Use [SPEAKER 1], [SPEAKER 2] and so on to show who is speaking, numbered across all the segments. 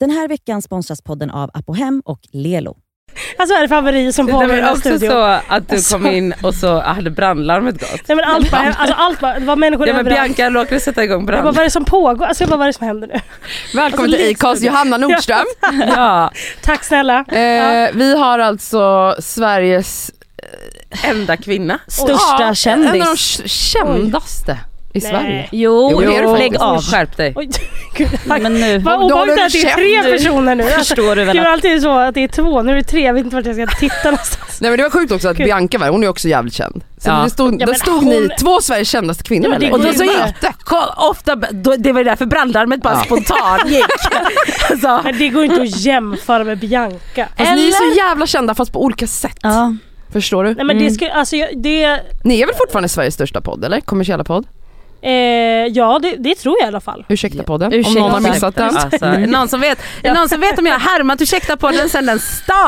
[SPEAKER 1] Den här veckan sponsras podden av Apohem och Lelo.
[SPEAKER 2] Alltså är det favori som
[SPEAKER 3] Det
[SPEAKER 2] påminner
[SPEAKER 3] var
[SPEAKER 2] om
[SPEAKER 3] också
[SPEAKER 2] studion.
[SPEAKER 3] så att du
[SPEAKER 2] Alltså.
[SPEAKER 3] kom in och så hade brandlarmet gått.
[SPEAKER 2] Nej men allt bara, alltså allt bara, det var människor
[SPEAKER 3] Ja men
[SPEAKER 2] överallt.
[SPEAKER 3] Bianca råkade sätta igång
[SPEAKER 2] Jag bara, vad
[SPEAKER 3] brand.
[SPEAKER 2] är det som pågår? Alltså jag bara, vad är det som händer nu?
[SPEAKER 4] Välkommen till Acast Johanna Nordström.
[SPEAKER 3] Ja,
[SPEAKER 2] Tack snälla.
[SPEAKER 4] Eh, vi har alltså Sveriges eh,
[SPEAKER 3] enda kvinna.
[SPEAKER 1] Största
[SPEAKER 4] Ja,
[SPEAKER 1] kändis.
[SPEAKER 4] En av de k- kändaste i
[SPEAKER 2] Nej.
[SPEAKER 4] Sverige.
[SPEAKER 1] Jo,
[SPEAKER 4] Jo, det är det faktiskt.
[SPEAKER 1] lägg av.
[SPEAKER 3] Skärp dig.
[SPEAKER 2] Oj, gud.
[SPEAKER 1] Men nu
[SPEAKER 2] Vad
[SPEAKER 4] Då håller
[SPEAKER 2] obehagligt
[SPEAKER 4] du
[SPEAKER 2] att det är
[SPEAKER 4] käft
[SPEAKER 2] tre
[SPEAKER 1] nu.
[SPEAKER 2] personer nu. Alltså,
[SPEAKER 1] förstår du
[SPEAKER 2] det
[SPEAKER 1] väl
[SPEAKER 2] är
[SPEAKER 1] att...
[SPEAKER 2] alltid så att det är två, nu är det tre. Jag vet inte vart jag ska titta någonstans.
[SPEAKER 4] Nej men det var sjukt också att
[SPEAKER 2] Gud.
[SPEAKER 4] Bianca var hon är också jävligt känd. Så
[SPEAKER 3] Ja.
[SPEAKER 4] det stod,
[SPEAKER 2] Ja,
[SPEAKER 4] där
[SPEAKER 2] men
[SPEAKER 4] stod
[SPEAKER 2] hon-
[SPEAKER 4] ni två Sveriges kändaste kvinnor
[SPEAKER 2] Ja, men det
[SPEAKER 4] eller?
[SPEAKER 2] går
[SPEAKER 3] Och då så
[SPEAKER 2] ju
[SPEAKER 3] gick
[SPEAKER 2] inte.
[SPEAKER 4] möte.
[SPEAKER 3] Kolla, ofta, då, det var därför brandlarmet bara
[SPEAKER 4] Ja.
[SPEAKER 3] spontant gick. Alltså,
[SPEAKER 2] Men det går ju inte att jämföra med Bianca.
[SPEAKER 4] Fast ni är så jävla kända fast på olika sätt.
[SPEAKER 1] Ja.
[SPEAKER 4] Förstår du?
[SPEAKER 2] Nej men det skulle, alltså jag, det,
[SPEAKER 4] Ni är väl fortfarande Sveriges största podd eller? Kommersiella podd?
[SPEAKER 2] eh, ja det, det tror jag i alla fall.
[SPEAKER 4] Ursäkta podden
[SPEAKER 1] ursäkta.
[SPEAKER 4] om någon har missat den.
[SPEAKER 3] Alltså, är det någon som vet, är det någon som vet om jag har härmat Ursäkta podden sen den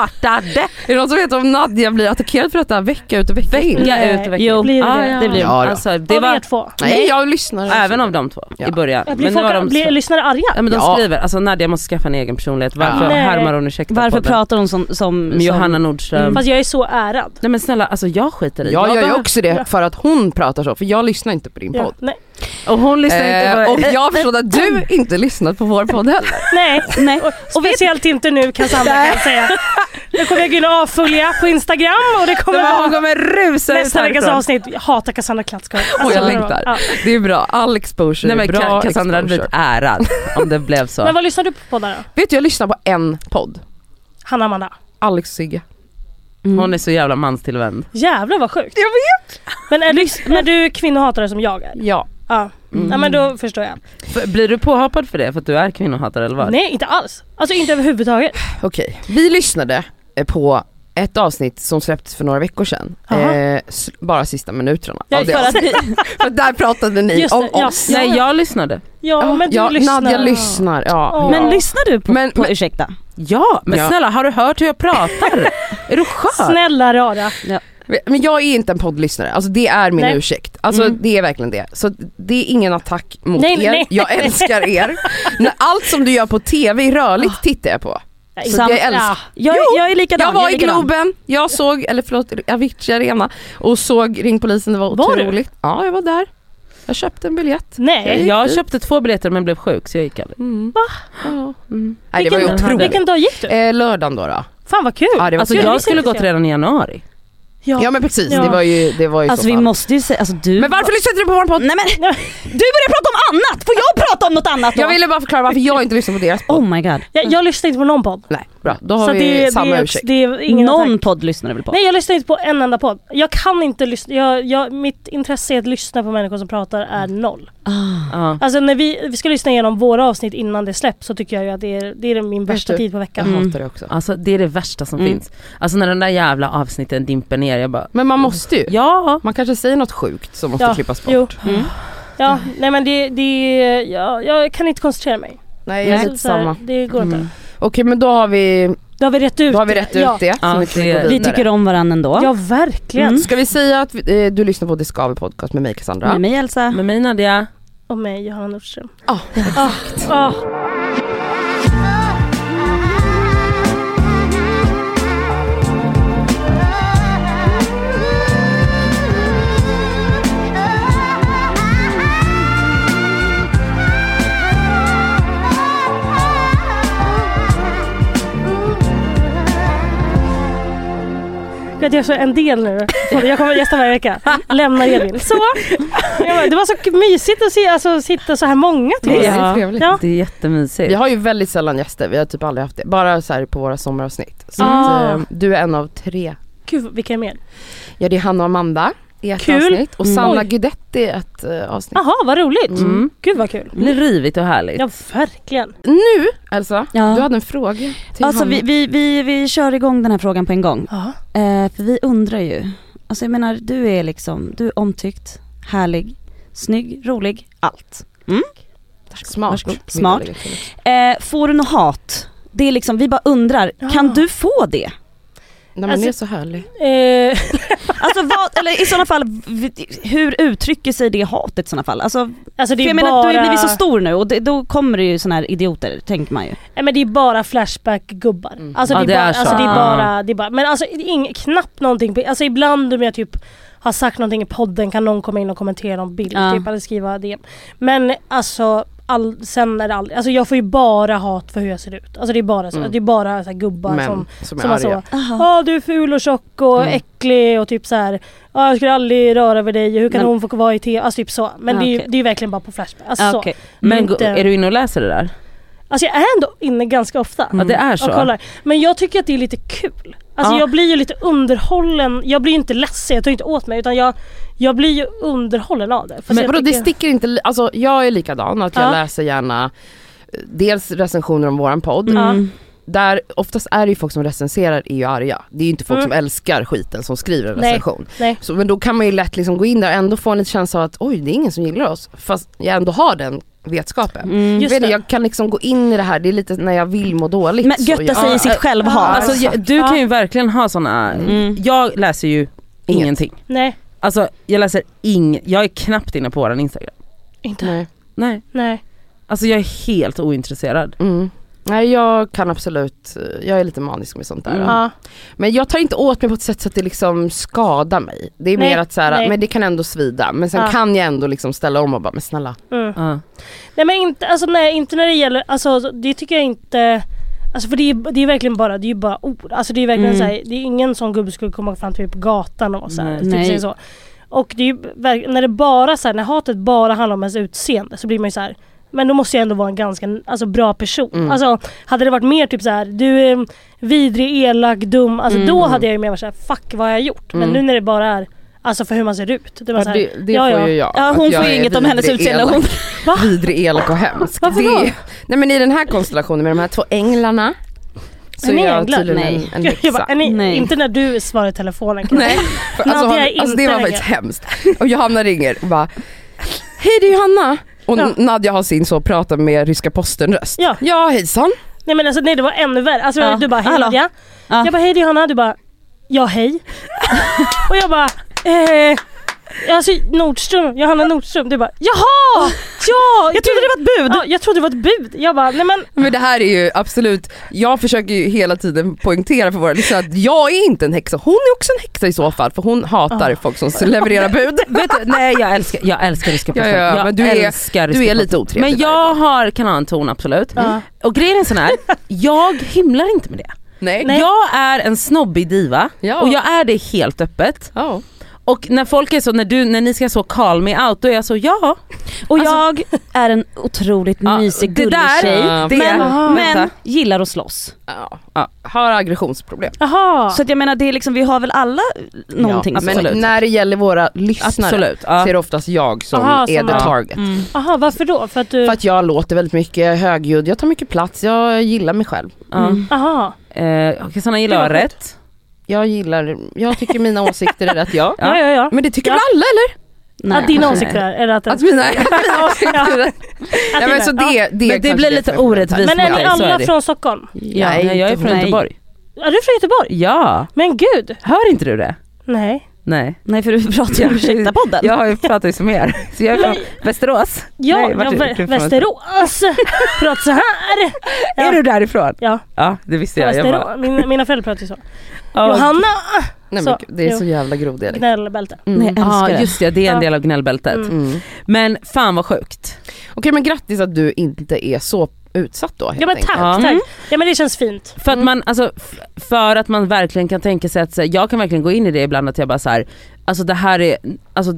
[SPEAKER 3] startade?
[SPEAKER 4] Är det någon som vet om Nadja blir attackerad för detta vecka ut och vecka in?
[SPEAKER 3] Vecka
[SPEAKER 2] Nej.
[SPEAKER 3] ut och vecka
[SPEAKER 1] Jo,
[SPEAKER 2] Blir det?
[SPEAKER 3] Ah, ja.
[SPEAKER 1] det blir
[SPEAKER 4] Ja, då.
[SPEAKER 3] alltså, det
[SPEAKER 2] Det var
[SPEAKER 3] var
[SPEAKER 2] två.
[SPEAKER 4] Nej jag lyssnar.
[SPEAKER 3] även av de två
[SPEAKER 4] Ja.
[SPEAKER 3] i början.
[SPEAKER 2] Jag
[SPEAKER 3] Men
[SPEAKER 2] blir,
[SPEAKER 3] nu har
[SPEAKER 2] folk,
[SPEAKER 3] de,
[SPEAKER 2] blir lyssnare arga?
[SPEAKER 3] ja, men de
[SPEAKER 4] Ja.
[SPEAKER 3] skriver, alltså Nadja måste skaffa en egen personlighet. Varför
[SPEAKER 4] Ja.
[SPEAKER 2] Nej.
[SPEAKER 3] härmar hon Ursäkta
[SPEAKER 1] Varför
[SPEAKER 3] podden?
[SPEAKER 1] pratar hon som... som,
[SPEAKER 3] Med
[SPEAKER 1] som
[SPEAKER 3] Johanna Nordström.
[SPEAKER 2] Fast jag är så ärad.
[SPEAKER 3] Nej men snälla, alltså Mm, jag skiter i.
[SPEAKER 4] Jag gör ju
[SPEAKER 3] bara-
[SPEAKER 4] också det för att hon pratar så, för jag lyssnar inte på din
[SPEAKER 2] Ja,
[SPEAKER 4] podd.
[SPEAKER 2] nej,
[SPEAKER 3] Och hon lyssnar inte
[SPEAKER 4] Eh,
[SPEAKER 3] på...
[SPEAKER 4] och jag har förstått att du inte lyssnat på vår podd heller.
[SPEAKER 2] nej.
[SPEAKER 1] Nej.
[SPEAKER 2] Och speciellt inte nu kan Sandra kan jag säga. Nu kommer jag gå in och avfölja på Instagram och det kommer
[SPEAKER 3] Men hon
[SPEAKER 2] vara
[SPEAKER 3] kommer rusa ut
[SPEAKER 2] nästa veckas
[SPEAKER 3] härifrån.
[SPEAKER 2] avsnitt. Jag hatar Cassandra Klatskov.
[SPEAKER 4] Och jag
[SPEAKER 2] det var-
[SPEAKER 4] längtar.
[SPEAKER 2] ja.
[SPEAKER 4] Det är bra, all exposure
[SPEAKER 3] Nej men
[SPEAKER 4] är bra
[SPEAKER 3] Ka- Cassandra hade blivit
[SPEAKER 4] exposure.
[SPEAKER 3] ärad om det blev så.
[SPEAKER 2] Men vad lyssnar du på där då?
[SPEAKER 4] Vet du, jag lyssnar på en podd.
[SPEAKER 2] Hanna Amanda.
[SPEAKER 4] Alex och Sigge.
[SPEAKER 3] Hon är så jävla manstillvänd.
[SPEAKER 2] Jävlar vad sjukt.
[SPEAKER 4] Jag
[SPEAKER 2] vet. Men är du, är du kvinnohatare som jag är?
[SPEAKER 4] Ja.
[SPEAKER 2] Ja.
[SPEAKER 4] Mm.
[SPEAKER 2] ja men då förstår jag.
[SPEAKER 3] F- Blir du påhoppad för det för att du är kvinnohatare eller vad?
[SPEAKER 2] Nej inte alls. Alltså inte överhuvudtaget.
[SPEAKER 4] Okej, vi lyssnade eh, på ett avsnitt som släpptes för några veckor sedan.
[SPEAKER 2] Jaha.
[SPEAKER 4] Eh, s- bara sista minuterna
[SPEAKER 2] Ja,
[SPEAKER 4] av det alltså-
[SPEAKER 2] för att-
[SPEAKER 4] avsnittet. För där pratade ni
[SPEAKER 2] Just det,
[SPEAKER 4] om
[SPEAKER 2] ja.
[SPEAKER 4] oss.
[SPEAKER 3] Nej jag lyssnade.
[SPEAKER 2] Ja men du
[SPEAKER 4] ja,
[SPEAKER 2] lyssnar.
[SPEAKER 4] Nadja lyssnar. Ja,
[SPEAKER 1] Men
[SPEAKER 4] ja.
[SPEAKER 1] lyssnar du på,
[SPEAKER 4] Men-
[SPEAKER 1] på
[SPEAKER 4] men-
[SPEAKER 1] Ursäkta?
[SPEAKER 3] Ja men
[SPEAKER 4] Ja.
[SPEAKER 3] snälla har du hört hur jag pratar? är du skör?
[SPEAKER 2] Snälla rara.
[SPEAKER 4] Men jag är inte en poddlyssnare, alltså det är min
[SPEAKER 2] Nej. Mm.
[SPEAKER 4] ursäkt. Alltså det är verkligen det. Så det är ingen attack mot
[SPEAKER 2] Nej,
[SPEAKER 4] er,
[SPEAKER 2] nej.
[SPEAKER 4] jag älskar er. Men allt som du gör på TV i rörligt tittar jag på.
[SPEAKER 2] Nej,
[SPEAKER 4] Så jag älskar.
[SPEAKER 1] Jag,
[SPEAKER 4] Jo,
[SPEAKER 1] jag är likadan.
[SPEAKER 4] Jag var
[SPEAKER 1] är
[SPEAKER 4] i
[SPEAKER 1] likadan.
[SPEAKER 4] Globen, jag såg, eller förlåt Avicii Arena och såg Ring Polisen, det var,
[SPEAKER 2] Var du?
[SPEAKER 4] otroligt. Ja jag var där. Jag köpte en biljett.
[SPEAKER 2] Nej.
[SPEAKER 3] Jag köpte två biljetter men blev sjuk så jag gick aldrig.
[SPEAKER 4] Mm.
[SPEAKER 2] Va?
[SPEAKER 4] Ja. Mm. Nej, det var ju
[SPEAKER 3] Vilken-
[SPEAKER 4] otroligt.
[SPEAKER 2] Vilken dag gick du?
[SPEAKER 4] Eh, lördagen då. då.
[SPEAKER 2] Fan vad kul.
[SPEAKER 4] Ja, det var
[SPEAKER 3] Alltså
[SPEAKER 4] kul.
[SPEAKER 3] jag skulle gått redan i januari.
[SPEAKER 4] ja men precis,
[SPEAKER 2] Ja.
[SPEAKER 4] det var ju, det var ju
[SPEAKER 1] Alltså
[SPEAKER 4] så
[SPEAKER 1] vi Mm.
[SPEAKER 4] fall.
[SPEAKER 1] måste ju säga, alltså du...
[SPEAKER 4] Men varför lyssnade du på vår podd?
[SPEAKER 1] Nej men,
[SPEAKER 2] Nej.
[SPEAKER 1] du börjar prata om annat! Får jag prata om något annat då?
[SPEAKER 4] Jag ville bara förklara varför jag inte lyssnar på deras podd.
[SPEAKER 1] Oh my god.
[SPEAKER 2] Jag, jag lyssnar inte på någon podd.
[SPEAKER 4] Nej, bra. Då har
[SPEAKER 2] så
[SPEAKER 4] vi
[SPEAKER 2] det,
[SPEAKER 4] samma
[SPEAKER 2] det,
[SPEAKER 4] ursäkt.
[SPEAKER 2] Det är ingen
[SPEAKER 1] Någon
[SPEAKER 2] attack.
[SPEAKER 1] podd lyssnar du väl på?
[SPEAKER 2] Nej jag lyssnar inte på en enda podd. Jag kan inte lyssna. Jag, jag, mitt intresse i att lyssna på människor som pratar är
[SPEAKER 4] Mm.
[SPEAKER 2] noll.
[SPEAKER 1] Ah,
[SPEAKER 3] Ja.
[SPEAKER 2] Alltså när vi, vi ska lyssna igenom våra avsnitt innan det släpps så tycker jag ju att det är, det är min värsta
[SPEAKER 4] du?
[SPEAKER 2] tid på veckan.
[SPEAKER 4] Jag hatar det Mm. också.
[SPEAKER 3] Alltså det är det värsta som
[SPEAKER 1] Mm.
[SPEAKER 3] finns. Alltså när den där jävla avsnitten dimper ner jag bara
[SPEAKER 4] Men man måste ju.
[SPEAKER 3] ja.
[SPEAKER 4] Man kanske säger något sjukt som måste
[SPEAKER 2] Ja,
[SPEAKER 4] klippas bort.
[SPEAKER 2] jo. Ja, nej men det, det ja, jag kan inte koncentrera mig.
[SPEAKER 4] Nej, jag är
[SPEAKER 2] Alltså,
[SPEAKER 4] lite
[SPEAKER 2] så här,
[SPEAKER 4] samma.
[SPEAKER 2] Det går inte.
[SPEAKER 4] Okej men då har vi,
[SPEAKER 2] Då har vi rätt ut
[SPEAKER 4] då har vi
[SPEAKER 2] det.
[SPEAKER 4] rätt ut
[SPEAKER 2] ja.
[SPEAKER 4] det. Så
[SPEAKER 3] Ja,
[SPEAKER 4] nu kan vi
[SPEAKER 3] det-
[SPEAKER 4] gå
[SPEAKER 1] Vi
[SPEAKER 4] vidare.
[SPEAKER 1] tycker om varandra ändå.
[SPEAKER 2] Ja verkligen.
[SPEAKER 1] Mm.
[SPEAKER 4] Ska vi säga att vi, eh, du lyssnar på Discover podcast med mig Cassandra?
[SPEAKER 1] Med mig Elsa.
[SPEAKER 3] Med mig Nadja.
[SPEAKER 2] Och mig Johanna Nordström.
[SPEAKER 4] Ja,
[SPEAKER 2] Ah, ah. Jag vet, jag är så en del nu. Jag kommer gästa varje vecka. Lämnar Elin. Så. Jag bara, Det var så mysigt att se, alltså, sitta så här många till
[SPEAKER 4] det
[SPEAKER 2] oss.
[SPEAKER 4] är
[SPEAKER 3] Ja.
[SPEAKER 4] trevligt.
[SPEAKER 2] Ja.
[SPEAKER 3] Det är jättemysigt.
[SPEAKER 4] Vi har ju väldigt sällan gäster, vi har typ aldrig haft det. Bara så här på våra sommaravsnitt. Så
[SPEAKER 2] Ah.
[SPEAKER 4] att, eh, du är en av tre.
[SPEAKER 2] Gud vilka är med?
[SPEAKER 4] Ja det är Hanna och Amanda i ett
[SPEAKER 2] Kul.
[SPEAKER 4] avsnitt och
[SPEAKER 1] Mm.
[SPEAKER 4] Sanna
[SPEAKER 2] Oj.
[SPEAKER 4] Guidetti i ett eh, avsnitt.
[SPEAKER 2] Jaha vad roligt.
[SPEAKER 3] Mm.
[SPEAKER 2] Gud vad kul.
[SPEAKER 3] Det blir rivigt och härligt.
[SPEAKER 2] Ja verkligen.
[SPEAKER 4] Nu Elsa,
[SPEAKER 1] Ja.
[SPEAKER 4] du hade en fråga till
[SPEAKER 1] Alltså
[SPEAKER 4] Hanna.
[SPEAKER 1] vi, vi, vi, vi kör igång den här frågan på en gång.
[SPEAKER 2] Ja.
[SPEAKER 1] Eh, för vi undrar ju. Alltså jag menar du är liksom, du är omtyckt, härlig, snygg, rolig, allt.
[SPEAKER 4] Smart.
[SPEAKER 1] Varsågod. Smart. Eh, får du något hat? Det är liksom, vi bara undrar,
[SPEAKER 2] Ja.
[SPEAKER 1] kan du få det?
[SPEAKER 4] Nej men
[SPEAKER 2] Alltså-
[SPEAKER 4] det är så härlig.
[SPEAKER 2] Eh,
[SPEAKER 1] Alltså vad, eller i sådana fall, v- hur uttrycker sig det hatet i sådana fall? Alltså,
[SPEAKER 2] alltså det
[SPEAKER 1] för
[SPEAKER 2] är
[SPEAKER 1] jag
[SPEAKER 2] bara...
[SPEAKER 1] menar du har ju blivit så stor nu och det, då kommer det ju sådana här idioter tänker man ju.
[SPEAKER 2] Nej men det är bara flashback-gubbar. Alltså,
[SPEAKER 4] Ja,
[SPEAKER 2] det
[SPEAKER 4] det
[SPEAKER 2] är bara,
[SPEAKER 4] är så.
[SPEAKER 2] alltså det är
[SPEAKER 1] Ah.
[SPEAKER 2] bara, det är bara, men alltså det är ing, knappt någonting, på- alltså ibland om jag typ har sagt någonting i podden kan någon komma in och kommentera någon bild
[SPEAKER 1] Ja.
[SPEAKER 2] typ eller skriva det. Men alltså all, sen är det aldrig, alltså jag får ju bara hat för hur jag ser ut. Alltså det är bara, så,
[SPEAKER 4] Mm.
[SPEAKER 2] det är bara så här gubbar
[SPEAKER 4] Män
[SPEAKER 2] som
[SPEAKER 4] som,
[SPEAKER 2] som
[SPEAKER 4] är
[SPEAKER 2] var
[SPEAKER 4] arga.
[SPEAKER 2] så, ja ah, du är ful och tjock och
[SPEAKER 4] Mm.
[SPEAKER 2] äcklig och typ så här. ja jag skulle aldrig röra vid dig, hur kan
[SPEAKER 1] Men-
[SPEAKER 2] hon få vara i tv? Alltså typ så. Men
[SPEAKER 1] Ja,
[SPEAKER 2] det, är ju,
[SPEAKER 1] okej.
[SPEAKER 2] det är ju verkligen bara på Flashback. Alltså, så.
[SPEAKER 1] Okej.
[SPEAKER 2] Men
[SPEAKER 3] Men gå-
[SPEAKER 2] inte-
[SPEAKER 3] är du inne och läser det där?
[SPEAKER 2] alltså jag är ändå inne ganska ofta.
[SPEAKER 3] Ja det är
[SPEAKER 2] och
[SPEAKER 3] så.
[SPEAKER 2] kollar. Men jag tycker att det är lite kul. Alltså
[SPEAKER 3] Ja.
[SPEAKER 2] jag blir ju lite underhållen, jag blir ju inte ledsen, jag tar inte åt mig utan jag, jag blir ju underhållen av det. Fast
[SPEAKER 4] Men
[SPEAKER 2] jag
[SPEAKER 4] vadå det
[SPEAKER 2] tycker-
[SPEAKER 4] sticker inte, li- alltså jag är likadan att jag
[SPEAKER 2] Ja.
[SPEAKER 4] läser gärna eh, dels recensioner om våran podd,
[SPEAKER 1] Mm.
[SPEAKER 4] där oftast är det ju folk som recenserar är ju arga. Det är ju inte folk
[SPEAKER 2] Mm.
[SPEAKER 4] som älskar skiten som skriver en
[SPEAKER 2] Nej.
[SPEAKER 4] recension.
[SPEAKER 2] Nej.
[SPEAKER 4] Så, men då kan man ju lätt liksom gå in där och ändå få en liten känsla av att oj det är ingen som gillar oss, fast jag ändå har den vetskapen.
[SPEAKER 1] Mm.
[SPEAKER 2] Just
[SPEAKER 4] vet du,
[SPEAKER 2] det.
[SPEAKER 4] jag kan liksom gå in i det här, det är lite när jag vill må dåligt.
[SPEAKER 1] Men
[SPEAKER 4] så
[SPEAKER 1] götta
[SPEAKER 4] jag-
[SPEAKER 1] sig i sitt självhat.
[SPEAKER 3] Alltså,
[SPEAKER 1] Alltså,
[SPEAKER 3] jag, du kan ju verkligen ha såna,
[SPEAKER 1] Mm.
[SPEAKER 3] jag läser ju ingenting.
[SPEAKER 2] Nej,
[SPEAKER 3] Alltså jag läser ing, jag är knappt inne på våran instagram.
[SPEAKER 2] inte. Nej.
[SPEAKER 4] Nej.
[SPEAKER 3] Nej. Alltså jag är helt ointresserad.
[SPEAKER 4] Mm. Nej jag kan absolut, eh, jag är lite manisk med sånt där.
[SPEAKER 3] Mm.
[SPEAKER 2] Ja.
[SPEAKER 4] Men jag tar inte åt mig på ett sätt så att det liksom skadar mig. Det är
[SPEAKER 2] Nej,
[SPEAKER 4] mer att så här,
[SPEAKER 2] nej.
[SPEAKER 4] men det kan ändå svida. Men sen
[SPEAKER 2] Ja.
[SPEAKER 4] kan jag ändå liksom ställa om och bara, men snälla.
[SPEAKER 2] Mm.
[SPEAKER 3] Ja.
[SPEAKER 2] Nej men inte, alltså, nej, inte när det gäller, alltså det tycker jag inte Alltså för det är, det är verkligen bara, det är ju bara ord. Alltså det är verkligen
[SPEAKER 1] Mm.
[SPEAKER 2] så här, det är ingen sån gubbe skulle komma fram till mig på gatan och så här,
[SPEAKER 3] Nej.
[SPEAKER 2] typ
[SPEAKER 1] Nej.
[SPEAKER 2] säger så. Och det är ju verk- när det bara så här, när hatet bara handlar om ens utseende så blir man ju så här. Men då måste jag ändå vara en ganska alltså, bra person.
[SPEAKER 4] Mm.
[SPEAKER 2] Alltså hade det varit mer typ så här, du är vidrig, elak, dum. Alltså då hade jag ju mer varit så här, fuck vad har jag gjort? Men
[SPEAKER 4] Mm.
[SPEAKER 2] nu när det bara är, alltså för hur man ser ut. Det var så här,
[SPEAKER 4] det det
[SPEAKER 2] ja,
[SPEAKER 4] får
[SPEAKER 2] ja.
[SPEAKER 4] ju jag.
[SPEAKER 1] Ja,
[SPEAKER 4] att
[SPEAKER 1] hon
[SPEAKER 4] jag
[SPEAKER 1] får ju
[SPEAKER 4] är
[SPEAKER 1] inget om
[SPEAKER 4] vidrig,
[SPEAKER 1] hennes utseende.
[SPEAKER 4] elak.
[SPEAKER 1] Hon,
[SPEAKER 4] Vidrig, elak och hemsk.
[SPEAKER 2] Varför
[SPEAKER 4] det,
[SPEAKER 2] då?
[SPEAKER 4] Nej men i den här konstellationen med de här två änglarna. Så
[SPEAKER 2] Är
[SPEAKER 4] är
[SPEAKER 2] ni
[SPEAKER 4] jag
[SPEAKER 2] änglar?
[SPEAKER 4] tydligen en,
[SPEAKER 1] Nej.
[SPEAKER 4] en
[SPEAKER 2] jag bara,
[SPEAKER 4] häxa.
[SPEAKER 2] är ni,
[SPEAKER 1] Nej.
[SPEAKER 2] inte när du svarar i telefonen. Karin.
[SPEAKER 4] Nej, för alltså,
[SPEAKER 2] Nadja
[SPEAKER 4] har-
[SPEAKER 2] är
[SPEAKER 4] alltså det
[SPEAKER 2] inte
[SPEAKER 4] var faktiskt hemskt. Och Johanna ringer och bara, hej det är Johanna. Och
[SPEAKER 2] Ja.
[SPEAKER 4] Nadja har sin så prata med ryska posten röst.
[SPEAKER 2] Ja.
[SPEAKER 4] ja hejsan.
[SPEAKER 2] Nej men alltså nej det var ännu värre. Alltså
[SPEAKER 1] Ja.
[SPEAKER 2] du bara hej
[SPEAKER 1] Hallå.
[SPEAKER 2] Nadja.
[SPEAKER 1] Ja.
[SPEAKER 2] Jag bara hej det är Hanna. Du bara ja hej. och jag bara eh, alltså Nordström, Johanna Nordström. Du bara jaha! Ja!
[SPEAKER 1] jag trodde det var ett bud.
[SPEAKER 2] Ja, jag trodde det var ett bud. Jag bara nej men
[SPEAKER 4] Men det här är ju absolut, jag försöker ju hela tiden poängtera för våra lyssnare att jag är inte en häxa, hon är också en häxa i så fall för hon hatar folk som levererar bud.
[SPEAKER 3] Vet du, nej jag älskar, jag älskar ryska
[SPEAKER 4] Ja,
[SPEAKER 3] posten.
[SPEAKER 4] ja,
[SPEAKER 3] jag
[SPEAKER 4] men du är-
[SPEAKER 3] älskar
[SPEAKER 4] du
[SPEAKER 3] ryska
[SPEAKER 4] är lite
[SPEAKER 3] posten.
[SPEAKER 4] otrevlig
[SPEAKER 3] Men
[SPEAKER 4] där
[SPEAKER 3] jag har, kan ha en ton absolut.
[SPEAKER 2] Ja.
[SPEAKER 3] Och grejen är sån här, jag himlar inte med det.
[SPEAKER 4] Nej.
[SPEAKER 2] Nej.
[SPEAKER 3] Jag är en snobbig diva
[SPEAKER 4] Ja.
[SPEAKER 3] och jag är det helt öppet.
[SPEAKER 4] Ja.
[SPEAKER 3] Och när folk är så, när, du, när ni ska så call me out, då är jag så ja.
[SPEAKER 1] Och
[SPEAKER 4] Alltså,
[SPEAKER 1] jag är en otroligt
[SPEAKER 3] Ja,
[SPEAKER 1] mysig,
[SPEAKER 3] det
[SPEAKER 1] gullig
[SPEAKER 3] där-
[SPEAKER 1] tjej.
[SPEAKER 4] Ja,
[SPEAKER 1] men,
[SPEAKER 3] Aha.
[SPEAKER 1] men
[SPEAKER 3] Vänta.
[SPEAKER 1] gillar att slåss.
[SPEAKER 4] Ja. Har aggressionsproblem.
[SPEAKER 2] jaha.
[SPEAKER 1] Så att jag menar, det är liksom, vi har väl alla någonting
[SPEAKER 4] ja,
[SPEAKER 1] så.
[SPEAKER 4] men
[SPEAKER 3] absolut.
[SPEAKER 4] när det gäller våra lyssnare
[SPEAKER 3] Absolut.
[SPEAKER 4] så är
[SPEAKER 3] Ja.
[SPEAKER 4] det oftast jag som
[SPEAKER 2] Aha,
[SPEAKER 4] är
[SPEAKER 2] som
[SPEAKER 4] the
[SPEAKER 2] har-
[SPEAKER 4] target.
[SPEAKER 1] Mm.
[SPEAKER 2] Jaha varför då? För att du,
[SPEAKER 3] Mm.
[SPEAKER 4] För att jag låter väldigt mycket, jag är högljudd, jag tar mycket plats, jag gillar mig själv.
[SPEAKER 3] Ja.
[SPEAKER 1] Mm.
[SPEAKER 2] jaha.
[SPEAKER 3] Eh, Okej, såna gillar
[SPEAKER 2] Det var
[SPEAKER 3] jag rätt.
[SPEAKER 4] Jag gillar, jag tycker mina åsikter är rätt jag.
[SPEAKER 2] Ja ja ja.
[SPEAKER 4] Men det tycker
[SPEAKER 2] Ja.
[SPEAKER 4] väl alla eller?
[SPEAKER 1] Nej,
[SPEAKER 2] att dina
[SPEAKER 1] kanske
[SPEAKER 2] åsikter
[SPEAKER 1] nej.
[SPEAKER 2] är, eller att,
[SPEAKER 4] Att mina, att mina åsikter är rätt.
[SPEAKER 2] att
[SPEAKER 4] Ja,
[SPEAKER 2] dina-
[SPEAKER 4] men så
[SPEAKER 2] ja.
[SPEAKER 4] det, det,
[SPEAKER 3] Men det
[SPEAKER 4] är kanske
[SPEAKER 3] blir
[SPEAKER 4] det
[SPEAKER 3] lite
[SPEAKER 4] som är problemet.
[SPEAKER 3] orättvist
[SPEAKER 2] Men är
[SPEAKER 3] mot
[SPEAKER 2] ni
[SPEAKER 3] dig, så är
[SPEAKER 2] alla
[SPEAKER 3] det.
[SPEAKER 2] från Stockholm?
[SPEAKER 3] Ja,
[SPEAKER 4] Nej,
[SPEAKER 3] jag är
[SPEAKER 4] inte
[SPEAKER 3] från
[SPEAKER 1] hon.
[SPEAKER 3] Göteborg.
[SPEAKER 2] Är du från Göteborg?
[SPEAKER 3] Ja,
[SPEAKER 2] Men gud.
[SPEAKER 3] hör inte du det?
[SPEAKER 2] Nej.
[SPEAKER 3] Nej.
[SPEAKER 1] Nej för du pratar om Ursäkta-podden.
[SPEAKER 3] Jag har ju pratat ju som er, så jag är från Västerås.
[SPEAKER 2] Ja,
[SPEAKER 3] Nej, vart
[SPEAKER 2] jag,
[SPEAKER 3] är du?
[SPEAKER 2] vä-
[SPEAKER 3] Du är från
[SPEAKER 2] Västerås. Pratar så här. Ja.
[SPEAKER 3] Är du därifrån?
[SPEAKER 2] Ja.
[SPEAKER 3] Ja, det visste jag. jag
[SPEAKER 2] Västerås.
[SPEAKER 3] bara,
[SPEAKER 2] Min, mina föräldrar pratar ju så.
[SPEAKER 3] Ja,
[SPEAKER 2] Johanna
[SPEAKER 4] Nej,
[SPEAKER 2] Så,
[SPEAKER 4] men gud, det är
[SPEAKER 2] jo.
[SPEAKER 4] så jävla grov dialekt.
[SPEAKER 2] gnällbälte.
[SPEAKER 4] Mm.
[SPEAKER 1] Nej, jag älskar
[SPEAKER 3] Ja
[SPEAKER 1] det.
[SPEAKER 3] just det, det är en
[SPEAKER 2] Ja.
[SPEAKER 3] del av gnällbältet.
[SPEAKER 2] Mm.
[SPEAKER 4] Mm.
[SPEAKER 3] Men fan vad sjukt.
[SPEAKER 4] Okej men grattis att du inte är så utsatt då helt
[SPEAKER 2] Ja men
[SPEAKER 4] enkelt.
[SPEAKER 2] tack,
[SPEAKER 3] Ja.
[SPEAKER 2] tack. Ja men det känns fint.
[SPEAKER 3] För att, man, alltså, f- för att man verkligen kan tänka sig att, så här, jag kan verkligen gå in i det ibland att jag bara så här, alltså det här är, alltså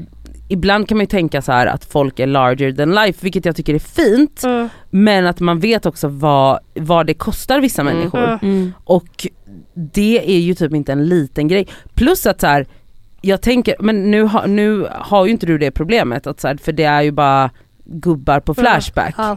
[SPEAKER 3] ibland kan man ju tänka så här att folk är larger than life vilket jag tycker är fint
[SPEAKER 2] Mm.
[SPEAKER 3] men att man vet också vad, vad det kostar vissa
[SPEAKER 4] Mm.
[SPEAKER 3] människor.
[SPEAKER 2] Mm.
[SPEAKER 1] Mm.
[SPEAKER 3] Och det är ju typ inte en liten grej. Plus att så här, jag tänker, men nu, har nu har ju inte du det problemet, att så här, för det är ju bara gubbar på
[SPEAKER 2] Mm.
[SPEAKER 3] Flashback.
[SPEAKER 2] Ja.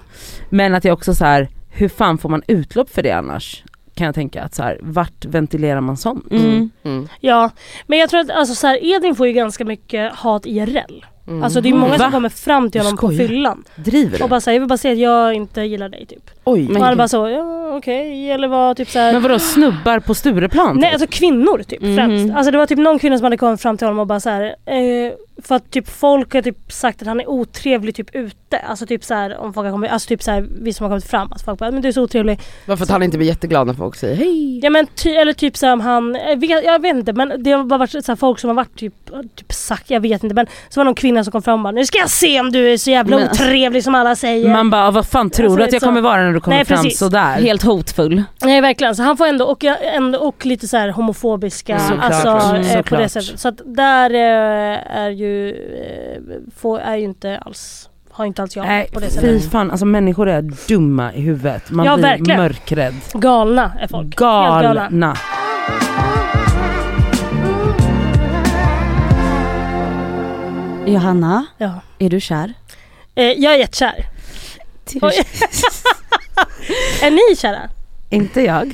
[SPEAKER 3] Men att jag också så här, hur fan får man utlopp för det annars? Kan jag tänka att så här, vart ventilerar man sånt?
[SPEAKER 1] Mm.
[SPEAKER 4] Mm.
[SPEAKER 2] ja. Men jag tror att alltså, så här, Edvin får ju ganska mycket hat IRL.
[SPEAKER 4] Mm.
[SPEAKER 2] Alltså det är många
[SPEAKER 3] Va?
[SPEAKER 2] som kommer fram till honom på
[SPEAKER 3] Skojar.
[SPEAKER 2] fyllan
[SPEAKER 3] Driver du?
[SPEAKER 2] och bara säger jag vill bara säga att jag inte gillar dig typ.
[SPEAKER 3] Oj.
[SPEAKER 2] och han
[SPEAKER 3] Men,
[SPEAKER 2] bara så, ja okej, eller var typ såhär.
[SPEAKER 3] men vadå snubbar på Stureplan?
[SPEAKER 2] Nej
[SPEAKER 3] typ?
[SPEAKER 2] alltså kvinnor typ
[SPEAKER 1] Mhm.
[SPEAKER 2] främst. Alltså det var typ någon kvinna som hade kommit fram till honom och bara så här, eh, för att typ folk har typ sagt att han är otrevlig typ ute. Alltså typ så här, om folk har kommit, alltså typ så här, vi som har kommit fram, alltså folk bara men du är så otrevlig.
[SPEAKER 4] Varför att han inte blir jätteglad när folk säger hej?
[SPEAKER 2] Ja men ty, eller typ så här, om han, jag vet, jag vet inte men det har bara varit så här, folk som har varit typ, typ sagt, jag vet inte men så var det någon kvinna som kom fram och bara nu ska jag se om du är så jävla
[SPEAKER 1] Men alltså-
[SPEAKER 2] otrevlig som alla säger.
[SPEAKER 3] Man bara, "Ah, vad fan tror
[SPEAKER 2] Alltså,
[SPEAKER 3] du att jag
[SPEAKER 2] liksom-
[SPEAKER 3] kommer vara när du kommer
[SPEAKER 2] Nej,
[SPEAKER 3] fram
[SPEAKER 2] precis.
[SPEAKER 3] sådär?
[SPEAKER 1] Helt hotfull.
[SPEAKER 2] Nej verkligen, så han får ändå och, ändå, och lite så här homofobiska,
[SPEAKER 3] Mm, såklart.
[SPEAKER 2] alltså
[SPEAKER 3] Mm,
[SPEAKER 2] eh, på det
[SPEAKER 3] såklart.
[SPEAKER 2] sättet. Så att där eh, är ju, eh, får, är ju inte alls, har inte alls jag
[SPEAKER 3] Nej
[SPEAKER 2] på det sättet.
[SPEAKER 3] fy fan, alltså människor är dumma i huvudet. Man
[SPEAKER 2] Ja,
[SPEAKER 3] blir
[SPEAKER 2] verkligen.
[SPEAKER 3] mörkrädd.
[SPEAKER 2] Galna är folk. Helt galna.
[SPEAKER 3] Galna.
[SPEAKER 1] Johanna,
[SPEAKER 2] Ja.
[SPEAKER 1] är du kär?
[SPEAKER 2] Eh, jag är jättekär. Oj. är ni kära?
[SPEAKER 3] Inte jag.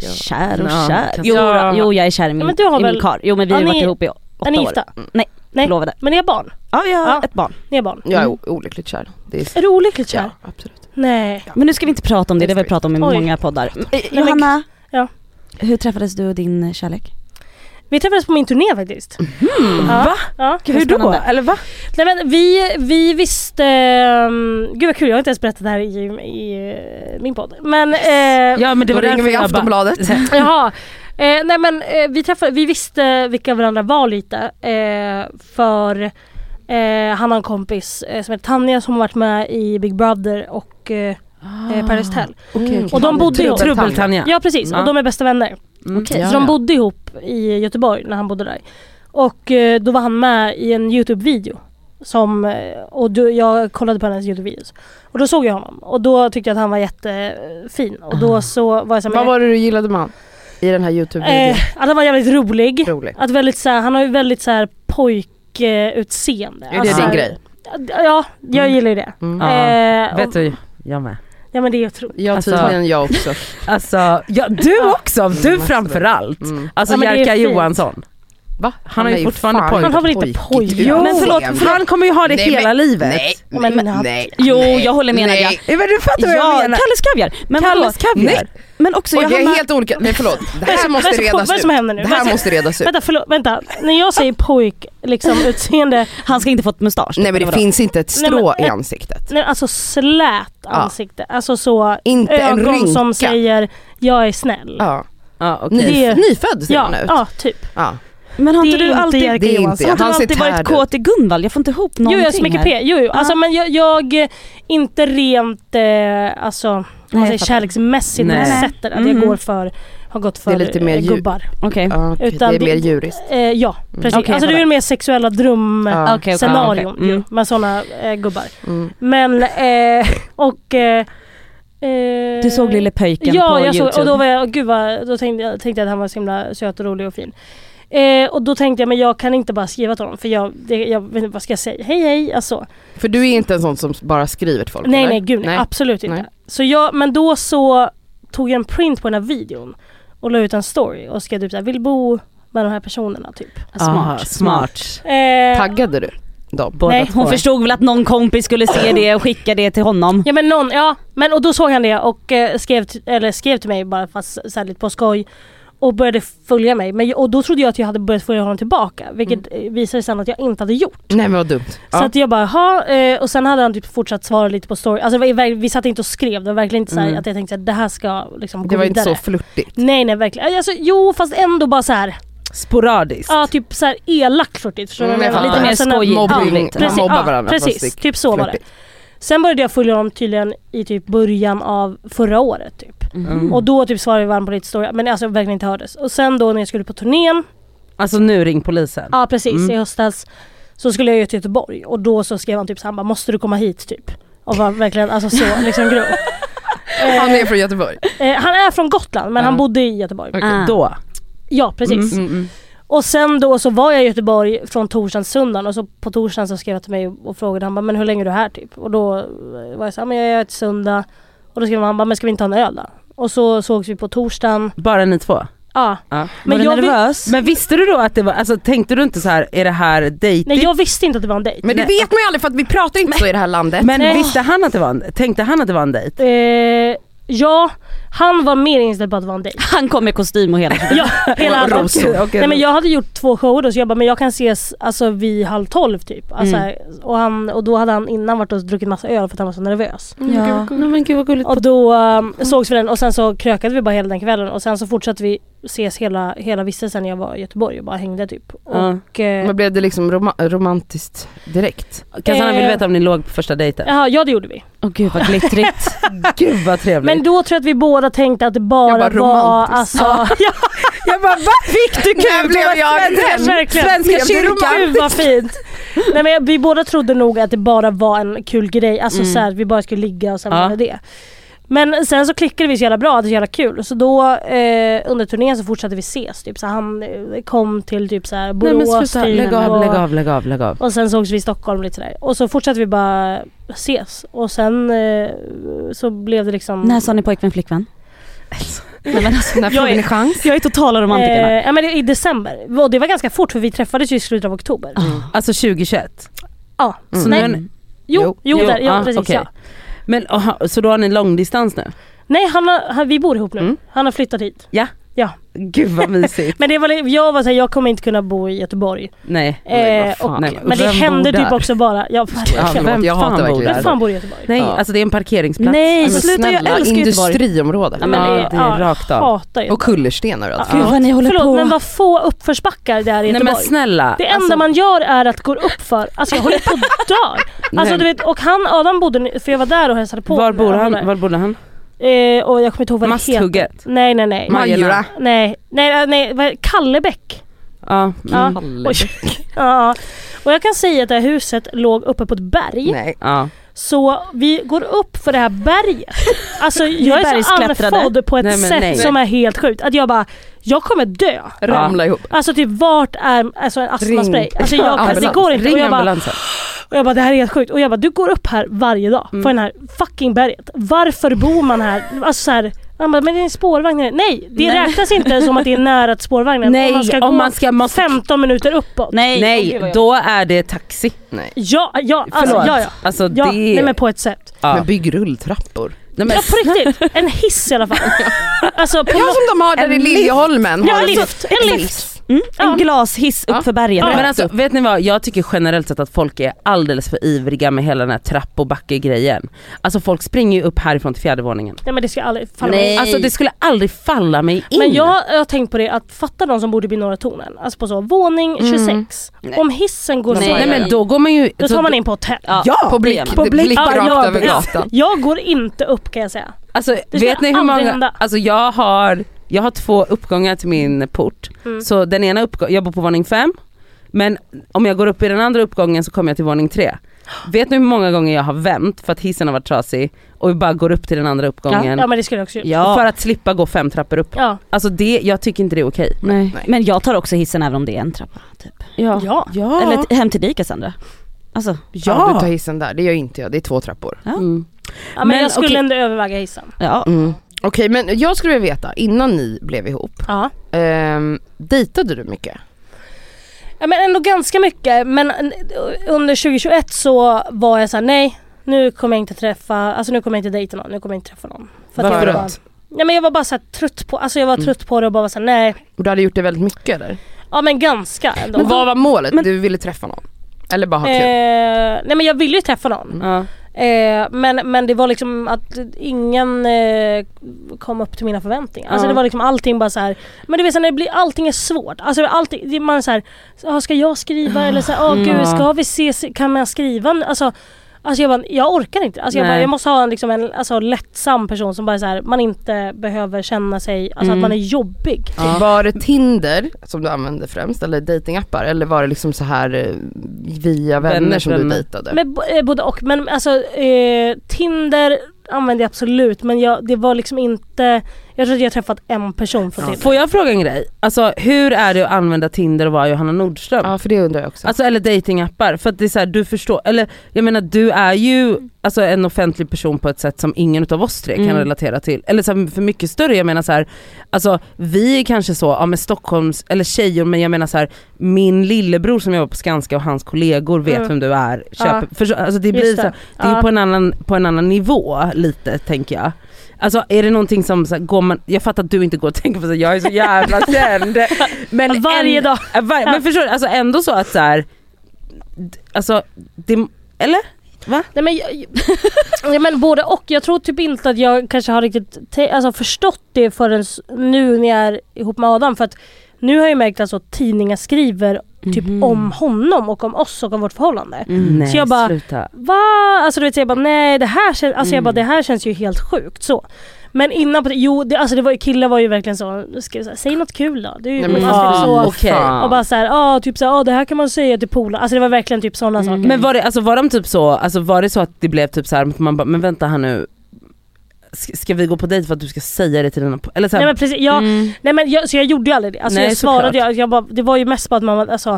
[SPEAKER 1] Kär och
[SPEAKER 3] Ja,
[SPEAKER 1] kär.
[SPEAKER 3] kanske.
[SPEAKER 1] Jo,
[SPEAKER 3] Ja.
[SPEAKER 1] då, jo jag är kär i min,
[SPEAKER 2] men du har
[SPEAKER 1] i
[SPEAKER 2] väl-
[SPEAKER 1] min karl. Jo men vi har
[SPEAKER 2] Ja,
[SPEAKER 1] varit
[SPEAKER 2] ni-
[SPEAKER 1] ihop i
[SPEAKER 2] Är
[SPEAKER 1] åtta
[SPEAKER 2] ni
[SPEAKER 1] år.
[SPEAKER 2] gifta?
[SPEAKER 1] Nej.
[SPEAKER 2] Nej.
[SPEAKER 1] Lovade.
[SPEAKER 2] Men ni har barn?
[SPEAKER 1] Ja jag har
[SPEAKER 2] Ja.
[SPEAKER 1] ett barn.
[SPEAKER 2] Ni har barn?
[SPEAKER 4] Jag är o- olyckligt kär. Det är
[SPEAKER 2] Mm. Är du olyckligt kär?
[SPEAKER 4] Ja, absolut.
[SPEAKER 2] Nej.
[SPEAKER 1] Men nu ska vi inte prata om det, det har vi pratat om i
[SPEAKER 2] Oj.
[SPEAKER 1] många poddar. Eh,
[SPEAKER 2] men-
[SPEAKER 1] Johanna,
[SPEAKER 2] Ja.
[SPEAKER 1] hur träffades du och din kärlek?
[SPEAKER 2] Vi träffades på min turné faktiskt. Ja.
[SPEAKER 3] Mhm. Va?
[SPEAKER 2] Ja.
[SPEAKER 1] Gud, vad spännande.
[SPEAKER 3] Eller va?
[SPEAKER 2] Nej men vi, vi visste... ehm, gud vad kul, jag har inte ens berättat det här i, i eh, min podd. Men... eh,
[SPEAKER 3] Ja men det
[SPEAKER 4] Då
[SPEAKER 3] var
[SPEAKER 4] ringer
[SPEAKER 3] därför
[SPEAKER 4] vi
[SPEAKER 3] jag bara...
[SPEAKER 4] Aftonbladet.
[SPEAKER 2] Jaha. Eh, nej men eh, vi, träffade, vi visste vilka varandra var lite eh, för eh, han har en kompis eh, som heter Tanja som har varit med i Big Brother och eh,
[SPEAKER 3] Ah,
[SPEAKER 2] eh, Paradise Hotel.
[SPEAKER 4] Mm.
[SPEAKER 2] Och de bodde ihop.
[SPEAKER 3] Trubbel-Tanja.
[SPEAKER 2] Ja precis,
[SPEAKER 3] Ja.
[SPEAKER 2] och de är bästa vänner.
[SPEAKER 3] Mm.
[SPEAKER 1] Okej.
[SPEAKER 2] Så de bodde ihop i Göteborg när han bodde där. Och eh, då var han med i en Youtube-video. Som, eh, och då, jag kollade på hennes Youtube-videos. Och då såg jag honom och då tyckte jag att han var jättefin. Och då så var jag såhär...
[SPEAKER 4] Vad var det du gillade med han? I den här
[SPEAKER 2] eh,
[SPEAKER 4] Youtube-videon?
[SPEAKER 2] Att han var jävligt rolig.
[SPEAKER 4] Rolig.
[SPEAKER 2] Att väldigt så här, han har ju väldigt så här pojkutseende. Alltså,
[SPEAKER 4] Är det din grej?
[SPEAKER 2] Ja, jag
[SPEAKER 3] Mm.
[SPEAKER 2] gillar ju det.
[SPEAKER 4] Mm.
[SPEAKER 3] Ja.
[SPEAKER 2] Eh, och-
[SPEAKER 3] Vet du, jag med.
[SPEAKER 2] Ja men det är otroligt.
[SPEAKER 4] Ja
[SPEAKER 3] Alltså-
[SPEAKER 4] tydligen jag också.
[SPEAKER 3] Alltså, ja, du också! Du framförallt.
[SPEAKER 4] Mm.
[SPEAKER 3] Alltså
[SPEAKER 2] Ja, men det är
[SPEAKER 3] Jerka
[SPEAKER 2] fint.
[SPEAKER 3] Johansson.
[SPEAKER 4] Va?
[SPEAKER 3] Han har ju
[SPEAKER 4] är
[SPEAKER 3] fortfarande
[SPEAKER 4] fan
[SPEAKER 3] pojk.
[SPEAKER 2] Han har väl inte
[SPEAKER 4] pojkigt
[SPEAKER 2] pojk?
[SPEAKER 4] utseende.
[SPEAKER 3] Jo, men förlåt, för han kommer ju ha det
[SPEAKER 4] Nej, men-
[SPEAKER 3] hela livet.
[SPEAKER 4] Nej,
[SPEAKER 2] Ja, men-
[SPEAKER 4] nej,
[SPEAKER 2] men han-
[SPEAKER 4] nej.
[SPEAKER 1] Jo,
[SPEAKER 4] nej,
[SPEAKER 1] jag håller med
[SPEAKER 4] nej.
[SPEAKER 1] Nadja.
[SPEAKER 3] Ja, men du fattar vad
[SPEAKER 1] Ja,
[SPEAKER 3] jag menar.
[SPEAKER 1] Kalles kaviar. Men
[SPEAKER 3] Kalles
[SPEAKER 1] vadå?
[SPEAKER 3] kaviar.
[SPEAKER 1] Men också
[SPEAKER 4] Oj, vi
[SPEAKER 1] Johanna,
[SPEAKER 4] är helt olika. Nej förlåt. Det
[SPEAKER 2] Vad är-
[SPEAKER 4] här måste
[SPEAKER 2] vad är- vad är
[SPEAKER 4] redas
[SPEAKER 2] det som händer nu?
[SPEAKER 4] ut. Det
[SPEAKER 2] Vad är-
[SPEAKER 4] här måste redas ut.
[SPEAKER 2] Vänta, förlåt, vänta. När jag säger pojk, liksom utseende,
[SPEAKER 1] han ska inte fått mustasch.
[SPEAKER 4] Nej men det
[SPEAKER 1] Vadå?
[SPEAKER 4] finns inte ett
[SPEAKER 2] Nej,
[SPEAKER 4] strå
[SPEAKER 2] men-
[SPEAKER 4] i ansiktet.
[SPEAKER 2] nej, alltså slät ansikte. Alltså så
[SPEAKER 4] Inte en
[SPEAKER 2] ögon som
[SPEAKER 4] rynka.
[SPEAKER 2] säger jag är snäll.
[SPEAKER 4] Ja.
[SPEAKER 3] Ja, okej.
[SPEAKER 4] Ny,
[SPEAKER 2] Det-
[SPEAKER 4] Nyfödd ser
[SPEAKER 2] ja,
[SPEAKER 4] han ut.
[SPEAKER 2] ja, typ.
[SPEAKER 4] Ja.
[SPEAKER 1] Men har inte
[SPEAKER 2] Det är
[SPEAKER 1] du
[SPEAKER 2] inte
[SPEAKER 1] alltid,
[SPEAKER 2] Jerker
[SPEAKER 4] Det är inte
[SPEAKER 2] Johansson.
[SPEAKER 1] har inte du
[SPEAKER 4] Han ser
[SPEAKER 1] alltid
[SPEAKER 4] tärd
[SPEAKER 1] varit
[SPEAKER 4] ut.
[SPEAKER 1] kåt i Gunvald? Jag får inte ihop
[SPEAKER 2] Jo,
[SPEAKER 1] någonting
[SPEAKER 2] jag är så mycket
[SPEAKER 1] här.
[SPEAKER 2] P. Jo, jo. Alltså,
[SPEAKER 1] Ja.
[SPEAKER 2] men jag, jag, eh, inte rent eh, alltså, om
[SPEAKER 1] Nej,
[SPEAKER 2] man
[SPEAKER 1] jag
[SPEAKER 2] säger,
[SPEAKER 1] fattar.
[SPEAKER 2] kärleksmässigt
[SPEAKER 3] Nej.
[SPEAKER 2] på det sättet. Att
[SPEAKER 1] Mhm.
[SPEAKER 2] jag går för, har gått för
[SPEAKER 4] Det är lite mer
[SPEAKER 2] eh,
[SPEAKER 4] dju-
[SPEAKER 2] gubbar.
[SPEAKER 1] Okej.
[SPEAKER 4] Ja, okej,
[SPEAKER 2] Utan
[SPEAKER 4] det är
[SPEAKER 2] det-
[SPEAKER 4] mer djuriskt.
[SPEAKER 2] Eh, ja, precis.
[SPEAKER 1] Mm. Okej, jag
[SPEAKER 2] alltså det är
[SPEAKER 1] fattar.
[SPEAKER 2] ju mer sexuella drömscenarion
[SPEAKER 4] Ja.
[SPEAKER 1] Okej, okej, okej.
[SPEAKER 2] ju,
[SPEAKER 1] Mm.
[SPEAKER 2] med sådana eh, gubbar.
[SPEAKER 4] Mm.
[SPEAKER 2] Men, eh, och... Eh,
[SPEAKER 1] Du såg lille pöjken
[SPEAKER 2] Ja,
[SPEAKER 1] på
[SPEAKER 2] jag
[SPEAKER 1] Youtube?
[SPEAKER 2] såg, och då var jag, och gud vad, då tänkte jag, tänkte jag att han var så himla söt och rolig och fin. Eh, och då tänkte jag, men jag kan inte bara skriva till honom för jag, det, jag vet inte, vad ska jag säga? Hej hej, alltså.
[SPEAKER 4] För du är inte en sån som bara skriver till folk?
[SPEAKER 2] Nej
[SPEAKER 4] eller?
[SPEAKER 2] nej gud nej, absolut inte.
[SPEAKER 4] Nej.
[SPEAKER 2] Så jag, men då så tog jag en print på den här videon och la ut en story och skrev typ såhär, vill bo med de här personerna typ.
[SPEAKER 3] Aha,
[SPEAKER 1] Smart.
[SPEAKER 3] smart.
[SPEAKER 2] Eh,
[SPEAKER 4] Taggade du dem?
[SPEAKER 3] Båda
[SPEAKER 2] Nej,
[SPEAKER 3] två.
[SPEAKER 1] Hon förstod väl att någon kompis skulle se det och skicka det till honom.
[SPEAKER 2] Ja men någon, ja. Men och då såg han det och eh, skrev, t- eller skrev till mig bara fast så här, lite på skoj. Och började följa mig. Men, och då trodde jag att jag hade börjat följa honom tillbaka. Vilket mm. visade sig sen att jag inte hade gjort.
[SPEAKER 4] Nej men vad dumt.
[SPEAKER 2] Så
[SPEAKER 4] Ja.
[SPEAKER 2] att jag bara, "Jaha", eh, Och sen hade han typ fortsatt svara lite på story. Alltså det var, verk- vi satt inte och skrev. Det var verkligen inte så här
[SPEAKER 3] Mm.
[SPEAKER 2] att jag tänkte att det här ska liksom gå
[SPEAKER 4] Det var inte
[SPEAKER 2] vidare.
[SPEAKER 4] så flörtigt.
[SPEAKER 2] Nej nej verkligen. Alltså, jo fast ändå bara så här.
[SPEAKER 3] Sporadiskt.
[SPEAKER 2] Ja typ så här elakt flörtigt. Förstår du
[SPEAKER 4] Mm,
[SPEAKER 2] vad jag
[SPEAKER 4] jag
[SPEAKER 2] menar?
[SPEAKER 4] fattar.
[SPEAKER 2] Lite mer
[SPEAKER 1] Lite
[SPEAKER 2] sån
[SPEAKER 1] mer
[SPEAKER 2] här-
[SPEAKER 1] skoj.
[SPEAKER 4] Mobbing,
[SPEAKER 1] outlet.
[SPEAKER 4] man
[SPEAKER 2] Precis,
[SPEAKER 4] mobbar
[SPEAKER 2] ja,
[SPEAKER 4] varandra fast
[SPEAKER 2] precis
[SPEAKER 4] det är
[SPEAKER 2] typ så var det.
[SPEAKER 4] flörtigt.
[SPEAKER 2] Sen började jag följa honom tydligen i typ början av förra året typ.
[SPEAKER 3] Mm.
[SPEAKER 2] Och då typ svarade vi varandra på lite story, men alltså verkligen inte hördes. Och sen då när jag skulle på turnén,
[SPEAKER 3] Alltså nu ring polisen.
[SPEAKER 2] ja precis
[SPEAKER 3] Mm.
[SPEAKER 2] i höstas, så skulle jag ju till Göteborg och då så skrev han typ så han bara “måste du komma hit” typ. Och var verkligen alltså så liksom grov.
[SPEAKER 4] Han är från Göteborg?
[SPEAKER 2] Eh, han är från Gotland men han
[SPEAKER 4] Ja.
[SPEAKER 2] bodde i Göteborg.
[SPEAKER 4] Okej.
[SPEAKER 1] Ah.
[SPEAKER 3] Då.
[SPEAKER 2] Ja precis.
[SPEAKER 3] Mm, mm, mm.
[SPEAKER 2] Och sen då så var jag i Göteborg från torsdagen till söndagen och så på torsdagen så skrev han till mig och frågade han bara, men hur länge är du här typ? Och då eh, var jag så här, men jag är här till söndag. Och då skrev han bara, men ska vi inte ta en öl då? Och så sågs vi på torsdagen.
[SPEAKER 3] Bara ni två?
[SPEAKER 2] Ja.
[SPEAKER 3] Ja.
[SPEAKER 1] Men
[SPEAKER 2] Men
[SPEAKER 1] var
[SPEAKER 2] jag
[SPEAKER 1] du
[SPEAKER 2] vill-
[SPEAKER 1] nervös?
[SPEAKER 3] Men visste du då att det var, alltså tänkte du inte så här, är det här dejtigt?
[SPEAKER 2] Nej jag visste inte att det var en dejt.
[SPEAKER 4] Men det vet man ju aldrig för att vi pratar inte så i det här landet.
[SPEAKER 3] Men
[SPEAKER 2] Nej.
[SPEAKER 3] visste han att det var en, tänkte han att det var en dejt?
[SPEAKER 2] Eh, ja, han var mer inställd på att det var en dejt.
[SPEAKER 1] Han kom i kostym och hela
[SPEAKER 2] Ja, hela
[SPEAKER 4] Rosor.
[SPEAKER 3] Okej, okej.
[SPEAKER 2] Nej men jag hade gjort två shower då så jag bara, men jag kan ses alltså, vid halv tolv typ. Alltså,
[SPEAKER 1] Mm.
[SPEAKER 2] här, och, han, och då hade han innan varit och druckit massa öl för att han var så nervös.
[SPEAKER 1] Ja.
[SPEAKER 3] Nej, men gud vad gulligt.
[SPEAKER 2] Och då um, sågs vi den och sen så krökade vi bara hela den kvällen och sen så fortsatte vi ses hela, hela vistelsen när jag var i Göteborg och bara hängde typ.
[SPEAKER 3] Ja.
[SPEAKER 2] Och, eh,
[SPEAKER 4] Men blev det liksom roma- romantiskt direkt?
[SPEAKER 3] Kanske han vill
[SPEAKER 2] Eh.
[SPEAKER 3] veta om ni låg på första dejten?
[SPEAKER 2] jaha, ja det gjorde vi.
[SPEAKER 1] Åh gud vad glittrigt.
[SPEAKER 3] Gud vad trevligt.
[SPEAKER 2] Men då tror jag att vi båda tänkte att det
[SPEAKER 4] Jag bara,
[SPEAKER 2] bara, var
[SPEAKER 4] romantiskt.
[SPEAKER 2] alltså... ja,
[SPEAKER 3] jag bara va? Fick du
[SPEAKER 4] När blev jag den?
[SPEAKER 2] verkligen.
[SPEAKER 4] Svenska
[SPEAKER 3] Blev det
[SPEAKER 4] kyrkan?
[SPEAKER 2] Gud vad fint! Nej, men vi båda trodde nog att det bara var en kul grej, alltså
[SPEAKER 1] Mm.
[SPEAKER 2] så här, att vi bara skulle ligga och sen
[SPEAKER 3] Ja.
[SPEAKER 2] var det det. Men sen så klickade vi så jävla bra, det var så jävla kul. Så då eh, under turnén så fortsatte vi ses. Typ. Så han eh, kom till typ så här,
[SPEAKER 3] Nej
[SPEAKER 2] Borås
[SPEAKER 3] men sluta,
[SPEAKER 2] typ,
[SPEAKER 3] lägg av,
[SPEAKER 2] och,
[SPEAKER 3] lägg av, lägg av, lägg av.
[SPEAKER 2] och sen sågs vi i Stockholm lite sådär. Och så fortsatte vi bara ses. Och sen eh, så blev det liksom...
[SPEAKER 1] När sa ni pojkvän flickvän? Nej, men alltså,
[SPEAKER 4] När får
[SPEAKER 1] jag,
[SPEAKER 4] ni
[SPEAKER 1] är,
[SPEAKER 4] chans?
[SPEAKER 1] jag är totala romantiker.
[SPEAKER 2] Eh,
[SPEAKER 1] nu.
[SPEAKER 2] ja, men i december. Och det var ganska fort för vi träffades ju i slutet av oktober.
[SPEAKER 3] Alltså 2021?
[SPEAKER 2] Ja.
[SPEAKER 3] Så
[SPEAKER 2] Mm. Nej,
[SPEAKER 3] nu är ni-
[SPEAKER 2] jo,
[SPEAKER 4] Jo.
[SPEAKER 2] jo,
[SPEAKER 3] Mm. Jo,
[SPEAKER 2] där, ja,
[SPEAKER 3] ah,
[SPEAKER 2] precis.
[SPEAKER 3] okej.
[SPEAKER 2] Ja.
[SPEAKER 3] men aha, så då har ni långdistans nu?
[SPEAKER 2] Nej, han har, han, vi bor ihop nu.
[SPEAKER 3] Mm.
[SPEAKER 2] Han har flyttat hit.
[SPEAKER 3] Gud vad mysigt.
[SPEAKER 2] Men det var, li- jag var såhär, jag kommer inte kunna bo i Göteborg.
[SPEAKER 3] Nej.
[SPEAKER 4] Men
[SPEAKER 2] Eh,
[SPEAKER 4] vad
[SPEAKER 2] och,
[SPEAKER 4] fan.
[SPEAKER 3] Nej,
[SPEAKER 2] men det
[SPEAKER 3] vem bor
[SPEAKER 2] hände
[SPEAKER 3] där?
[SPEAKER 2] typ också bara, ja,
[SPEAKER 4] Ja,
[SPEAKER 2] verkligen.
[SPEAKER 4] förlåt, jag
[SPEAKER 3] Vem fan
[SPEAKER 4] hatar
[SPEAKER 3] bor
[SPEAKER 4] verkligen
[SPEAKER 3] där?
[SPEAKER 2] Vem fan bor i Göteborg?
[SPEAKER 3] Nej,
[SPEAKER 4] Ja.
[SPEAKER 3] alltså det är en parkeringsplats.
[SPEAKER 2] Nej,
[SPEAKER 4] Men
[SPEAKER 1] men sluta, jag
[SPEAKER 4] snälla,
[SPEAKER 1] älskar Göteborg.
[SPEAKER 4] Industriområde.
[SPEAKER 3] men det är rakt av.
[SPEAKER 2] hatar ju.
[SPEAKER 4] Och kullerstenar och allt.
[SPEAKER 1] Gud vad ni håller
[SPEAKER 2] Förlåt
[SPEAKER 1] på.
[SPEAKER 2] men vad få uppförsbackar det är i
[SPEAKER 3] Nej
[SPEAKER 2] Göteborg.
[SPEAKER 3] men snälla.
[SPEAKER 2] det enda man gör är att gå uppför. Alltså jag håller på att dö. Alltså,
[SPEAKER 3] Nej.
[SPEAKER 2] du vet, och han, Adam bodde, nu- för jag var där och hälsade på.
[SPEAKER 3] var,
[SPEAKER 2] när
[SPEAKER 3] bor han,
[SPEAKER 2] var där.
[SPEAKER 3] var bor han?
[SPEAKER 2] Eh, och jag kommer inte ihåg vad det heter.
[SPEAKER 3] Masthugget?
[SPEAKER 2] Nej nej nej.
[SPEAKER 4] Majorna.
[SPEAKER 2] Nej, nej, eh, nej, vad- Kallebäck.
[SPEAKER 3] Ja.
[SPEAKER 2] Ja.
[SPEAKER 3] Mm.
[SPEAKER 4] Kalle.
[SPEAKER 2] Oj. Ja. Och jag kan säga att det här huset låg uppe på ett berg.
[SPEAKER 4] Nej.
[SPEAKER 3] ja.
[SPEAKER 2] Så vi går upp för det här berget. Alltså jag är så
[SPEAKER 1] bergsklättrade.
[SPEAKER 2] andfådd på ett
[SPEAKER 3] Nej, men
[SPEAKER 2] sätt
[SPEAKER 3] nej.
[SPEAKER 2] som är helt sjukt. Att jag bara, jag kommer dö.
[SPEAKER 4] Ramla ihop.
[SPEAKER 2] Alltså typ vart är alltså, en astmaspray?
[SPEAKER 4] Ring.
[SPEAKER 2] Alltså, jag, alltså, det
[SPEAKER 4] Ambulans.
[SPEAKER 2] går inte. Och
[SPEAKER 3] Ring
[SPEAKER 2] jag, bara,
[SPEAKER 3] ambulansen.
[SPEAKER 2] och jag bara, det här är helt sjukt. Och jag bara, du går upp här varje dag
[SPEAKER 3] Mm.
[SPEAKER 2] på den här fucking berget. Varför bor man här? Alltså så här, han bara, men det är en spårvagn här. Nej, det
[SPEAKER 1] Nej.
[SPEAKER 2] räknas inte som att det är nära till spårvagnen.
[SPEAKER 3] Nej,
[SPEAKER 2] om man ska
[SPEAKER 3] om
[SPEAKER 2] gå
[SPEAKER 3] man ska- man ska-
[SPEAKER 2] 15 minuter uppåt.
[SPEAKER 1] Nej,
[SPEAKER 3] Nej, då är det taxi.
[SPEAKER 2] Ja, ja, alltså,
[SPEAKER 3] Förlåt.
[SPEAKER 2] ja, ja.
[SPEAKER 3] Alltså
[SPEAKER 2] ja
[SPEAKER 3] det...
[SPEAKER 2] Nej men på ett sätt.
[SPEAKER 3] ja.
[SPEAKER 4] Men bygg rulltrappor.
[SPEAKER 3] Nej, men
[SPEAKER 2] Ja på riktigt, en hiss i alla fall. Alltså på
[SPEAKER 4] Ja
[SPEAKER 2] något...
[SPEAKER 4] som de har där
[SPEAKER 3] En
[SPEAKER 4] i
[SPEAKER 3] lift.
[SPEAKER 4] Liljeholmen.
[SPEAKER 2] Ja,
[SPEAKER 4] har
[SPEAKER 2] en
[SPEAKER 4] de
[SPEAKER 2] lift.
[SPEAKER 4] så-
[SPEAKER 2] En
[SPEAKER 4] lift.
[SPEAKER 2] lift.
[SPEAKER 1] Mm, en
[SPEAKER 2] Ja.
[SPEAKER 1] glashiss upp
[SPEAKER 4] Ja.
[SPEAKER 1] för berget.
[SPEAKER 2] Ja.
[SPEAKER 3] Men alltså vet ni vad, jag tycker generellt sett att folk är alldeles för ivriga med hela den här trapp och backe-grejen. Alltså folk springer ju upp härifrån till fjärde våningen.
[SPEAKER 2] Nej men det ska jag aldrig falla
[SPEAKER 1] Nej.
[SPEAKER 2] mig in.
[SPEAKER 3] Alltså det skulle aldrig falla mig in.
[SPEAKER 2] Men jag, jag har tänkt på det att fatta de som bor vid Norra Tornen, alltså på så våning 26. Om hissen går
[SPEAKER 1] Nej.
[SPEAKER 2] så,
[SPEAKER 3] Mm. Nej men då går man ju...
[SPEAKER 2] då tar man in på hotell.
[SPEAKER 1] Ja,
[SPEAKER 4] På
[SPEAKER 1] det
[SPEAKER 4] blick,
[SPEAKER 1] gör man.
[SPEAKER 4] på blick
[SPEAKER 2] Ja,
[SPEAKER 4] rakt
[SPEAKER 2] jag-
[SPEAKER 4] över
[SPEAKER 2] ja.
[SPEAKER 4] gatan.
[SPEAKER 2] Jag går inte upp kan jag säga.
[SPEAKER 3] Alltså
[SPEAKER 2] Det
[SPEAKER 3] vet
[SPEAKER 2] skulle
[SPEAKER 3] ni hur
[SPEAKER 2] aldrig
[SPEAKER 3] många,
[SPEAKER 2] hända.
[SPEAKER 3] alltså jag har, jag har två uppgångar till min port.
[SPEAKER 2] Mm.
[SPEAKER 3] Så den ena uppgången, jag bor på våning fem, men om jag går upp i den andra uppgången så kommer jag till våning tre. Vet ni hur många gånger jag har vänt för att hissen har varit trasig och bara går upp till den andra uppgången
[SPEAKER 2] Ja men det skulle jag också göra.
[SPEAKER 1] Ja.
[SPEAKER 3] för att slippa gå fem trappor upp.
[SPEAKER 2] Ja.
[SPEAKER 3] Alltså det, jag tycker inte det är okej.
[SPEAKER 1] Nej.
[SPEAKER 4] Nej.
[SPEAKER 1] Men jag tar också hissen även om det är en trappa. Typ.
[SPEAKER 3] Ja.
[SPEAKER 2] Ja.
[SPEAKER 3] ja.
[SPEAKER 1] Eller t- hem till dig Cassandra. Alltså,
[SPEAKER 4] Ja. Du tar hissen där, det gör inte jag. Det är två trappor.
[SPEAKER 3] Mm.
[SPEAKER 2] ja men,
[SPEAKER 3] Men,
[SPEAKER 2] jag skulle
[SPEAKER 3] okej.
[SPEAKER 2] ändå överväga hissen.
[SPEAKER 1] ja.
[SPEAKER 4] Mm. Okej men jag skulle vilja veta, innan ni blev ihop,
[SPEAKER 2] Ja.
[SPEAKER 4] ehm, dejtade du mycket?
[SPEAKER 2] Ja, men ändå ganska mycket. Men eh, under 2021 så var jag så här: nej nu kommer jag inte träffa, alltså nu kommer jag inte dejta någon, nu kommer jag inte träffa någon. För att
[SPEAKER 4] Varför
[SPEAKER 2] jag var bara,
[SPEAKER 4] då?
[SPEAKER 2] ja, men jag var bara så här trött på, alltså jag var trött på det och bara var så här, nej.
[SPEAKER 4] Och du hade gjort det väldigt mycket eller?
[SPEAKER 2] Ja men ganska ändå.
[SPEAKER 4] Men vad var målet?
[SPEAKER 1] men-
[SPEAKER 4] Du ville träffa någon? Eller bara ha kul?
[SPEAKER 2] eh, nej men jag ville ju träffa någon.
[SPEAKER 3] Ja.
[SPEAKER 2] Eh, men, men det var liksom att ingen eh, kom upp till mina förväntningar. Alltså
[SPEAKER 3] Ja.
[SPEAKER 2] det var liksom allting bara så här. Men du vet så när det blir, allting är svårt. Alltså allting, det- man är så här, så, ah, ska jag skriva eller så här, ah, gud ska vi ses, kan man skriva? nu?" Alltså, alltså jag, bara, jag orkar inte. Alltså jag, bara,
[SPEAKER 3] Nej.
[SPEAKER 2] jag måste ha en, liksom en alltså, lättsam person som bara är så här, man inte behöver känna sig, alltså
[SPEAKER 3] Mm.
[SPEAKER 2] att man är jobbig.
[SPEAKER 4] Var det Tinder som du använde främst eller datingappar eller var det liksom så här eh, via vänner,
[SPEAKER 3] Vänner,
[SPEAKER 4] som du
[SPEAKER 3] vänner.
[SPEAKER 4] dejtade?
[SPEAKER 2] Men, bo- eh, både och. Men alltså eh, Tinder använde jag absolut men jag, det var liksom inte, jag tror att jag har träffat en person från Tinder.
[SPEAKER 3] Får jag fråga en grej? Alltså hur är det att använda Tinder och vara Johanna Nordström?
[SPEAKER 4] Ja för det undrar jag också.
[SPEAKER 3] Alltså eller datingappar för att det är så här, du förstår, eller jag menar du är ju, alltså en offentlig person på ett sätt som ingen utav oss tre kan
[SPEAKER 1] Mm.
[SPEAKER 3] relatera till. Eller så här, för mycket större, jag menar så här, alltså vi är kanske så, ja men Stockholms, eller tjejer, men jag menar så här, min lillebror som jobbar på Skanska och hans kollegor vet
[SPEAKER 2] Mm.
[SPEAKER 3] vem du är. Köp,
[SPEAKER 2] Ja.
[SPEAKER 3] för, alltså det blir
[SPEAKER 2] Just
[SPEAKER 3] så här, det är
[SPEAKER 2] Ja.
[SPEAKER 3] ju på en, annan, på en annan nivå lite tänker jag. Alltså är det någonting som, så här, går man, jag fattar att du inte går och tänker på det, jag är så jävla känd. Men
[SPEAKER 2] Varje
[SPEAKER 3] en-
[SPEAKER 2] dag.
[SPEAKER 3] Ja, var, Äh, men förstår du, alltså ändå så att så här, d- alltså det, eller?
[SPEAKER 2] Nej men, jag, nej, men både och. Jag tror typ inte att jag kanske har riktigt te- alltså, förstått det förrän s- nu när jag är ihop med Adam. För att nu har jag ju märkt att alltså, att tidningar skriver typ
[SPEAKER 1] Mhm.
[SPEAKER 2] om honom och om oss och om vårt förhållande.
[SPEAKER 3] Mm,
[SPEAKER 1] Mm.
[SPEAKER 3] Nej,
[SPEAKER 2] Så jag bara-
[SPEAKER 3] sluta.
[SPEAKER 2] Va? Alltså du vet, så jag bara nej det här känns, alltså, jag
[SPEAKER 1] Mm.
[SPEAKER 2] bara, det här känns ju helt sjukt så. Men innan på jo det, alltså det var ju, killar var ju verkligen så, nu ska jag säga, säg något kul då. Det är ju
[SPEAKER 4] Nej, men
[SPEAKER 2] alltså,
[SPEAKER 4] fan.
[SPEAKER 2] typ så.
[SPEAKER 4] vad
[SPEAKER 3] okej.
[SPEAKER 4] fan.
[SPEAKER 2] Och bara såhär, ah, typ såhär, ah, det här kan man säga till polare. Alltså det var verkligen typ sådana
[SPEAKER 1] Mm.
[SPEAKER 2] saker.
[SPEAKER 3] Men var det, alltså var de typ så, alltså var det så att det blev typ så här, att man bara, men vänta här nu, ska, ska vi gå på dejt för att du ska säga det till dina, po- eller så här,
[SPEAKER 2] Nej men precis, jag,
[SPEAKER 1] Mm.
[SPEAKER 2] Nej men jag, så jag gjorde ju aldrig det. Alltså
[SPEAKER 3] Nej,
[SPEAKER 2] jag svarade,
[SPEAKER 3] såklart.
[SPEAKER 2] jag, jag bara, det var ju mest bara att man var, alltså,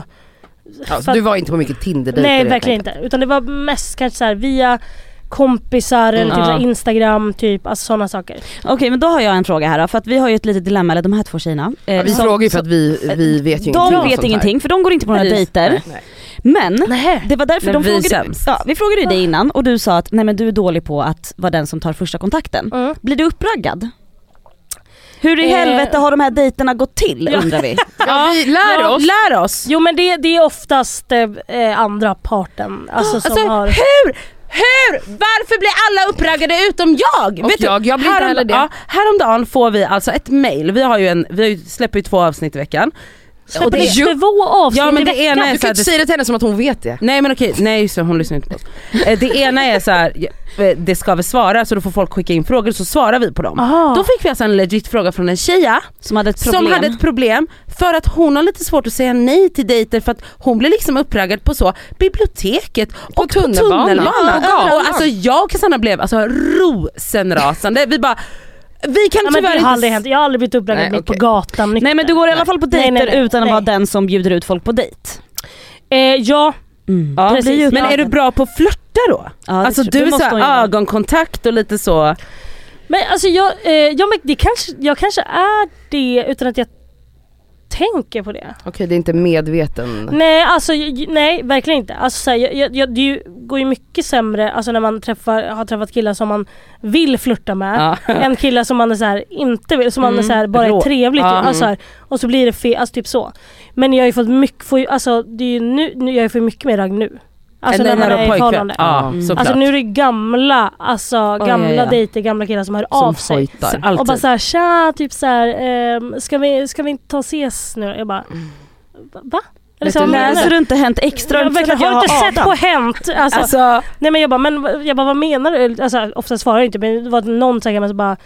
[SPEAKER 4] Ja, så
[SPEAKER 2] för att-
[SPEAKER 4] du var inte på mycket tinder
[SPEAKER 2] Nej verkligen inte. Utan det var mest kanske så här via kompisar eller
[SPEAKER 3] Mm.
[SPEAKER 2] typ så här
[SPEAKER 3] Ja.
[SPEAKER 2] Instagram, typ alltså sådana saker.
[SPEAKER 1] Okej men då har jag en fråga här då, för att vi har ju ett litet dilemma, eller de här två tjejerna. eh,
[SPEAKER 4] Ja, vi
[SPEAKER 1] som-
[SPEAKER 4] frågar ju för att vi, vi vet
[SPEAKER 1] de
[SPEAKER 4] ju ingenting om sånt
[SPEAKER 1] vet
[SPEAKER 4] här.
[SPEAKER 1] ingenting för de går inte på några
[SPEAKER 3] Nej, just-
[SPEAKER 1] dejter.
[SPEAKER 4] Nej.
[SPEAKER 1] Men
[SPEAKER 2] Nej.
[SPEAKER 1] det var därför
[SPEAKER 3] Men
[SPEAKER 1] de
[SPEAKER 3] vi är
[SPEAKER 1] frågade,
[SPEAKER 3] sämst.
[SPEAKER 1] ja, vi frågade ju
[SPEAKER 2] Ah.
[SPEAKER 1] dig innan och du sa att nej men du är dålig på att vara den som tar första kontakten.
[SPEAKER 2] Mm.
[SPEAKER 1] Blir du uppraggad? Hur i
[SPEAKER 2] Eh.
[SPEAKER 1] helvete har de här dejterna gått till
[SPEAKER 2] Ja.
[SPEAKER 1] undrar vi.
[SPEAKER 4] Ja, vi lär
[SPEAKER 3] Ja,
[SPEAKER 4] oss.
[SPEAKER 3] Lär oss!
[SPEAKER 2] Jo men det, det är oftast eh, eh, andra parten. Alltså,
[SPEAKER 3] Alltså,
[SPEAKER 2] som har...
[SPEAKER 3] Hur? Hur? Varför blir alla uppraggade utom jag?
[SPEAKER 4] Och jag, jag blir inte
[SPEAKER 3] härom-
[SPEAKER 4] heller det.
[SPEAKER 3] Ja, häromdagen får vi alltså ett mail, vi, har ju en, vi har ju, släpper ju två avsnitt i veckan.
[SPEAKER 2] Släpper det två avsnitt
[SPEAKER 3] Ja men det
[SPEAKER 2] i
[SPEAKER 3] ena är
[SPEAKER 4] Du
[SPEAKER 3] så här,
[SPEAKER 4] kan inte
[SPEAKER 3] det
[SPEAKER 4] säga det till henne som att hon vet det.
[SPEAKER 3] Nej men okej, nej just det, hon lyssnar inte på oss. Eh, Det ena är så här, eh, det ska vi svara så då får folk skicka in frågor så svarar vi på dem.
[SPEAKER 2] Aha.
[SPEAKER 3] Då fick vi alltså en legit fråga från en tjeja
[SPEAKER 1] Som hade ett problem.
[SPEAKER 3] som hade ett problem för att hon har lite svårt att säga nej till dejter för att hon blir liksom uppraggad på så biblioteket och, på
[SPEAKER 4] tunnelbanan. Ja,
[SPEAKER 3] tunnelbanan.
[SPEAKER 4] på gatan.
[SPEAKER 3] och alltså jag och Cassandra blev alltså rosenrasande. Vi bara, vi kan
[SPEAKER 2] ja, men det
[SPEAKER 3] tyvärr
[SPEAKER 2] har aldrig
[SPEAKER 3] inte
[SPEAKER 2] hänt. Jag har aldrig blivit uppraggad
[SPEAKER 4] Nej,
[SPEAKER 2] mitt på
[SPEAKER 4] okej.
[SPEAKER 2] gatan.
[SPEAKER 1] Nej men du går i alla fall på
[SPEAKER 2] Nej,
[SPEAKER 1] dejter
[SPEAKER 2] nej, nej,
[SPEAKER 1] utan att
[SPEAKER 2] nej.
[SPEAKER 1] vara den som bjuder ut folk på dejt.
[SPEAKER 2] eh, ja,
[SPEAKER 1] Mm.
[SPEAKER 3] Ja,
[SPEAKER 2] Precis,
[SPEAKER 3] precis. Men
[SPEAKER 2] ja.
[SPEAKER 3] är du bra på att flörta då?
[SPEAKER 1] Ja, det
[SPEAKER 3] alltså
[SPEAKER 1] tror-
[SPEAKER 3] du
[SPEAKER 1] det
[SPEAKER 3] är
[SPEAKER 1] måste hon ju
[SPEAKER 3] såhär
[SPEAKER 1] vara.
[SPEAKER 3] ögonkontakt och lite så.
[SPEAKER 2] Men alltså jag, eh, ja, men det kanske, jag kanske är det utan att jag tänker på det.
[SPEAKER 4] Okej, det är inte medveten.
[SPEAKER 2] Nej, alltså j- j- nej verkligen inte. Alltså, så här, jag, jag, jag, det ju, går ju mycket sämre alltså, när man träffar, har träffat killar som man vill flirta med
[SPEAKER 3] Ja.
[SPEAKER 2] än killar som man är så här, inte vill, som man är
[SPEAKER 1] Mm,
[SPEAKER 2] så här, bara är
[SPEAKER 3] rå.
[SPEAKER 2] trevlig
[SPEAKER 3] Ja,
[SPEAKER 2] till. Alltså, så
[SPEAKER 3] mm.
[SPEAKER 2] här, och så blir det fel, alltså typ så. Men jag har ju fått mycket, får ju, alltså, det är ju nu, nu, jag får ju mycket mer ragg nu. Alltså
[SPEAKER 3] Eller
[SPEAKER 2] när man
[SPEAKER 3] du har
[SPEAKER 2] är i
[SPEAKER 3] pojkvän.
[SPEAKER 2] förhållande.
[SPEAKER 3] Ja,
[SPEAKER 1] Mm.
[SPEAKER 3] såklart.
[SPEAKER 2] Alltså nu är det gamla, alltså gamla
[SPEAKER 4] ja, ja.
[SPEAKER 2] dejter, gamla killar som hör av sig.
[SPEAKER 4] hojtar.
[SPEAKER 3] Alltid.
[SPEAKER 2] Och bara såhär tja, typ såhär, ehm, ska, vi, ska vi inte ta och ses nu Jag bara,
[SPEAKER 3] Mm.
[SPEAKER 2] va? Eller
[SPEAKER 4] Vet
[SPEAKER 2] så,
[SPEAKER 4] du,
[SPEAKER 2] vad menar
[SPEAKER 1] Läser
[SPEAKER 2] du?
[SPEAKER 1] du inte Hänt Extra?
[SPEAKER 2] jag verkligen, har du inte sett på Hänt? Alltså,
[SPEAKER 3] Alltså,
[SPEAKER 2] Nej men jag bara, men, vad- jag bara vad menar du? Alltså, ofta svarar jag inte men det var någon så här gammal som bara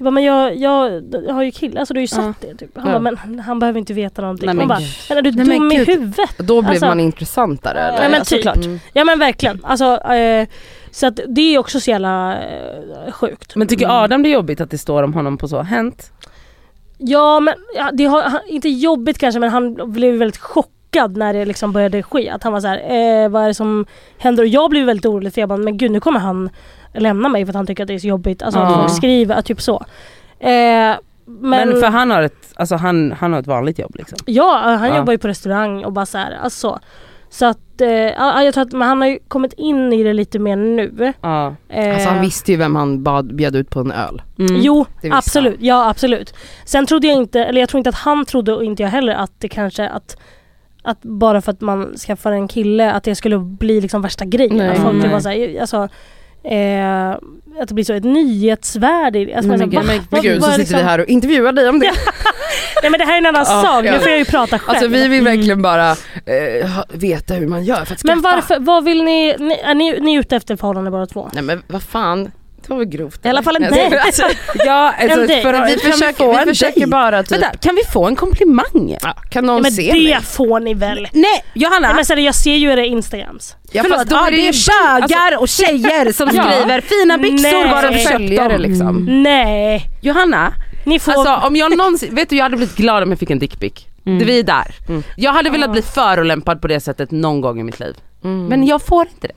[SPEAKER 2] jag bara, men jag, jag, jag har ju kille, alltså du har ju sett
[SPEAKER 1] Ja.
[SPEAKER 2] det. Typ. Han
[SPEAKER 4] Ja.
[SPEAKER 2] bara, men han behöver inte veta någonting.
[SPEAKER 1] Nej,
[SPEAKER 2] Nej,
[SPEAKER 1] men
[SPEAKER 2] Hon
[SPEAKER 1] gud.
[SPEAKER 2] bara, men är du
[SPEAKER 4] Nej, men
[SPEAKER 2] dum i
[SPEAKER 4] gud.
[SPEAKER 2] huvudet?
[SPEAKER 4] Då blev
[SPEAKER 2] Alltså-
[SPEAKER 4] man intressantare eller?
[SPEAKER 2] Nej, men
[SPEAKER 1] Ja,
[SPEAKER 2] typ.
[SPEAKER 1] såklart.
[SPEAKER 4] Mm.
[SPEAKER 2] Ja men verkligen. Alltså, eh, så att det är ju också så jävla eh, sjukt.
[SPEAKER 3] men tycker Adam det är jobbigt att det står om honom på så, hänt?
[SPEAKER 2] Ja men ja, det har, han, inte jobbigt kanske men han blev väldigt chockad när det liksom började ske. Att han var så här, eh, vad är det som händer? Och jag blev väldigt orolig för jag bara, men gud nu kommer han lämna mig för att han tycker att det är så jobbigt. Alltså att
[SPEAKER 3] Ja.
[SPEAKER 2] folk skriver, att typ så. Eh, men,
[SPEAKER 3] Men, för han har, ett, alltså, han, han har ett vanligt jobb liksom.
[SPEAKER 2] ja, han
[SPEAKER 3] Ja.
[SPEAKER 2] jobbar ju på restaurang och bara så här, alltså så. Så att, eh, ja, jag tror att men han har ju kommit in i det lite mer nu.
[SPEAKER 3] Ja.
[SPEAKER 2] Eh,
[SPEAKER 4] Alltså han visste ju vem han bad, bjöd ut på en öl.
[SPEAKER 1] Mm.
[SPEAKER 2] Jo,
[SPEAKER 4] Det visste
[SPEAKER 2] absolut. Ja, absolut. Sen trodde jag inte, eller jag tror inte att han trodde och inte jag heller att det kanske att, att bara för att man skaffar en kille att det skulle bli liksom värsta grejen.
[SPEAKER 4] Nej.
[SPEAKER 2] att folk
[SPEAKER 3] Nej.
[SPEAKER 2] typ bara så här, alltså, eh, att det blir så ett nyhetsvärde. i det. Alltså, man
[SPEAKER 3] men
[SPEAKER 2] säger, "Va?
[SPEAKER 3] gud. Men
[SPEAKER 2] Vad-
[SPEAKER 4] Men gud,
[SPEAKER 2] vad
[SPEAKER 4] så
[SPEAKER 2] är
[SPEAKER 4] sitter vi
[SPEAKER 2] liksom-"
[SPEAKER 4] här och intervjuar dig om det.
[SPEAKER 2] Nej men det här är en annan
[SPEAKER 4] Ja,
[SPEAKER 2] sak, nu
[SPEAKER 4] ja.
[SPEAKER 2] får jag ju prata själv.
[SPEAKER 4] Alltså vi vill verkligen bara eh, ha- veta hur man gör för att skaffa.
[SPEAKER 2] men varför, vad vill ni, ni, är ni, ni är ute efter förhållande bara två?
[SPEAKER 4] Nej men vad fan, det var väl grovt.
[SPEAKER 1] I alla fall en
[SPEAKER 4] eller?
[SPEAKER 1] dejt.
[SPEAKER 4] Alltså,
[SPEAKER 3] Ja, alltså,
[SPEAKER 2] En dejt.
[SPEAKER 3] för,
[SPEAKER 4] vi
[SPEAKER 3] kan vi få
[SPEAKER 4] försöker,
[SPEAKER 3] en
[SPEAKER 4] vi försöker
[SPEAKER 3] dejt?
[SPEAKER 4] bara typ,
[SPEAKER 3] Vänta, kan vi få en komplimang?
[SPEAKER 4] ja, kan
[SPEAKER 2] Ja,
[SPEAKER 4] någon
[SPEAKER 2] men
[SPEAKER 4] se
[SPEAKER 2] det
[SPEAKER 4] mig?
[SPEAKER 2] får ni väl?
[SPEAKER 3] Nej Johanna!
[SPEAKER 2] Nej, men sen, jag ser ju era instagrams.
[SPEAKER 4] Ja,
[SPEAKER 3] Förlåt,
[SPEAKER 4] fast då
[SPEAKER 3] ja,
[SPEAKER 4] är det ju
[SPEAKER 3] bögar och tjejer som
[SPEAKER 4] Ja.
[SPEAKER 3] skriver fina byxor
[SPEAKER 2] Nej.
[SPEAKER 3] var
[SPEAKER 4] bara
[SPEAKER 3] de köpt
[SPEAKER 4] som följare
[SPEAKER 3] dem.
[SPEAKER 4] liksom.
[SPEAKER 2] Nej,
[SPEAKER 3] Johanna,
[SPEAKER 2] ni får...
[SPEAKER 3] alltså om jag Mm. någonsin, vet du jag hade blivit glad om jag fick en dickpic. Det Vi är där. Ah. Jag hade velat bli förolämpad på det sättet någon gång i mitt liv. Mm. Men jag får inte det.